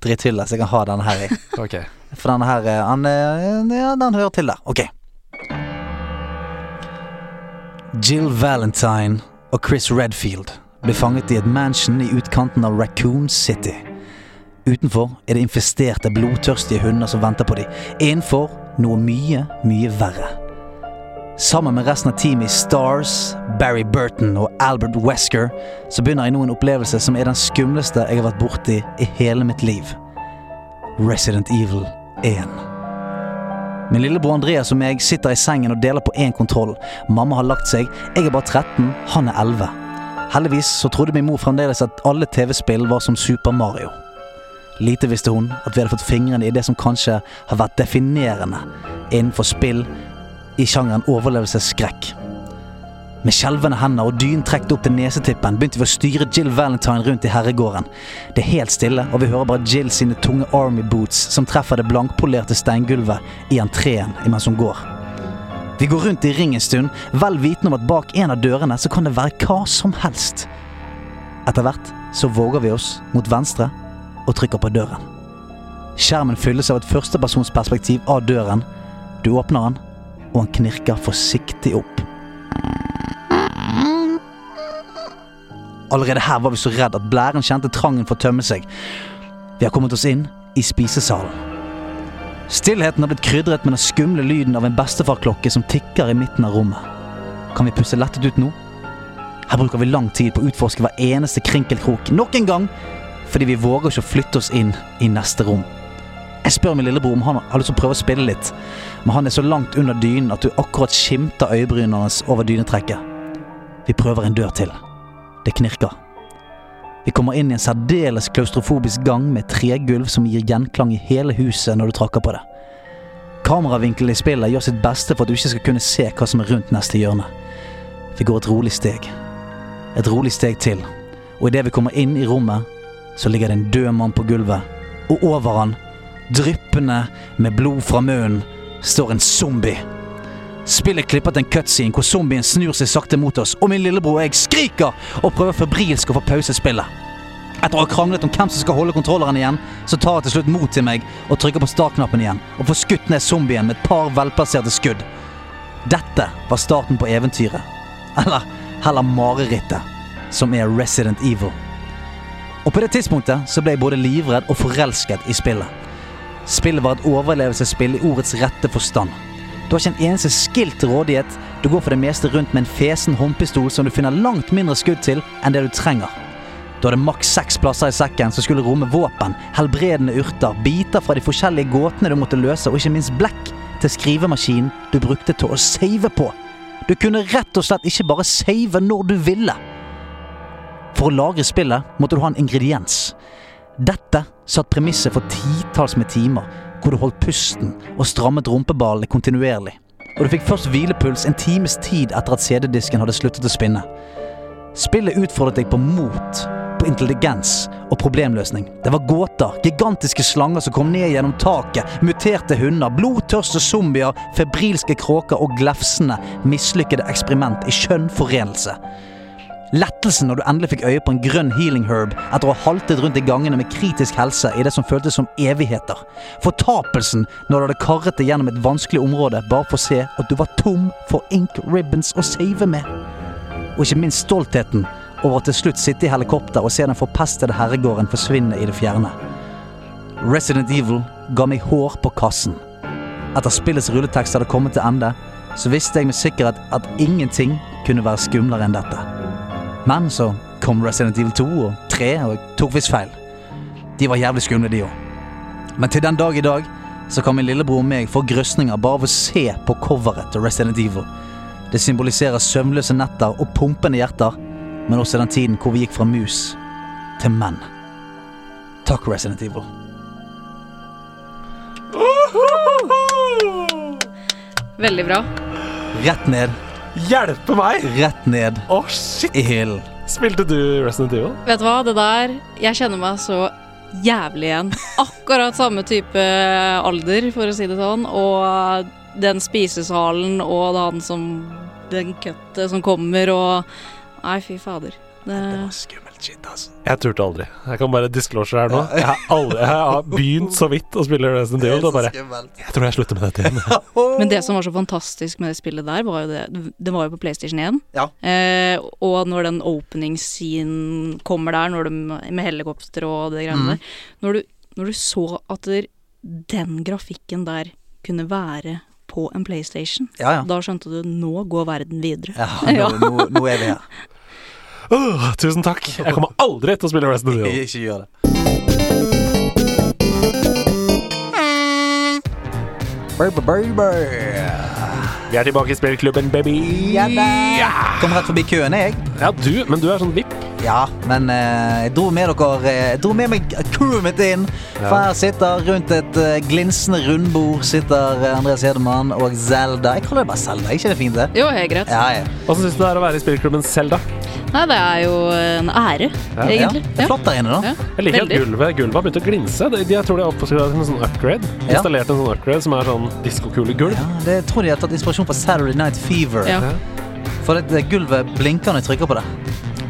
C: dritthylle, så jeg kan ha den her i.
B: Ok.
C: For denne her, eh, han, eh, ja, den hører til der. Ok. Jill Valentine og Chris Redfield ble fanget i et mansion i utkanten av Raccoon City. Utenfor er det infesterte, blodtørstige hunder som venter på dem. Innenfor noe mye, mye verre. Sammen med resten av teamet i Stars, Barry Burton og Albert Wesker, så begynner jeg nå en opplevelse som er den skumleste jeg har vært borti i hele mitt liv. Resident Evil 1. Min lillebror Andreas og meg sitter i sengen og deler på én kontroll. Mamma har lagt seg, jeg er bare 13, han er 11. Heldigvis så trodde min mor fremdeles at alle TV-spill var som Super Mario. Lite visste hun at vi hadde fått fingrene i det som kanskje har vært definerende innenfor spill i sjangeren overlevelsesskrekk. Med skjelvende hender og dyn trukket opp til nesetippen begynte vi å styre Jill Valentine rundt i herregården. Det er helt stille, og vi hører bare Jill sine tunge army boots som treffer det blankpolerte steingulvet i entreen imens hun går. Vi går rundt i ring en stund, vel vitende om at bak en av dørene så kan det være hva som helst. Etter hvert så våger vi oss mot venstre og trykker på døren. Skjermen fylles av et førstepersonsperspektiv av døren. Du åpner den, og han knirker forsiktig opp. Allerede her var vi så redd at blæren kjente trangen for å tømme seg. Vi har kommet oss inn i spisesalen. Stillheten har blitt krydret med den skumle lyden av en bestefarklokke som tikker i midten av rommet. Kan vi pusse lettet ut nå? Her bruker vi lang tid på å utforske hver eneste krinkelkrok nok en gang, fordi vi våger ikke å flytte oss inn i neste rom. Jeg spør min lillebror om han har lyst til å prøve å spille litt, men han er så langt under dynen at du akkurat skimter øyebrynene hans over dynetrekket. Vi prøver en dør til. Det knirker. Vi kommer inn i en særdeles klaustrofobisk gang med tregulv som gir gjenklang i hele huset når du trakker på det. Kameravinkelen i spillet gjør sitt beste for at du ikke skal kunne se hva som er rundt neste hjørne. Vi går et rolig steg. Et rolig steg til, og idet vi kommer inn i rommet, så ligger det en død mann på gulvet, og over han, dryppende med blod fra munnen, står en zombie. Spillet klipper til en cutscene hvor zombien snur seg sakte mot oss, og min lillebror og jeg skriker og prøver febrilsk å få pause spillet. Etter å ha kranglet om hvem som skal holde kontrolleren igjen, så tar jeg til slutt mot til meg og trykker på startknappen igjen, og får skutt ned zombien med et par velplasserte skudd. Dette var starten på eventyret. Eller heller marerittet, som er Resident Evil. Og på det tidspunktet så ble jeg både livredd og forelsket i spillet. Spillet var et overlevelsesspill i ordets rette forstand. Du har ikke en eneste skill til rådighet, du går for det meste rundt med en fesen håndpistol som du finner langt mindre skudd til enn det du trenger. Du hadde maks seks plasser i sekken som skulle romme våpen, helbredende urter, biter fra de forskjellige gåtene du måtte løse, og ikke minst blekk til skrivemaskinen du brukte til å save på. Du kunne rett og slett ikke bare save når du ville. For å lagre spillet måtte du ha en ingrediens. Dette satt premisset for titalls med timer, hvor du holdt pusten og strammet rumpeballene kontinuerlig. Og du fikk først hvilepuls en times tid etter at CD-disken hadde sluttet å spinne. Spillet utfordret deg på mot, på intelligens og problemløsning. Det var gåter, gigantiske slanger som kom ned gjennom taket, muterte hunder, blodtørste zombier, febrilske kråker og glefsende, mislykkede eksperiment i skjønn forenelse. Lettelsen når du endelig fikk øye på en grønn healing herb etter å ha haltet rundt i gangene med kritisk helse i det som føltes som evigheter. Fortapelsen når du hadde karret deg gjennom et vanskelig område bare for å se at du var tom for ink ribbons å save med og ikke minst stoltheten over å til slutt sitte i helikopter og se den forpestede herregården forsvinne i det fjerne. Resident Evil ga meg hår på kassen. Etter spillets rulletekst hadde kommet til ende, så visste jeg med sikkerhet at ingenting kunne være skumlere enn dette. Men så kom Resident Evil 2 og 3, og jeg tok visst feil. De var jævlig skumle, de òg. Men til den dag i dag så kan min lillebror og meg få grøsninger bare av å se på coveret til Resident Evil. Det symboliserer søvnløse netter og pumpende hjerter, men også den tiden hvor vi gikk fra mus til menn. Takk, Resident Evil.
A: Veldig bra.
C: Rett ned,
B: Hjelpe meg!
C: rett ned
B: Å, shit!
C: i hyllen.
B: Spilte du Resident Evil?
A: Vet du hva, det der Jeg kjenner meg så jævlig igjen. Akkurat samme type alder, for å si det sånn. Og den spisesalen og det han som Den køttet som kommer og Nei, fy fader. Det,
C: skummelt shit, altså.
B: Jeg turte aldri. Jeg kan bare disclosure her nå. Jeg har, aldri, jeg har begynt så vidt å spille Resident Evil. Da bare Jeg tror jeg slutter med dette igjen.
A: men det som var så fantastisk med det spillet der, var jo det Det var jo på PlayStation 1.
C: Ja.
A: Eh, og når den opening scene kommer der, når du, med helikopter og det
C: Mhm.
A: greiene der når du, når du så at der, den grafikken der kunne være på en PlayStation,
C: Ja, ja.
A: da skjønte du nå går verden videre.
C: ja nå, nå, nå er vi her.
B: Åh, tusen takk. Jeg kommer aldri til å spille Resident Evil.
C: Ikke gjør det. Baby,
B: Vi er tilbake i spillklubben, baby.
C: Ja da. Kom rett forbi køen, jeg.
B: Ja, du, men du er sånn vipp.
C: Ja, men eh, jeg dro med dere eh, Jeg dro med meg crewet mitt inn. For her sitter rundt et eh, glinsende rundbord Sitter eh, Andreas Hedemann og Zelda. Jeg kaller det bare Zelda, ikke det fint det?
A: Jo, helt greit.
C: Ja, ja.
B: Åssen syns du det er å være i spillklubben selv, da?
A: Nei, det er jo en ære,
B: Ja.
C: ja.
A: egentlig.
C: Det er flott der inne, da.
A: Ja.
B: Jeg liker at
A: Veldig.
B: gulvet Gulvet har begynt å glinse. De, de, jeg tror de har oppdaget en sånn upgrade.
C: Ja.
B: Installert en sånn upgrade som er sånn diskokulegulv.
C: Ja, det tror de har tatt inspirasjon fra Saturday Night Fever.
A: Ja.
C: For det, det gulvet blinker når jeg trykker på det.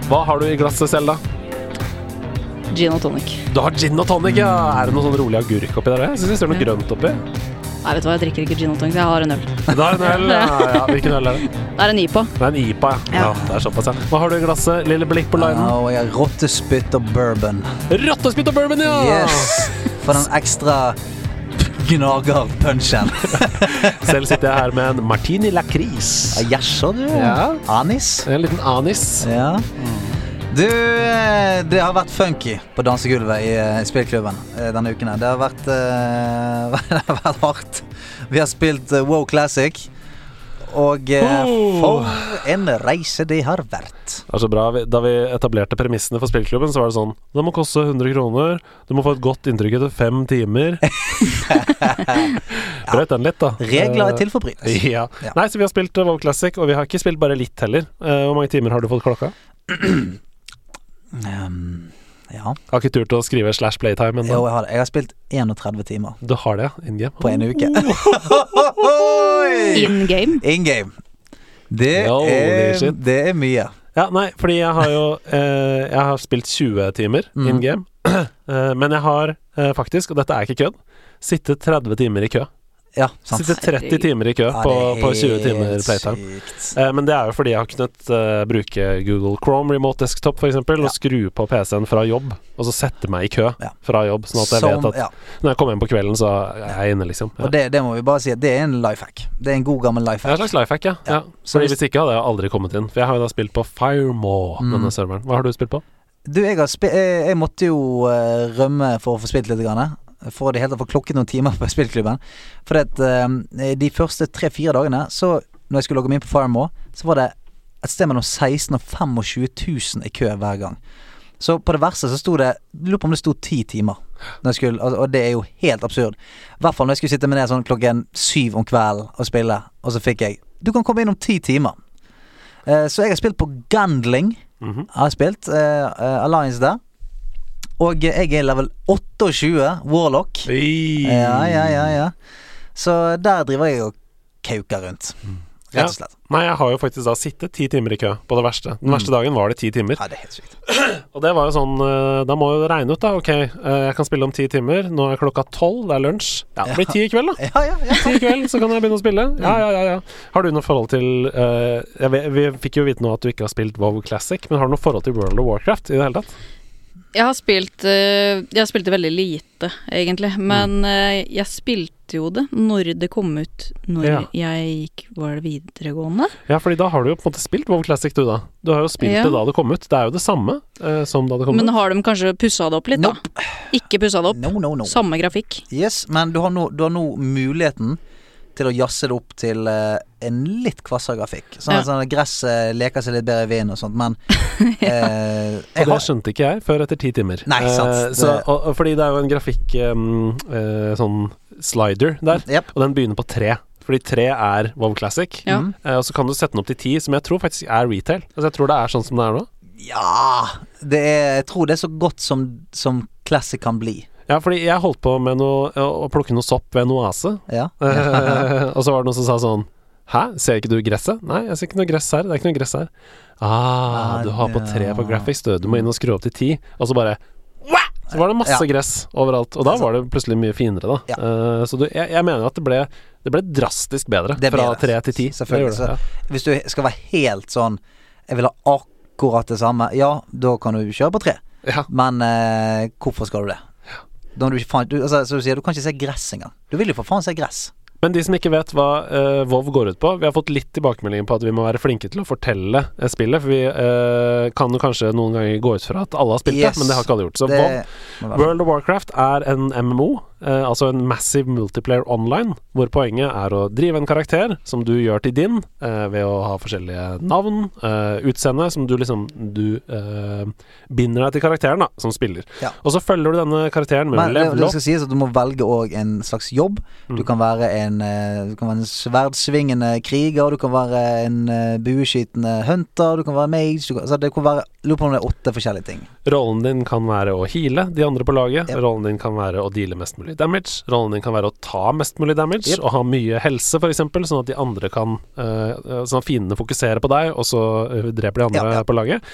B: Hva har du i glasset selv, da?
A: Gin og tonic.
B: Du har gin og tonic, ja. Er det noe sånn rolig agurk oppi der? Jeg syns det står noe grønt oppi.
A: Nei, vet du hva, jeg drikker ikke gin og tonic, så jeg har en øl.
B: Det er en øl. Ja, ja, hvilken øl er det?
A: Det er en IPA.
B: Det er en IPA, ja. ja. Det er såpass, ja. Hva har du i glasset, lille blikk på linen?
C: Og jeg har rottespytt og bourbon.
B: Rottespytt og bourbon, ja!
C: Yes! For den ekstra gnagerpunchen.
B: Selv sitter jeg her med en martini lakris.
C: Jaså, du.
B: Ja.
C: Anis.
B: En liten anis.
C: Ja. Mm. Du, eh, det har vært funky på dansegulvet i eh, spillklubben eh, denne uken. her. Det har vært, eh, det har vært hardt. Vi har spilt eh, Wow Classic, og eh,
B: Oh.
C: for en reise det har vært.
B: Det er så bra. Vi- Da vi etablerte premissene for spillklubben, så var det sånn Det må koste 100 kroner. Du må få et godt inntrykk etter fem timer. Brøt den litt, da.
C: Regler er til for
B: Eh,
C: brytelse.
B: ja.
C: Ja.
B: Nei, så vi har spilt eh, WoW Classic, og vi har ikke spilt bare litt heller. Eh, Hvor mange timer har du fått klokka?
C: Um, Ja.
B: Jeg har ikke turt å skrive slash playtime
C: Jo,
B: ennå.
C: jeg har det. Jeg har spilt 31 timer
B: Du har det, in game?
C: på en uke.
A: In game.
C: In game. Det,
B: Oh. Holy
C: er,
B: shit.
C: det er mye.
B: Ja, nei, fordi jeg har jo eh, Jeg har spilt 20 timer
C: Mm.
B: in game. eh, men jeg har eh, faktisk, og dette er ikke kødd, sittet 30 timer i kø.
C: Ja, sant.
B: Sittet 30 timer i kø
C: Ja,
B: på,
C: det er
B: på 20 timer
C: helt
B: playtime.
C: sykt.
B: Eh, men det er jo fordi jeg har kunnet eh, bruke Google Chrome Remote Desktop f.eks. eksempel
C: Ja.
B: og skru på PC-en fra jobb, og så sette meg i kø
C: Ja.
B: fra jobb, sånn at jeg
C: Som-
B: vet at
C: ja.
B: når jeg kommer hjem på kvelden, så er jeg inne, liksom. Ja.
C: Og det, det må vi bare si at det er en life hack. Det er en god gammel life
B: Det er en
C: hack.
B: slags life hack, ja.
C: Ja.
B: ja.
C: Så
B: Fordi
C: hvis- Mm.
B: hvis ikke hadde jeg aldri kommet inn. For jeg har jo da spilt på Firemaw, denne serveren. Hva har du spilt på?
C: Du, jeg, har spi eh, jeg måtte jo eh, rømme for å få spilt litt. Grann, eh, for å i det hele tatt få klokket noen timer på spillklubben. For at, eh, de første tre-fire dagene, så når jeg skulle logge meg inn på Farmo, så var det et sted mellom 16 000 og 25 000 i kø hver gang. Så på det verste så sto det jeg Lurer på om det sto ti timer. Når jeg skulle, altså, og det er jo helt absurd. I hvert fall når jeg skulle sitte med ned sånn klokken syv om kvelden og spille, og så fikk jeg Du kan komme inn om ti timer. Eh, så jeg har spilt på Gandling.
B: Mhm.
C: Jeg har spilt eh, eh, Alliance der. Og jeg er level 28 Warlock. Ja, ja, ja, ja. Så der driver jeg og kauker rundt. Rett
B: Ja.
C: og slett.
B: Nei, jeg har jo faktisk da sittet ti timer i kø på det verste. Den
C: Mm.
B: verste dagen var det ti timer.
C: Ja, det er helt sykt.
B: Og det var jo sånn eh, Da må jeg jo regne ut, da. Ok, eh, jeg kan spille om ti timer. Nå er klokka tolv, det er lunsj. Ja, det blir ti i kveld, da.
C: Ja, Mm. ja, ja.
B: Ti i kveld, så kan jeg begynne å spille. Ja, ja, ja. ja. Har du noe forhold til eh, jeg vet, Vi fikk jo vite nå at du ikke har spilt WoW Classic, men har du noe forhold til World of Warcraft i det hele tatt?
A: Jeg har spilt eh, Jeg spilte veldig lite, egentlig.
B: Mm.
A: Men eh, jeg spilte jo det når det kom ut. Når
B: Ja.
A: jeg gikk Var det videregående?
B: Ja, fordi da har du jo på en måte spilt WoW Classic, du, da. Du har jo spilt
A: Ja.
B: det da det kom ut. Det er jo det samme eh, som da det kom
A: Men
B: ut.
A: har de kanskje pussa det opp litt, da? Ikke pussa det opp.
C: No, no, no.
A: Samme grafikk.
C: Yes, men du har, nå, du har nå muligheten til å jazze det opp til eh, en litt kvassere grafikk. Sånn at
A: Ja.
C: sånn at gresset leker seg litt bedre i vinden og sånt, men eh, jeg
B: Og det
C: har,
B: skjønte ikke jeg før etter ti timer.
C: Nei, sant.
B: Eh,
C: Det-
B: så, og, og fordi det er jo en grafikk em, eh, sånn slider der,
C: Jep.
B: og den begynner på tre. Fordi tre er WoW Classic.
A: Ja.
C: Mm.
B: Eh, og så kan du sette den opp til ti, som jeg tror faktisk er retail. Altså jeg tror det er sånn som det er nå.
C: Ja det er, Jeg tror det er så godt som, som classic kan bli.
B: Ja, fordi jeg holdt på med noe, å å plukke noe sopp ved en oase,
C: Ja.
B: Eh, og så var det noen som sa sånn Hæ, ser ikke du gresset? Nei, jeg ser ikke noe gress her. Det er ikke noe gress her. Ah,
C: Ah,
B: du har på
C: ja.
B: tre på graphics, du. Du må inn og skru opp til ti. Og så bare «Wah!» Så var det masse
C: Ja.
B: gress overalt. Og da
C: Altså-
B: var det plutselig mye finere, da.
C: Ja.
B: Eh, så du, jeg, jeg mener at det ble, det ble drastisk bedre
C: Det ble
B: fra
C: det.
B: tre til ti. Det
C: Selvfølgelig.
B: gjorde
C: Så
B: det,
C: hvis du skal være helt sånn Jeg vil ha akkurat det samme, ja, da kan du kjøre på tre.
B: Ja. Ja.
C: Men eh, hvorfor skal du det? Da har du, ikke faen, du, altså, som du, sier, du kan ikke se gress engang. Du vil jo for faen se gress.
B: Men de som ikke vet hva eh, WoW går ut på Vi har fått litt tilbakemelding på at vi må være flinke til å fortelle eh, spillet. For vi eh, kan jo kanskje noen ganger gå ut fra at alle har spilt
C: Yes.
B: det, men det har ikke alle gjort. Så
C: Det-
B: WoW
C: må være-
B: World of Warcraft er en MMO, eh, altså en massive multiplayer online, hvor poenget er å drive en karakter som du gjør til din eh, ved å ha forskjellige navn, eh, utseende, som du liksom Du eh, binder deg til karakteren, da, som spiller.
C: Ja.
B: Og så følger du denne karakteren med å
C: Men det,
B: level Mm.
C: det
B: opp.
C: skal sies at du må velge òg en slags jobb. Du kan være en, eh, du kan være en sverdsvingende kriger, du kan være en eh, bueskytende hunter, du kan være mage du kan, altså, Det kan være Lurer på om det er åtte forskjellige ting.
B: Rollen din kan være å heale de andre på laget.
C: Yep.
B: Rollen din kan være å deale mest mulig damage. Rollen din kan være å ta mest mulig damage
C: Yep.
B: og ha mye helse, f.eks., sånn at de andre kan eh, Sånn at fiendene fokuserer på deg, og så eh, dreper de andre
C: Ja, ja.
B: på laget.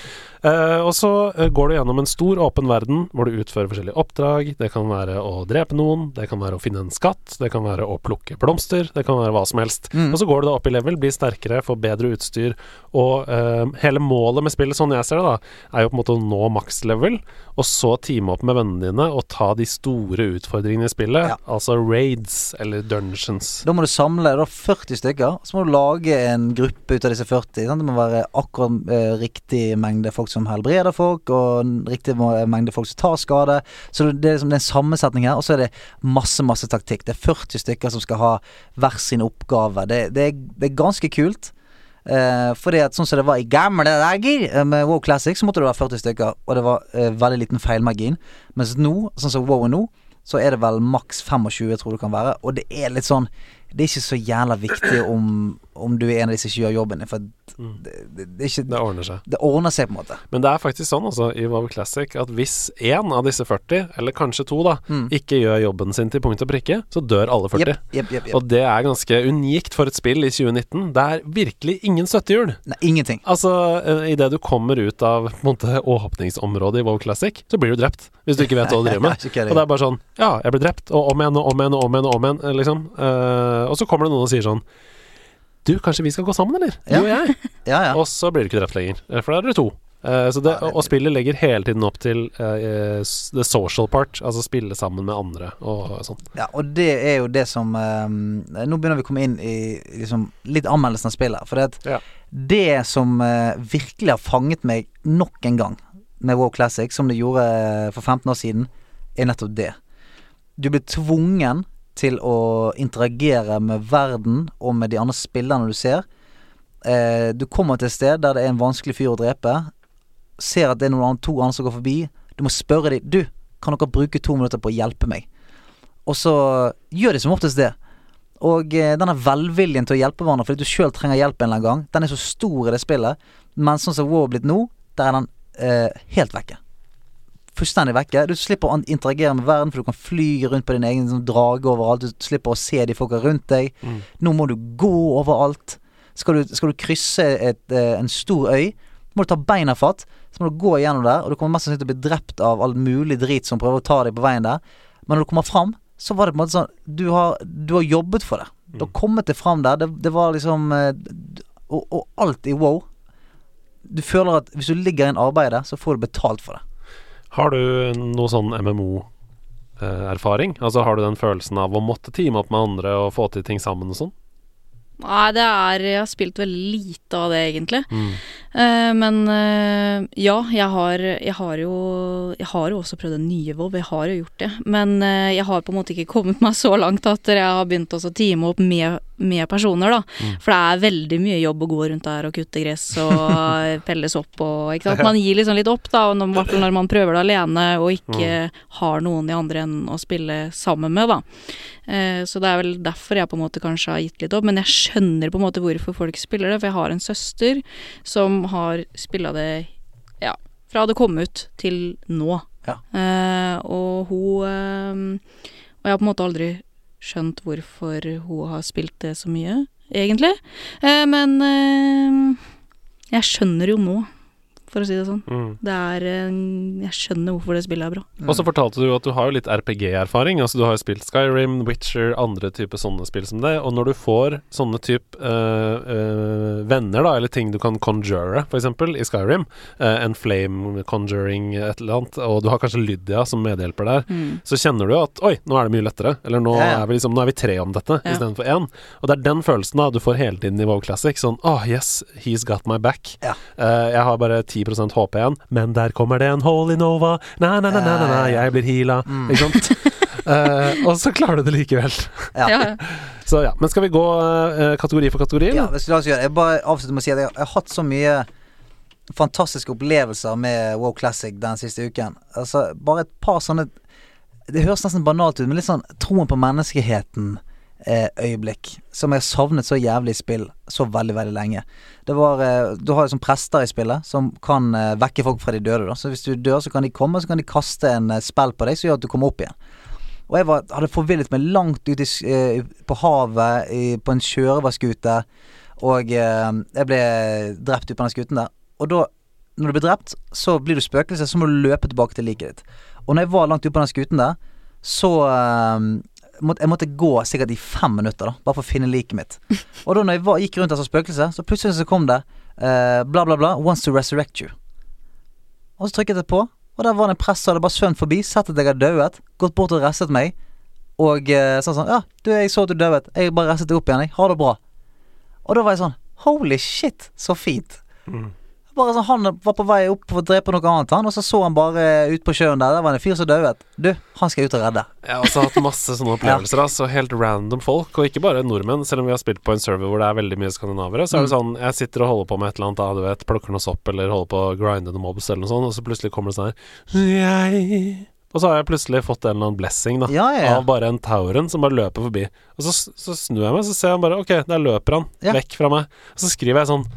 B: Eh, og så eh, går du gjennom en stor, åpen verden hvor du utfører forskjellige oppdrag. Det kan være å drepe noen, det kan være å finne en skatt, det kan være å plukke blomster, det kan være hva som helst.
C: Mm.
B: Og så går du da opp i level, blir sterkere, får bedre utstyr, og eh, hele målet med spillet, sånn jeg ser det, da, er jo på en måte å nå makslevel, og så teame opp med vennene dine og ta de store utfordringene i spillet,
C: Ja.
B: altså raids eller dungeons.
C: Da må du samle da 40 stykker, så må du lage en gruppe ut av disse 40. Sant? Det må være akkurat eh, riktig mengde folk som helbreder folk, og en riktig må- mengde folk som tar skade. Så det er, liksom, det er en sammensetning her, og så er det masse, masse taktikk. Det er 40 stykker som skal ha hver sin oppgave. Det, det, er, det er ganske kult. Eh, fordi at sånn som det var i gamle dager eh, med WoW Classic, så måtte det være 40 stykker, og det var eh, veldig liten feilmargin. Mens nå, sånn som WoW er nå, så er det vel maks 25 jeg tror det kan være, og det er litt sånn Det er ikke så jævla viktig om, om du er en av de som ikke gjør jobben. For
B: Mm.
C: det, det, det, er
B: Det
C: ikke,
B: ordner seg.
C: det ordner seg, på en måte.
B: Men det er faktisk sånn altså, i WoW Classic at hvis én av disse 40, eller kanskje to, da, ikke gjør jobben sin til punkt og prikke, så dør alle 40.
C: Jepp, jepp, jepp, jepp.
B: Og det er ganske unikt for et spill i 2019. Det er virkelig ingen støttehjul.
C: Nei, ingenting.
B: Altså, idet du kommer ut av på en måte, åpningsområdet i WoW Classic, så blir du drept. Hvis du ikke vet hva du driver med.
C: Ikke kødding.
B: Og det er bare sånn Ja, jeg ble drept. Og om igjen og om igjen og om igjen. Og om igjen eh, liksom. Eh, og så kommer det noen og sier sånn Du, kanskje vi skal gå sammen, eller? Du og jeg?
C: Ja, ja.
B: Og så blir du ikke drept lenger, eh, for da er dere to. Eh, så det, og spillet legger hele tiden opp til eh, s- the social part, altså spille sammen med andre og sånn.
C: Ja, og det er jo det som eh, Nå begynner vi å komme inn i liksom, litt anmeldelsen av spillet. For det, at
B: Ja.
C: det som eh, virkelig har fanget meg nok en gang med WoW Classic, som det gjorde eh, for 15 år siden, er nettopp det. Du blir tvungen til å interagere med verden og med de andre spillerne du ser. Eh, du kommer til et sted der det er en vanskelig fyr å drepe. Ser at det er noen andre, to andre som går forbi. Du må spørre dem Du, kan dere bruke to minutter på å hjelpe meg? Og så gjør de som oftest det. Og eh, denne velviljen til å hjelpe hverandre fordi du sjøl trenger hjelp en eller annen gang, den er så stor i det spillet. Men sånn som WoW er blitt nå, der er den eh, helt vekke. Fullstendig vekke. Du slipper å an- interagere med verden, for du kan fly rundt på din egen sånn, drage overalt. Du slipper å se de folka rundt deg. Nå må du gå overalt. Skal du, skal du krysse et, eh, en stor øy, må du ta beina fatt. Så må du gå gjennom der, og du kommer mest sannsynlig til å bli drept av all mulig drit som prøver å ta deg på veien der. Men når du kommer fram, så var det på en måte sånn Du har, du har jobbet for det. Du har kommet deg fram der. Det, det var liksom eh, d- og, og alt i wow. Du føler at hvis du ligger i en arbeid der, så får du betalt for det.
B: Har du noe sånn MMO-erfaring? Altså har du den følelsen av å måtte teame opp med andre og få til ting sammen og sånn?
A: Nei, det er Jeg har spilt veldig lite av det, egentlig. Eh, men eh, ja, jeg har, jeg har jo Jeg har jo også prøvd en nye WoW, jeg har jo gjort det. Men eh, jeg har på en måte ikke kommet meg så langt at jeg har begynt også å time opp med, med personer, da. For det er veldig mye jobb å gå rundt der og kutte gress og pelle sopp og ikke sant. Man gir liksom litt opp, da, og når, i hvert fall når man prøver det alene og ikke har noen i andre enn å spille sammen med, da. Eh, Så det er vel derfor jeg på en måte kanskje har gitt litt opp. Men jeg skjønner på en måte hvorfor folk spiller det, for jeg har en søster som har spilla det ja, fra det kom ut til nå.
C: Ja.
A: Eh, og hun eh, Og jeg har på en måte aldri skjønt hvorfor hun har spilt det så mye, egentlig. Eh, men eh, jeg skjønner jo nå, for å si det sånn. Det er eh, Jeg skjønner hvorfor det spillet er bra.
B: Mm.
C: Mm.
B: Og så fortalte du jo at du har jo litt RPG-erfaring. Altså du har jo spilt Skyrim, Witcher, andre typer sånne spill som det. Og når du får sånne type øh, øh, venner, da, eller ting du kan conjure, f.eks. i Skyrim, øh, en flame conjuring, et eller annet, og du har kanskje Lydia som medhjelper der, så kjenner du jo at oi, nå er det mye lettere. Eller nå,
C: Ja, ja.
B: Er, vi liksom, nå er vi tre om dette
A: Ja.
B: istedenfor én. Og det er den følelsen da du får hele tiden i WoW Classic. Sånn åh, yes, he's got my back.
C: Ja.
B: Eh, jeg har bare 10 HP igjen, men der kommer det en Holy Nova. Na, na, na, na, na,
C: Eh.
B: na, jeg blir heala.
C: Mm.
B: Ikke sant? Eh, og så klarer du det likevel.
C: Ja.
A: Ja,
B: Så ja. Men skal vi gå eh, kategori for kategori?
C: Ja,
B: eller?
C: det skal jeg, også gjøre. jeg bare avslutter med å si at jeg, jeg har hatt så mye fantastiske opplevelser med WoW Classic den siste uken. Altså, bare et par sånne Det høres nesten banalt ut, men litt sånn troen på menneskeheten-øyeblikk. som jeg har savnet så jævlig i spill så veldig, veldig lenge. Det var eh, Du har liksom prester i spillet som kan eh, vekke folk fra de døde, da. Så hvis du dør, så kan de komme, så kan de kaste en eh, spell på deg som gjør at du kommer opp igjen. Og jeg var, hadde forvillet meg langt ut i, s- eh, på havet, i, på en sjørøverskute. Og eh, jeg ble drept ut på den skuten der. Og da, når du blir drept, så blir du spøkelse, så må du løpe tilbake til liket ditt. Og når jeg var langt ute på den skuten der, så eh, måtte, Jeg måtte gå sikkert i fem minutter, da, bare for å finne liket mitt. Og da når jeg var, gikk rundt der som spøkelse, så plutselig så kom det eh, bla, bla, bla, wants to resurrect you. Og så trykket jeg på, og der var det en prest som hadde bare svømt forbi, sett at jeg hadde dauet, gått bort og restet meg, og eh, sa sånn Ja, du, jeg så at du dauet, jeg bare restet deg opp igjen, jeg. Ha det bra. Og da var jeg sånn Holy shit, så fint.
B: Mm.
C: Bare sånn, Han var på vei opp for å drepe noe annet, han, og så så han bare ut på sjøen der. Der var det en fyr som dauet. Du, han skal jeg ut og redde.
B: Jeg har også hatt masse sånne opplevelser. Altså, helt random folk, og ikke bare nordmenn. Selv om vi har spilt på en server hvor det er veldig mye skandinavere, så er
C: Mm.
B: det sånn Jeg sitter og holder på med et eller annet, da, du vet, plukker noe sopp eller holder på å grinde noen mobs eller noe sånt, og så plutselig kommer det sånn her Jeg Og så har jeg plutselig fått en eller annen blessing da
C: Ja, ja, ja.
B: av bare en tauren som bare løper forbi. Og så, så snur jeg meg, så ser jeg bare Ok, der løper han
C: Ja.
B: vekk fra meg. Og så skriver jeg sånn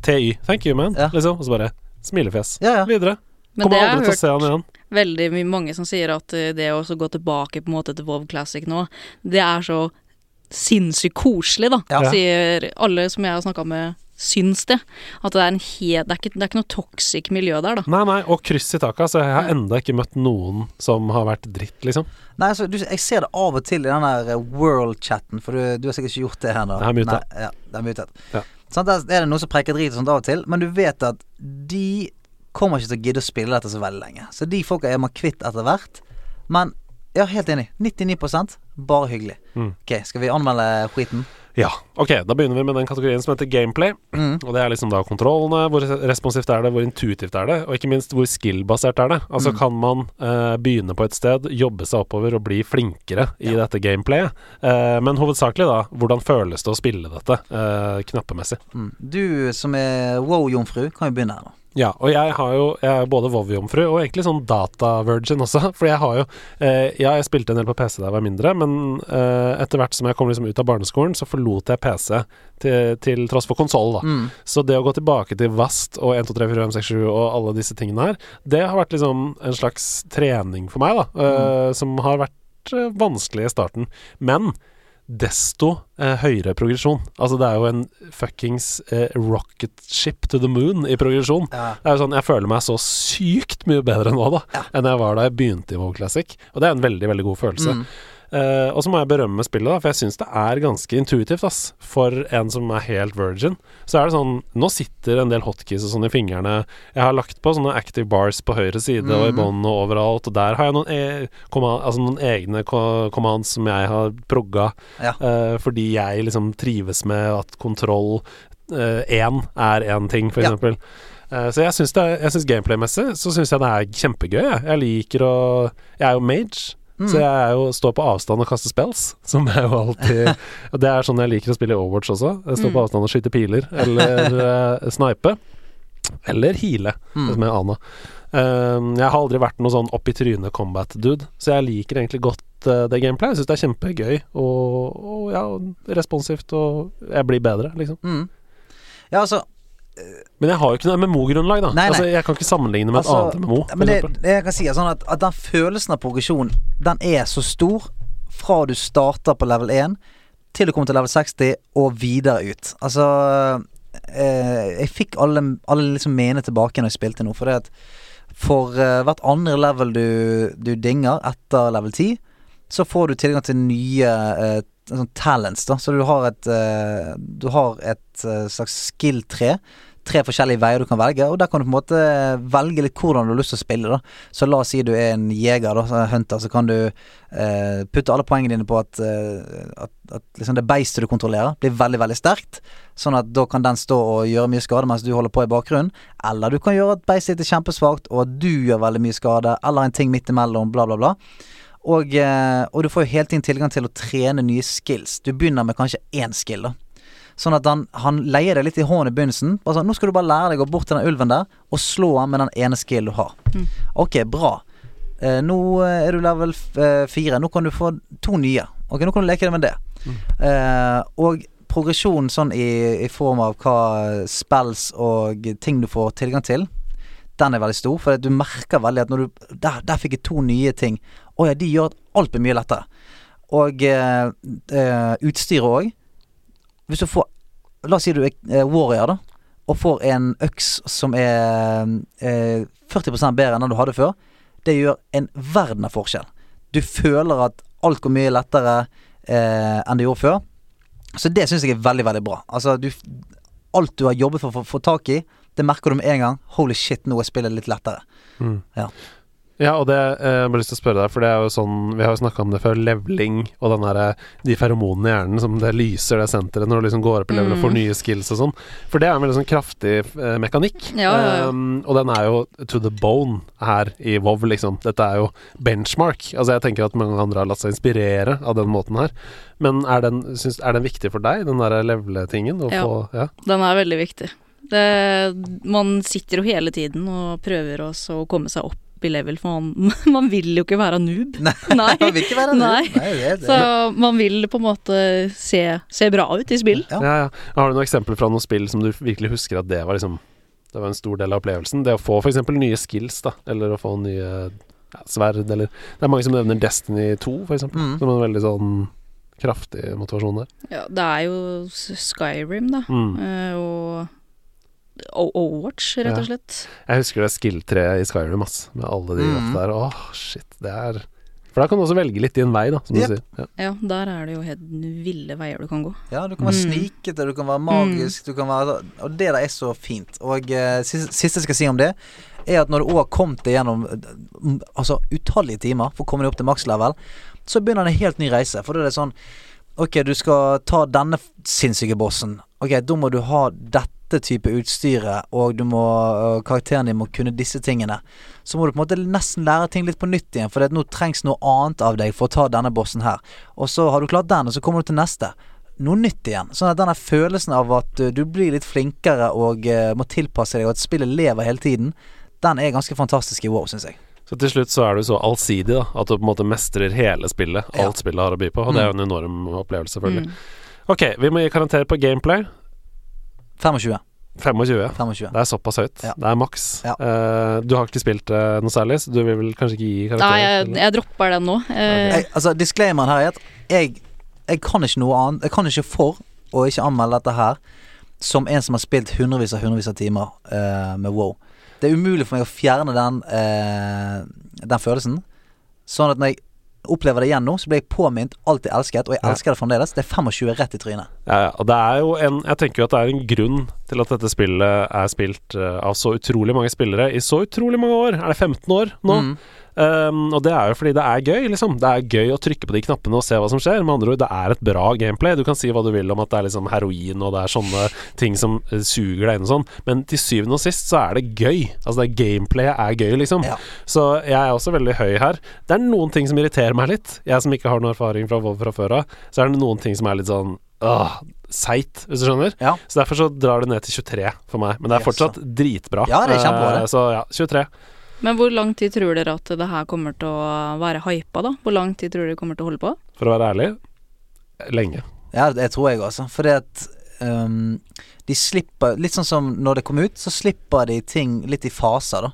B: TY. Thank you, man.
C: Ja.
B: Liksom. Og så bare smilefjes.
C: Ja, ja.
B: Videre.
A: Men
B: Kommer
A: det har
B: aldri til å
A: jeg
B: se han
A: hørt
B: igjen.
A: veldig mye mange som sier at eh, det å så gå tilbake på en måte til WoW Classic nå, det er så sinnssykt koselig, da.
C: Ja.
A: Sier alle som jeg har snakka med, syns det. At det er, en he det, er ikke, det er ikke noe toxic miljø der, da.
B: Nei, nei, og kryss i taket. Så jeg har enda ikke møtt noen som har vært dritt, liksom.
C: Nei, altså, du, jeg ser det av og til i den der eh, world-chatten, for du, du har sikkert ikke gjort det ennå.
B: Den er mutet.
C: Nei, ja, den er mutet.
B: Ja.
C: Sånn, der er det noen som preker drit og sånt av og til, men du vet at de kommer ikke til å gidde å spille dette så veldig lenge. Så de folka er man kvitt etter hvert. Men ja, helt enig. 99 bare hyggelig.
B: Mm.
C: Ok, skal vi anmelde skiten?
B: Ja, ok, da begynner vi med den kategorien som heter gameplay. Og det er liksom da kontrollene, hvor responsivt er det, hvor intuitivt er det, og ikke minst hvor skill-basert er det. Altså kan man eh, begynne på et sted, jobbe seg oppover og bli flinkere i dette gameplayet. Eh, men hovedsakelig da, hvordan føles det å spille dette eh, knappemessig?
C: Mm. Du som er wow-jomfru, kan jo begynne her nå.
B: Ja, og jeg har jo Jeg er både Vov-jomfru og egentlig sånn data-virgin også. For jeg har jo eh, Ja, jeg spilte en del på PC da jeg var mindre, men eh, etter hvert som jeg kom liksom ut av barneskolen, så forlot jeg PC til, til tross for konsoll, da.
C: Mm.
B: Så det å gå tilbake til VAST og 1, 2, 3, 4, 5, 6, 7 og alle disse tingene her, det har vært liksom en slags trening for meg, da. eh, Som har vært eh, vanskelig i starten. Men desto eh, høyere progresjon. Altså det er jo en fuckings eh, rocket ship to the moon i progresjon.
C: Ja.
B: Det er jo sånn, Jeg føler meg så sykt mye bedre nå da enn jeg var da jeg begynte i WoW Classic. Og det er en veldig veldig god følelse.
C: Mm.
B: Eh, og så må jeg berømme spillet, da for jeg syns det er ganske intuitivt. ass For en som er helt virgin. Så er det sånn Nå sitter en del hotkeys og sånn i fingrene. Jeg har lagt på sånne active bars på høyre side
C: Mm.
B: og i bånn og overalt. Og der har jeg noen, e komma- altså noen egne ko- commands som jeg har progga.
C: Ja.
B: Eh, fordi jeg liksom trives med at kontroll én er én ting, for
C: Ja.
B: eksempel. Eh, så jeg syns, det er- jeg syns gameplay-messig så syns jeg det er kjempegøy. Jeg, jeg liker å Jeg er jo mage. Så jeg er jo står på avstand og kaster spells, som er jo alltid og Det er sånn jeg liker å spille i Overwatch også. Jeg står på avstand og skyter piler, eller eh, snipe. Eller heale, som jeg aner. Um, jeg har aldri vært noe sånn opp i trynet combat-dude, så jeg liker egentlig godt eh, det gameplayet. Jeg syns det er kjempegøy og, og ja, responsivt, og jeg blir bedre, liksom.
C: Ja, altså,
B: Men jeg har jo ikke noe MMO-grunnlag, da.
C: Nei, nei.
B: Altså, jeg kan ikke sammenligne med
C: Altså,
B: et annet MMO.
C: ja,
B: for
C: Men det,
B: eksempel.
C: det jeg kan si er sånn at, at den følelsen av progresjon, den er så stor fra du starter på level 1 til du kommer til level 60 og videre ut. Altså eh, Jeg fikk alle, alle liksom mene tilbake når jeg spilte nå, for det at for eh, hvert andre level du, du dinger etter level 10, så får du tilgang til nye eh, sånn talents, da. Så du har et, eh, du har et eh, slags skill-tre. Tre forskjellige veier du kan velge, og der kan du på en måte eh, velge litt hvordan du har lyst til å spille. da Så la oss si du er en jeger, da, så en hunter, så kan du eh, putte alle poengene dine på at, eh, at, at liksom det beistet du kontrollerer, blir veldig, veldig sterkt. Sånn at da kan den stå og gjøre mye skade mens du holder på i bakgrunnen. Eller du kan gjøre at beistet ditt er kjempesvakt, og at du gjør veldig mye skade, eller en ting midt imellom, bla, bla, bla. Og, eh, og du får jo hele tiden tilgang til å trene nye skills. Du begynner med kanskje én skill, da. Sånn at han, han leier deg litt i hånden i begynnelsen. Bare sånn, 'Nå skal du bare lære deg å gå bort til den ulven der og slå han med den ene skillen du har.' Ok, bra. Eh, nå eh, er du level f- eh, fire. Nå kan du få to nye. Ok, nå kan du leke deg med det. Eh, og progresjon sånn i, i form av hva spells og ting du får tilgang til, den er veldig stor. For du merker veldig at når du Der, der fikk jeg to nye ting. Å ja, de gjør at alt blir mye lettere. Og eh, eh, utstyret òg. Hvis du får La oss si du er eh, warrior, da. Og får en øks som er eh, 40 bedre enn den du hadde før. Det gjør en verden av forskjell. Du føler at alt går mye lettere eh, enn det gjorde før. Så det syns jeg er veldig, veldig bra. Altså, du, alt du har jobbet for å få- få tak i, det merker du med en gang. Holy shit, nå er spillet litt lettere.
B: Ja, og det eh, jeg har bare lyst til å spørre deg, for det er jo sånn Vi har jo snakka om det før, levling og den derre De feromonene i hjernen som det lyser det senteret når du liksom går opp i level og
C: Mm.
B: får nye skills og sånn. For det er en veldig sånn kraftig eh, mekanikk.
A: Ja, ja, ja.
B: Um, og den er jo to the bone her i WoW, liksom. Dette er jo benchmark. Altså jeg tenker at mange andre har latt seg inspirere av den måten her. Men er den, syns, er den viktig for deg, den derre levle-tingen? å
A: Ja.
B: få- ja.
A: Den er veldig viktig. Det, man sitter jo hele tiden og prøver også å komme seg opp happy level, for man, man vil jo ikke være noob.
C: Nei.
A: Nei.
C: Det vil ikke være det.
A: Nei.
C: Nei, det, det.
A: Så man vil på en måte se, se bra ut i spill.
C: Ja.
B: Ja, ja. Har du noen eksempler fra noen spill som du virkelig husker at det var liksom Det var en stor del av opplevelsen? Det å få f.eks. nye skills, da, eller å få nye ja, sverd, eller Det er mange som nevner Destiny 2, f.eks.,
C: Mm.
B: som en veldig sånn kraftig motivasjon der.
A: Ja, det er jo S- Skyrim, da.
B: Mm.
A: Eh, og O- Overwatch, rett
B: Ja.
A: og slett.
B: Jeg husker det skill-treet i Skyrim, ass, med alle de
C: Mm.
B: mm. der. Åh, shit, det er For da kan du også velge litt din vei, da, som
C: Yep.
B: du sier. Ja.
A: Ja, der er det jo helt ville veier du kan gå.
C: Ja, du kan være
A: Mm.
C: snikete, du kan være magisk, du kan være Og det der er så fint. Og eh, siste, siste jeg skal si om det, er at når du òg har kommet deg gjennom eh, m- altså, utallige timer for å komme deg opp til makslevel, så begynner en helt ny reise. For da er det sånn Ok, du skal ta denne f- sinnssyke bossen. Ok, da må du ha dette type utstyret, og du må eh, karakteren din må kunne disse tingene. Så må du på en måte nesten lære ting litt på nytt igjen, for det at nå trengs noe annet av deg for å ta denne bossen her. Og så har du klart den, og så kommer du til neste noe nytt igjen. Sånn at denne følelsen av at eh, du blir litt flinkere og eh, må tilpasse deg, og at spillet lever hele tiden, den er ganske fantastisk i WoW, syns jeg.
B: Så til slutt så er du så allsidig, da, at du på en måte mestrer hele spillet.
C: Ja. Mm.
B: Alt spillet har å by på, og det er jo en enorm opplevelse,
A: Mm.
B: selvfølgelig. Ok, vi må gi karakter på gameplay.
C: 25.
B: 25.
C: 25.
B: Det er såpass høyt.
C: Ja.
B: Det er maks.
C: Ja.
B: Eh, du har ikke spilt det noe særlig, så du vil vel kanskje ikke gi karakter?
A: Nei, jeg,
B: eller?
A: jeg dropper den nå. Eh,
C: Jeg, altså, disclaimeren her er at jeg, jeg kan ikke noe annet Jeg kan ikke for å ikke anmelde dette her som en som har spilt hundrevis og hundrevis av timer eh, med WoW. Det er umulig for meg å fjerne den, eh, den følelsen. Sånn at når jeg opplever det igjen nå, så blir jeg påminnet alt jeg elsket, og jeg
B: Ja.
C: elsker det fremdeles. Det er 25 rett i trynet.
B: Ja, ja. Og det er jo en Jeg tenker jo at det er en grunn til at dette spillet er spilt eh, av så utrolig mange spillere i så utrolig mange år. Er det 15 år nå?
C: Mm.
B: Um, og det er jo fordi det er gøy, liksom. Det er gøy å trykke på de knappene og se hva som skjer. Med andre ord, det er et bra gameplay. Du kan si hva du vil om at det er liksom heroin og det er sånne ting som eh, suger deg inn og sånn, men til syvende og sist så er det gøy. Altså, det gameplayet er gøy, liksom.
C: Ja.
B: Så jeg er også veldig høy her. Det er noen ting som irriterer meg litt. Jeg som ikke har noen erfaring fra WoW fra før av, så er det noen ting som er litt sånn Åh, seigt, hvis du skjønner.
C: Ja.
B: Så derfor så drar det ned til 23 for meg. Men det er
C: Jaså.
B: fortsatt dritbra.
C: Ja, det er kjempebra, det.
B: Eh, Så ja, 23.
A: men hvor lang tid tror dere at det her kommer til å være hypa, da? Hvor lang tid tror dere det kommer til å holde på?
B: For å være ærlig, lenge.
C: Ja, det tror jeg også. Fordi at ehm, de slipper Litt sånn som når det kom ut, så slipper de ting litt i faser, da.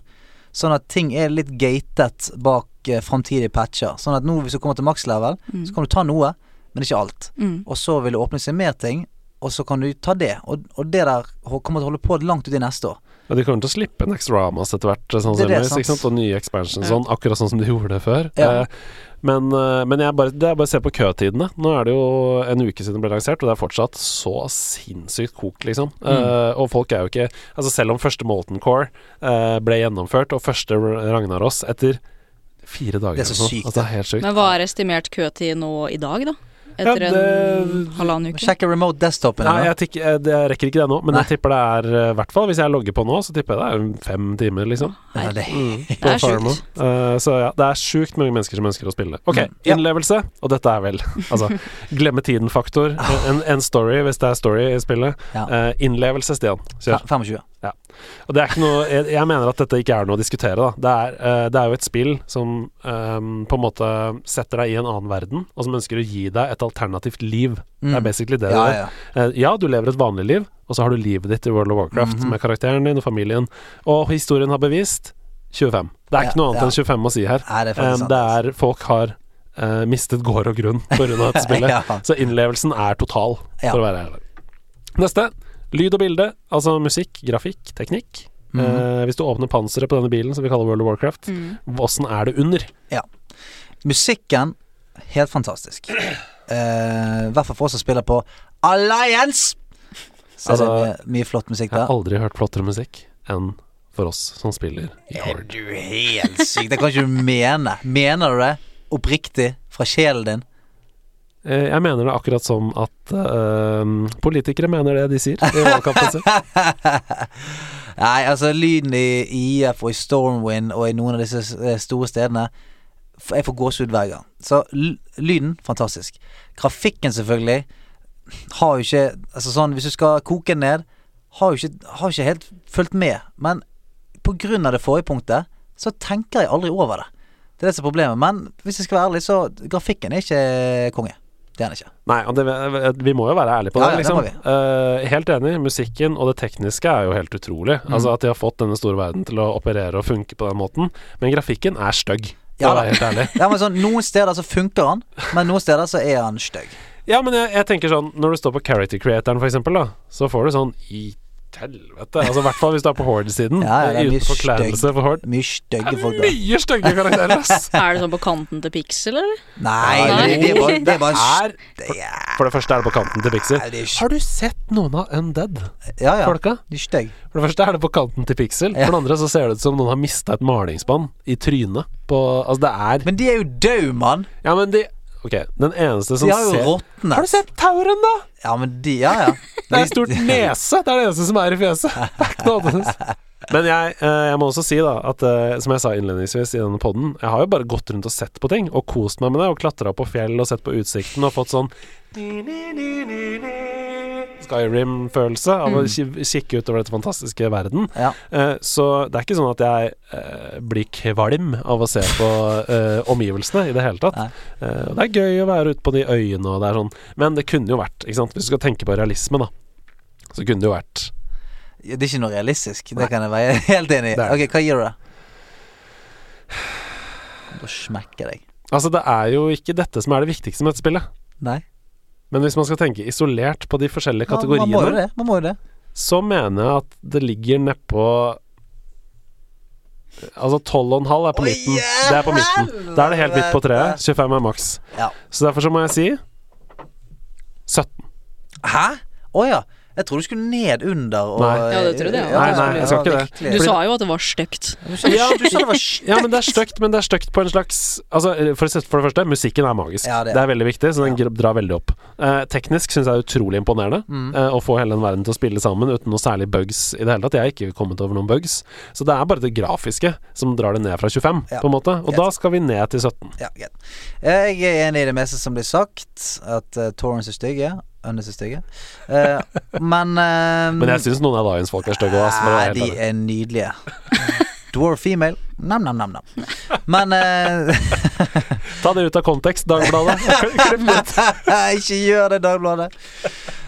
C: Sånn at ting er litt gatet bak eh, framtidige patcher. Sånn at nå hvis du kommer til makslevel,
B: Mm.
C: så kan du ta noe, men ikke alt.
A: Mm.
C: Og så vil det åpne seg mer ting, og så kan du ta det. Og, og det der ho- kommer til å holde på langt ut i neste år.
B: Ja, de kommer til å slippe Nextramas etter hvert, eh,
C: Det er det,
B: sannsynligvis.
C: sant.
B: Ikke sant? Og nye expansions og
A: Ja.
B: sånn, akkurat sånn som de gjorde det før.
C: Ja.
B: Eh, men eh, men jeg bare, det er bare å se på køtidene. Nå er det jo en uke siden det ble lansert, og det er fortsatt så sinnssykt kok, liksom.
C: Mm.
B: Eh, og folk er jo ikke Altså, selv om første Molten Core eh, ble gjennomført, og første Ragnaros etter fire dager
C: Det er så
B: eller noe,
C: sykt,
B: Altså, det er helt sykt.
A: Men hva er estimert køtid nå i dag, da? Etter
B: Ja, det-
A: en halvannen uke?
C: Sjekke remote desktopen.
B: Nei,
C: eller?
B: jeg, tikk- eh, det- jeg rekker ikke det nå, men
C: Nei.
B: jeg tipper det er eh, hvert fall Hvis jeg logger på nå, så tipper jeg det er fem timer, liksom.
C: Ja, det,
B: Mm.
A: Det er
B: Farmo.
A: sjukt.
B: Eh, så ja, det er sjukt mange mennesker som ønsker å spille. Ok,
C: Mm. Ja.
B: innlevelse, og dette er vel altså glemme tiden-faktor. En, en story, hvis det er story i spillet.
C: Ah. Ja.
B: Eh, innlevelse, Stian. Kjør.
C: 25.
B: Og det er ikke noe jeg, jeg mener at dette ikke er noe å diskutere, da. Det er, eh, det er jo et spill som eh, på en måte setter deg i en annen verden, og som ønsker å gi deg et alternativt liv. Det
C: Mm.
B: er basically det
C: Ja,
B: det er.
C: ja.
B: Eh, Ja, du lever et vanlig liv, og så har du livet ditt i World of Warcraft
C: Mhm.
B: med karakteren din og familien. Og historien har bevist 25. Det er
C: Ja,
B: ikke noe annet
C: ja.
B: enn 25 å si her.
C: Nei, det er faktisk
B: Eh,
C: sant, altså.
B: det er folk har eh, mistet gård og grunn pga. dette spillet.
C: Ja.
B: Så innlevelsen er total,
C: Ja.
B: for å være ærlig. Neste. Lyd og bilde, altså musikk, grafikk, teknikk.
C: Mhm.
B: Eh, hvis du åpner panseret på denne bilen, som vi kaller World of Warcraft,
C: Mm.
A: Mm.
B: åssen er det under?
C: Musikken helt fantastisk. Eh, I hvert fall for oss som spiller på Alliance! Så er det
B: Altså,
C: mye- mye flott musikk
B: Jeg har
C: der.
B: aldri hørt flottere musikk enn for oss som spiller i
C: Er
B: Horde.
C: du helt syk? Det kan ikke du mene. Mener du det oppriktig fra sjelen din?
B: Eh, Jeg mener det akkurat som at eh, politikere mener det de sier i valgkampen sin.
C: Nei, altså lyden i IF og i Stormwind og i noen av disse eh, store stedene f- Jeg får gåsehud hver gang. Så l- lyden, fantastisk. Grafikken, selvfølgelig, har jo ikke Altså sånn, hvis du skal koke den ned, har jo ikke, har ikke helt fulgt med. Men på grunn av det forrige punktet, så tenker jeg aldri over det. Det er det som er problemet. Men hvis jeg skal være ærlig, så grafikken er ikke konge. Det er den ikke.
B: Nei, og det, vi må jo være ærlige på det.
C: Ja, ja, det
B: liksom.
C: må vi.
B: Eh, helt enig. Musikken og det tekniske er jo helt utrolig.
C: Mm.
B: Altså At de har fått denne store verden til å operere og funke på den måten. Men grafikken er stygg, for
C: Ja,
B: å
C: da.
B: være helt ærlig.
C: Ja, men sånn, Noen steder så funker han, men noen steder så er han stygg.
B: Ja, men jeg, jeg tenker sånn Når du står på character creatoren, for eksempel, da, så får du sånn i helvete. Altså, I hvert fall hvis du er på Horde-siden.
C: Ja, ja, det er mye
B: uten forkleinelse
C: stygg.
B: for Horde.
C: Mye stygge
B: Det
C: folk
B: er
C: der.
B: mye stygge karakterer, ass!
A: Er det sånn på kanten til Pixel, eller?
C: Nei,
A: Nei.
C: det, det, er bare, det er bare en
B: Er,
C: st- ja,
B: for det første er det på kanten til Pixel.
C: Nei, det er ikke-
B: Har du sett noen av Undead?
C: ja, ja.
B: Folka?
C: De er stygge.
B: For det første er det på kanten til Pixel. For det andre så ser det ut som noen har mista et malingsbånd i trynet på Altså, det er
C: Men de er jo døde, mann.
B: Ja, men de Ok, den eneste som
C: De har jo
B: ser
C: råtnet.
B: Har du sett tauren, da?
C: Ja, men de Ja, ja.
B: Det er et stort nese. Det er det eneste som er i fjeset. Det er ikke noe annet. Men jeg, eh, jeg må også si, da, at eh, som jeg sa innledningsvis i denne podden, jeg har jo bare gått rundt og sett på ting, og kost meg med det, og klatra på fjell og sett på utsikten og fått sånn Skyrim-følelse av å ki- kikke utover dette fantastiske verden.
C: Ja.
B: Eh, Så det er ikke sånn at jeg eh, blir kvalm av å se på eh, omgivelsene i det hele tatt.
C: Nei.
B: Eh, og det er gøy å være ute på de øyene og det er sånn, men det kunne jo vært, ikke sant, hvis du skal tenke på realisme, da, så kunne det jo vært
C: Det er ikke noe realistisk. Det kan jeg være helt enig i.
B: Det er-
C: Ok, Hva gir du det? Kommer til å smekke deg.
B: Altså, det er jo ikke dette som er det viktigste med dette spillet.
C: Nei.
B: Men hvis man skal tenke isolert på de forskjellige
C: Man, man må jo
B: kategoriene,
C: det. Man må jo det.
B: så mener jeg at det ligger nedpå Altså 12,5 er på
C: Oi,
B: midten. Det er på midten. Da er det helt midt på treet. 25 er maks.
C: Ja.
B: Så derfor så må jeg si 17.
C: Hæ? Å ja. Jeg trodde du skulle ned under og
B: Nei.
A: Ja, det trodde jeg.
B: Nei, nei, jeg skal ikke det.
A: Du sa jo at det var stygt.
C: ja, virkelig. du sa det var stygt.
B: Ja, men det er stygt, men det er stygt på en slags Altså, for, å si- for det første, musikken er magisk.
C: Ja, det
B: det,
C: er.
B: er. veldig viktig, så den gr- drar veldig opp. Eh, teknisk syns jeg er utrolig imponerende
C: Mm.
B: eh, å få hele den verden til å spille sammen uten noe særlig bugs i det hele tatt. Jeg har ikke kommet over noen bugs. Så det er bare det grafiske som drar det ned fra 25,
C: Ja.
B: på en måte. Og
C: Yes.
B: da skal vi ned til 17.
C: Ja, greit. Jeg er enig i det meste som blir sagt. At uh, Torrents er stygge. Unnes er stygge. Eh, men eh,
B: Men jeg syns noen av Lions folk er stygge òg, ass. for å være
C: Nei,
B: helt
C: de
B: ærlig.
C: er nydelige. Dwarf female. Nam-nam-nam. Men eh,
B: Ta det ut av kontekst, Dagbladet. Klipp det ut.
C: Ikke gjør det, Dagbladet.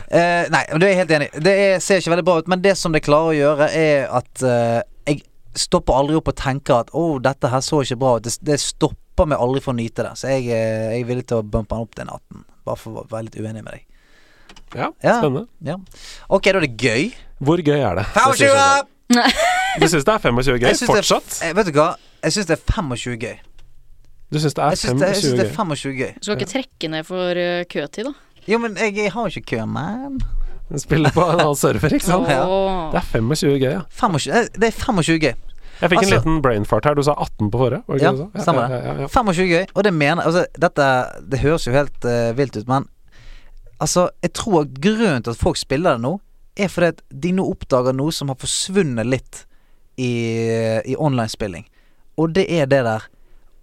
C: Eh, nei, men du er jeg helt enig. Det er, ser ikke veldig bra ut, men det som det klarer å gjøre, er at eh, jeg stopper aldri opp og tenker at 'Å, dette her så ikke bra ut'. Det, det stopper meg aldri for å nyte det. Så jeg, eh, jeg er villig til å bumpe den opp til en 18. Bare for å være litt uenig med deg.
B: Ja,
C: Ja.
B: spennende.
C: Ja. Ok, da er det gøy.
B: Hvor gøy er det? Det synes jeg
C: 25!
B: sånn. Du syns det er 25 gøy?
C: Jeg synes det er-
B: Fortsatt?
C: Eh, vet du hva? Jeg syns det er 25 gøy.
B: Du syns det
C: Jeg
B: er
C: syns det, jeg synes
B: 25
C: det
B: gøy?
C: er 25 gøy.
A: Du skal ikke trekke ned for eh, køtid, da.
C: Jo, men jeg, jeg har jo ikke kø, man.
B: Spiller på en annen server, ikke sant?
C: Ja.
A: Åh.
B: Det er 25 gøy, ja.
C: 25, eh, det er 25 gøy.
B: Jeg fikk
C: Altså-
B: en liten brainfart her. Du sa 18 på forrige. Var det
C: Ja,
B: ikke det du sa?
C: stemmer
B: Ja, ja, ja, ja.
C: 25 gøy. Og det mener altså, Dette det høres jo helt eh, vilt ut, men altså, jeg tror at grunnen til at folk spiller det nå, er fordi at de nå oppdager noe som har forsvunnet litt i, i online-spilling. Og det er det der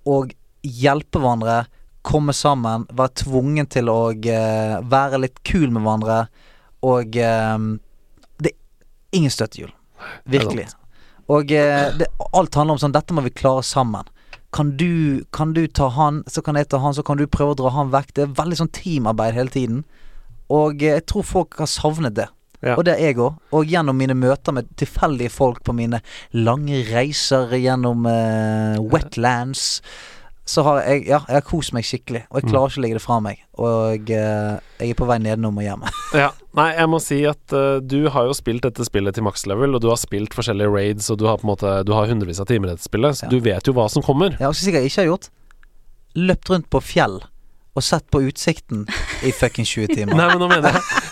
C: å hjelpe hverandre, komme sammen, være tvungen til å eh, være litt kul med hverandre, og eh, Det er ingen støttehjul. Virkelig. Og eh, det, alt handler om sånn Dette må vi klare sammen. Kan du, kan du ta han, så kan jeg ta han, så kan du prøve å dra han vekk. Det er veldig sånn teamarbeid hele tiden. Og eh, jeg tror folk har savnet det.
B: Ja.
C: Og det er jeg òg. Og gjennom mine møter med tilfeldige folk på mine lange reiser gjennom eh, wetlands, så har jeg Ja, jeg har kost meg skikkelig. Og
B: Mm.
C: jeg klarer ikke å legge det fra meg. Og eh, jeg er på vei nedenom og hjem.
B: Ja. Nei, jeg må si at eh, du har jo spilt dette spillet til max level, og du har spilt forskjellige raids, og du har på en måte Du har hundrevis av timer i dette spillet, så
C: Ja.
B: du vet jo hva som kommer.
C: Ja, og så sikkert jeg ikke har gjort Løpt rundt på fjell Og sett på utsikten I fucking 20 timer
B: Nei, men nå mener jeg,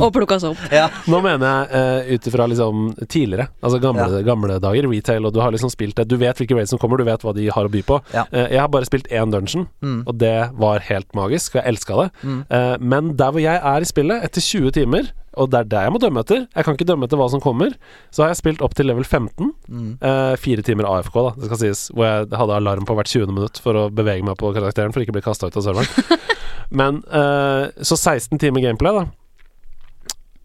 A: Og plukkas opp.
C: ja.
B: nå mener jeg uh, ut ifra liksom tidligere, altså gamle, gamle dager, retail, og du har liksom spilt det Du vet hvilke raids som kommer, du vet hva de har å by på.
C: Ja.
B: Eh, jeg har bare spilt én dungeon,
C: Mm.
B: og det var helt magisk, og jeg elska det.
C: Mm.
B: Eh, men der hvor jeg er i spillet, etter 20 timer, og det er der jeg må dømme etter Jeg kan ikke dømme etter hva som kommer. Så har jeg spilt opp til level 15.
C: Mm.
B: eh, fire timer AFK, da, det skal sies, hvor jeg hadde alarm på hvert 20. minutt for å bevege meg på karakteren for ikke å bli kasta ut av serveren. men eh, så 16 timer gameplay, da.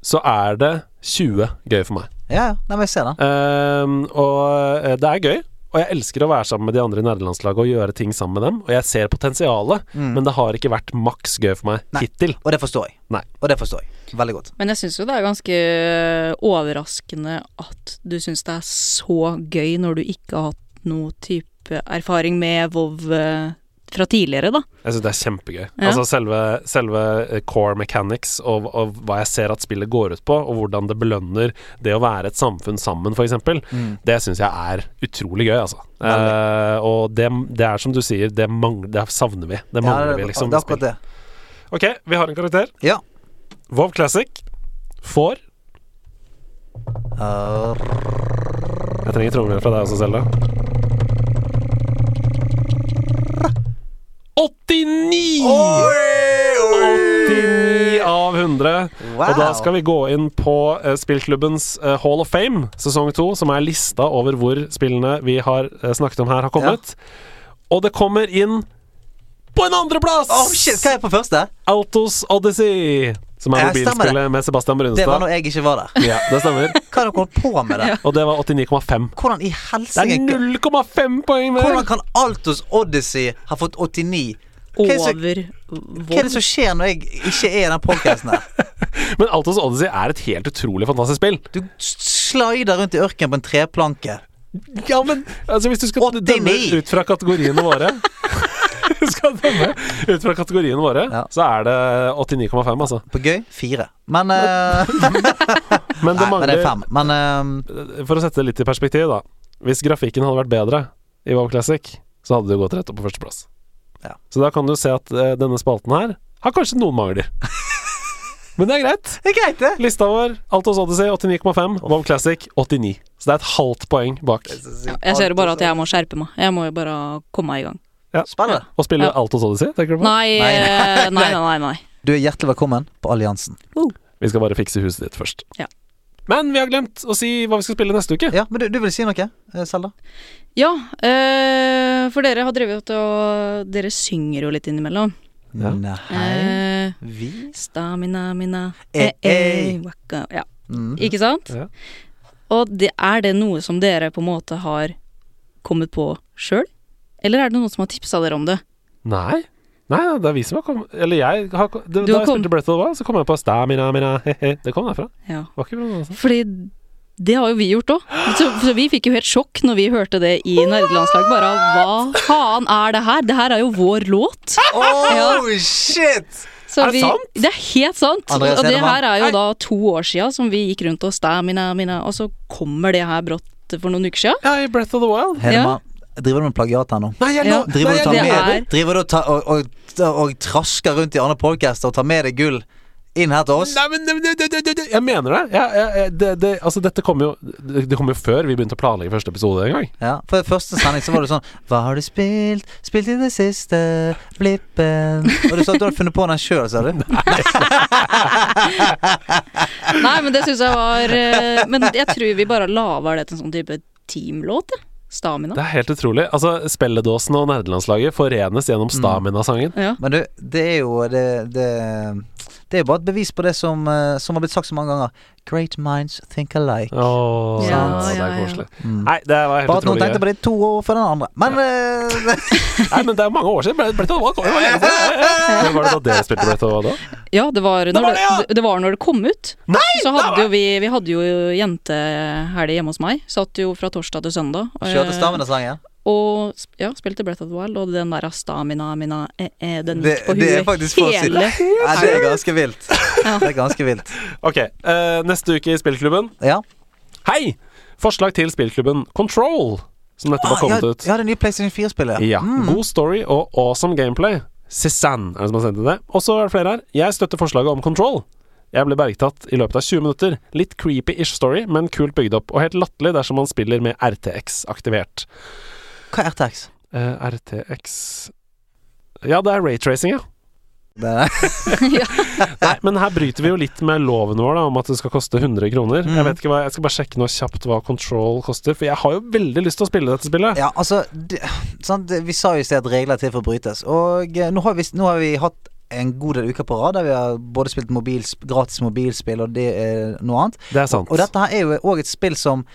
B: Så er det 20 gøy for meg.
C: ja, ja, nei, men jeg ser det
B: Ehm, og eh, det er gøy. Og Og jeg elsker å være sammen med de andre i nederlandslaget og gjøre ting sammen med dem. Og jeg ser potensialet, men det har ikke vært maks gøy for meg
C: Nei.
B: hittil.
C: Mm. Og det forstår jeg.
B: Nei.
C: Og det forstår jeg. Veldig godt.
A: Men jeg syns jo det er ganske øh, overraskende at du syns det er så gøy når du ikke har hatt noe type erfaring med Vov eh, fra tidligere, da.
B: Jeg syns det er kjempegøy.
A: Ja.
B: Altså selve, selve eh, core mechanics og, og hva jeg ser at spillet går ut på, og hvordan det belønner det å være et samfunn sammen, f.eks.,
C: Mm.
B: det syns jeg er utrolig gøy, altså. Eh, og det, det er som du sier, det, mangler, det savner vi. Det
C: Ja,
B: mangler
C: det,
B: vi, liksom.
C: det
B: i
C: er akkurat
B: spill.
C: det.
B: Ok, vi har en karakter.
C: Ja.
B: Vov Classic får
C: Uh,
B: Jeg trenger trommer fra deg også, Selda. 89! 89 av 100.
C: Wow.
B: Og da skal vi gå inn på eh, spillklubbens eh, Hall of Fame sesong 2, som er lista over hvor spillene vi har eh, snakket om her, har kommet. Og det kommer inn på en andreplass!
C: oh, shit, hva er på første?
B: Autos Odyssey, som er
C: Ja, stemmer det.
B: mobilspillet med Sebastian
C: Det var
B: Brunstad.
C: når jeg ikke var der.
B: Ja, det stemmer.
C: Hva har dere holdt på med der?
B: Og det var 89,5.
C: Hvordan i
B: Det er
C: helsike
B: 0,5 poeng mer!
C: Hvordan kan Altos Odyssey ha fått 89? Hva er det som- hva
A: Over
C: er det
A: Vov.
C: som skjer når jeg ikke er i den podkasten her?
B: Men Altos Odyssey er et helt utrolig fantastisk spill.
C: Du s- slider rundt i ørkenen på en treplanke.
B: Ja, men altså, Hvis du skal
C: 89.
B: dømme ut fra kategoriene våre Du skal dømme ut fra kategoriene våre,
C: Ja.
B: så er det 89,5, altså.
C: På gøy? Fire. Men eh,
B: Men det
C: Nei, men det
B: mangler
C: er fem. Men eh,
B: For å sette det litt i perspektiv, da. Hvis grafikken hadde vært bedre i WoW Classic, så hadde du gått rett opp på førsteplass.
C: Ja.
B: Så da kan du se at eh, denne spalten her har kanskje noen mangler. men det er greit.
C: det er greit, det.
B: Lista vår Altos Odyssey 89,5, WoW Classic 89. Så det er et halvt poeng bak.
A: Jeg ser jo bare at jeg må skjerpe meg. Jeg må jo bare komme meg i gang.
C: Spennende.
B: Å spille
A: Ja.
B: Altos Odyssey, tenker du på?
A: Nei,
C: Nei.
A: eh, nei, nei, nei. nei.
C: Du er hjertelig velkommen på Alliansen.
B: Vi skal bare fikse huset ditt først.
A: Ja.
B: Men vi har glemt å si hva vi skal spille neste uke.
C: Ja, men du, du vil si noe, eh, Selda?
A: Ja, eh, for dere har drevet og Dere synger jo litt innimellom.
B: Ja.
C: Nei
A: Eh,
C: Vi
A: stamina, mina,
C: Eh,
A: eh,
C: eh.
A: eh, waka. Ja,
C: mm.
A: ikke sant?
B: Ja.
A: Og det, er det noe som dere på en måte har kommet på sjøl? Eller er det noen som har tipsa dere om det?
B: Nei. Nei, det er vi som har kommet Eller jeg har kom- det,
A: Du
B: Da
A: har
B: jeg
A: kom-
B: spilte Breath of the Wild, så kom jeg på Stamina, mina, he-he. Det kom derfra.
A: Ja.
B: Var ikke bra, altså.
A: Fordi det har jo vi gjort òg. Så, så vi fikk jo helt sjokk når vi hørte det i Nerdelandslag. Bare hva faen er det her? Det her er jo vår låt.
C: Oh, shit!
A: Så
B: Er det
A: vi,
B: sant?
A: Det er helt sant.
C: Andreas
A: og det
C: Hedemann.
A: her er jo da to år sia som vi gikk rundt og stamina, mina, og så kommer det her brått for noen uker sia.
B: Ja, i Breath of the Wild.
C: Hedemann, driver du med plagiat her nå?
B: Nei, jeg
A: Ja.
B: lå
C: Driver du,
B: Nei,
C: og
A: Det
C: tar
B: jeg,
A: er-
C: med, driver du og, ta, og, og, og trasker rundt i andre podcaster og tar med deg gull inn her til oss?
B: Nei, men det, det, det, det, jeg mener det. Jeg, jeg, jeg, det, det altså, dette kom jo Det, det kom jo før vi begynte å planlegge første episode en gang.
C: Ja, For i første sending så var det sånn Hva har du spilt? Spilt i det siste? Blippen Og du sa at du hadde funnet på den sjøl, sa du?
A: Nei, men det syns jeg var eh, Men jeg tror vi bare lager det til en sånn type teamlåt, jeg. Stamina.
B: Det er helt utrolig. Altså, Spelledåsen og nerdelandslaget forenes gjennom Stamina-sangen.
A: Ja.
C: Men du, det er jo det, det, det er jo bare et bevis på det som, eh, som har blitt sagt så mange ganger. Great minds think alike.
B: Åh,
A: Ja,
B: det
A: ja,
B: er
A: ja.
B: koselig.
C: Mm.
B: Nei, det var helt
C: Bare at noen
B: utrolig. gøy.
C: tenkte på det to år før den andre. Men eh,
B: Nei, men det er mange år siden. Ble, ble det, var, det var lenge siden. Men Var det da dere spilte Breath of the Wild òg?
A: Ja, det var, når
B: var
A: det,
B: det, ja!
A: det, var når det kom ut. så hadde jo vi, vi hadde jo jentehelg hjemme hos meg. Satt jo fra torsdag til søndag. og-
C: Kjørte Stamina-sangen.
A: Og sp- ja, spilte Breath of the Wild, og den der stamina mina eh, eh, Den
C: Det,
A: gikk på
C: det er
A: huet
C: faktisk for å si
A: hele
C: Ja, det er ganske vilt. Det er ganske vilt.
B: Ok, eh, neste uke i Spillklubben.
C: Ja.
B: Hei! Forslag til spillklubben Control, som nettopp har
C: Ah, ja,
B: kommet ut.
C: ja, Mm. det nye PlayStation 4-spillet.
B: Ja. God story og awesome gameplay. Cézanne er det som har sendt inn det. Og så er det flere her. Jeg støtter forslaget om Control. Jeg ble bergtatt i løpet av 20 minutter. Litt creepy-ish story, men kult bygd opp. Og helt latterlig dersom man spiller med RTX aktivert.
C: Hva er RTX?
B: Eh, RTX Ja, det er raytracing, ja.
C: Det er,
B: Nei, men her bryter vi jo litt med loven vår da, om at det skal koste 100 kroner. Jeg vet ikke hva, jeg skal bare sjekke noe kjapt hva Control koster, for jeg har jo veldig lyst til å spille dette spillet.
C: ja, altså det, sant? det- Vi sa jo i sted at regler er til for å brytes. Og eh, nå har, vi, nå har vi hatt en god del uker på rad der vi har både spilt mobilsp gratis mobilspill og det, eh, noe annet.
B: Det er sant.
C: Og dette her er jo òg et spill som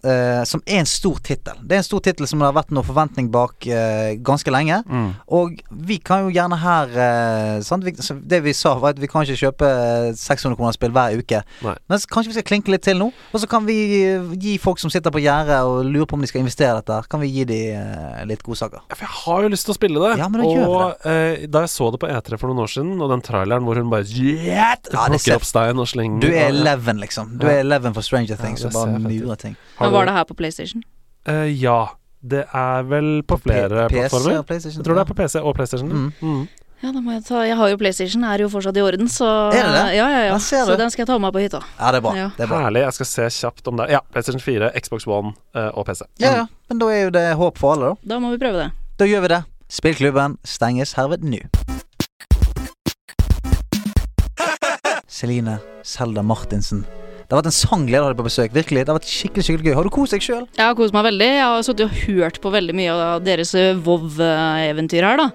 C: eh, som er en stor tittel. Det er en stor tittel som det har vært noe forventning bak eh, ganske lenge.
B: Mm.
C: Og vi kan jo gjerne her eh, sant? Vi, så Det vi sa, var at vi kan ikke kjøpe eh, 600 kroner spill hver uke.
B: Nei.
C: Men så kanskje vi skal klinke litt til nå, og så kan vi eh, gi folk som sitter på gjerdet og lurer på om de skal investere i dette, her, kan vi gi de eh, litt godsaker.
B: Ja, For jeg har jo lyst til å spille det.
C: Ja, men da
B: og
C: gjør
B: eh, da jeg så det på E3 for noen år siden, og den traileren hvor hun bare yeah,
C: ser-
B: plukker opp stein og slenger
C: Du er
B: Ja, ja.
C: Eleven, liksom. Du
B: Ja.
C: er Eleven for Stranger Things
B: det
C: og bare
B: ser fett ut.
C: murer ting.
B: Har du-
A: Men var det her på PlayStation?
B: Eh, ja. Det er vel på flere
C: P- PC,
B: plattformer.
C: PlayStation.
B: Jeg tror det er på PC og PlayStation.
C: Mm.
B: Mm.
A: Ja, da må jeg ta Jeg har jo PlayStation, er jo fortsatt i orden, så
C: Er det det?
A: Ja, ja, ja.
C: Jeg ser
A: Så
C: det.
A: den skal jeg ta med meg på hytta.
C: Ja, det er bra.
A: Ja.
C: Det er bra.
B: Herlig. Jeg skal se kjapt om det. Ja, PlayStation 4, Xbox One eh, og PC.
C: Ja, ja. Men da er jo det håp for alle, da.
A: Da må vi prøve det.
C: Da gjør vi det. Spillklubben stenges herved nå. Celine Selda Martinsen. Det har vært en sangglede å ha deg på besøk. Virkelig, det har vært skikkelig skikkelig gøy. Har du kost deg sjøl?
A: Jeg har kost meg veldig. Jeg har sittet og hørt på veldig mye av deres eh, Vov-eventyr her, da.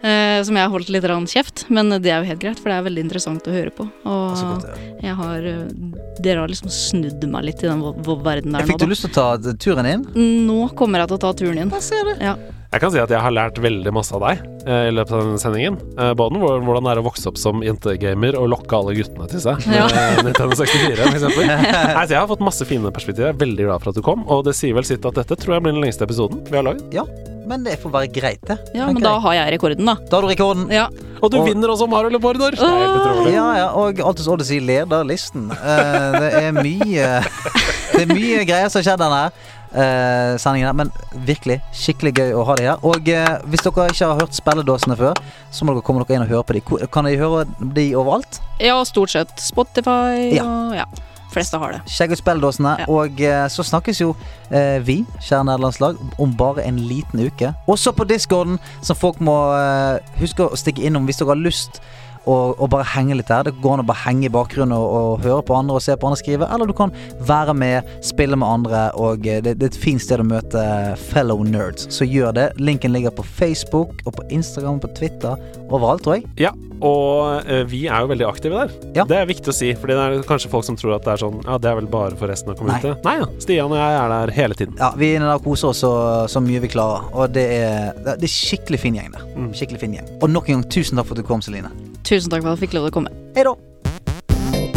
A: Eh, som jeg har holdt litt rann kjeft, men det er jo helt greit, for det er veldig interessant å høre på. Og jeg har eh, Dere har liksom snudd meg litt i den Vov-verdenen der
C: Fikk du
A: nå, da.
C: lyst til å ta d- turen inn?
A: Nå kommer jeg til å ta turen inn.
C: Der ser du.
A: Ja.
B: Jeg kan si at jeg har lært veldig masse av deg eh, i løpet av denne sendingen. Eh, både hvor- hvordan det er å vokse opp som jentegamer og lokke alle guttene til seg.
A: Ja.
B: Med Nintendo 64, for eksempel. Nei, så jeg har fått masse fine perspektiver. Jeg er veldig glad for at du kom. Og det sier vel sitt at dette tror jeg blir den lengste episoden vi har lagd.
C: Ja, men det får være greit, det.
A: ja,
C: tenker
A: men da
C: jeg.
A: har jeg rekorden, da.
C: Da har du rekorden.
A: Ja.
B: Og du
C: Og-
B: vinner også Mario Leporder! Det er helt utrolig.
C: Ja, ja, og Altus Odyssey leder listen. Eh, det er mye Det er mye greier som har skjedd denne eh, sendingen her, men virkelig skikkelig gøy å ha deg her. Og eh, hvis dere ikke har hørt spilledåsene før, så må dere komme dere inn og høre på de. Hvor- Kan de høre de overalt?
A: Ja, stort sett Spotify
C: Ja.
A: og ja. Fleste har det.
C: Sjekk ut spilledåsene.
A: Ja.
C: Og eh, så snakkes jo eh, vi, kjære nederlandslag, om bare en liten uke. Også på discorden, som folk må eh, huske å stikke innom hvis dere har lyst. Og, og bare henge litt her. Det går an å bare henge i bakgrunnen og, og høre på andre og se på andre skrive. Eller du kan være med, spille med andre, og eh, det, det er et fint sted å møte eh, fellow nerds. Så gjør det. Linken ligger på Facebook og på Instagram og på Twitter. Overalt, tror jeg.
B: Ja, og eh, vi er jo veldig aktive der.
C: Ja.
B: Det er viktig å si, Fordi det er kanskje folk som tror at det er sånn Ja, det er vel bare for resten av community.
C: Nei.
B: Nei ja, Stian og jeg er der hele tiden.
C: Ja, vi er inne der og koser oss så, så mye vi klarer. Og det er, det er skikkelig fin gjeng der. Skikkelig fin gjeng. Og nok en gang, tusen takk for at du kom, Celine.
A: Tusen takk for at jeg fikk lov til å komme.
C: Hei da.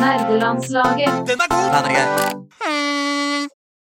E: Nerdelandslaget.
C: Ja, det er greit.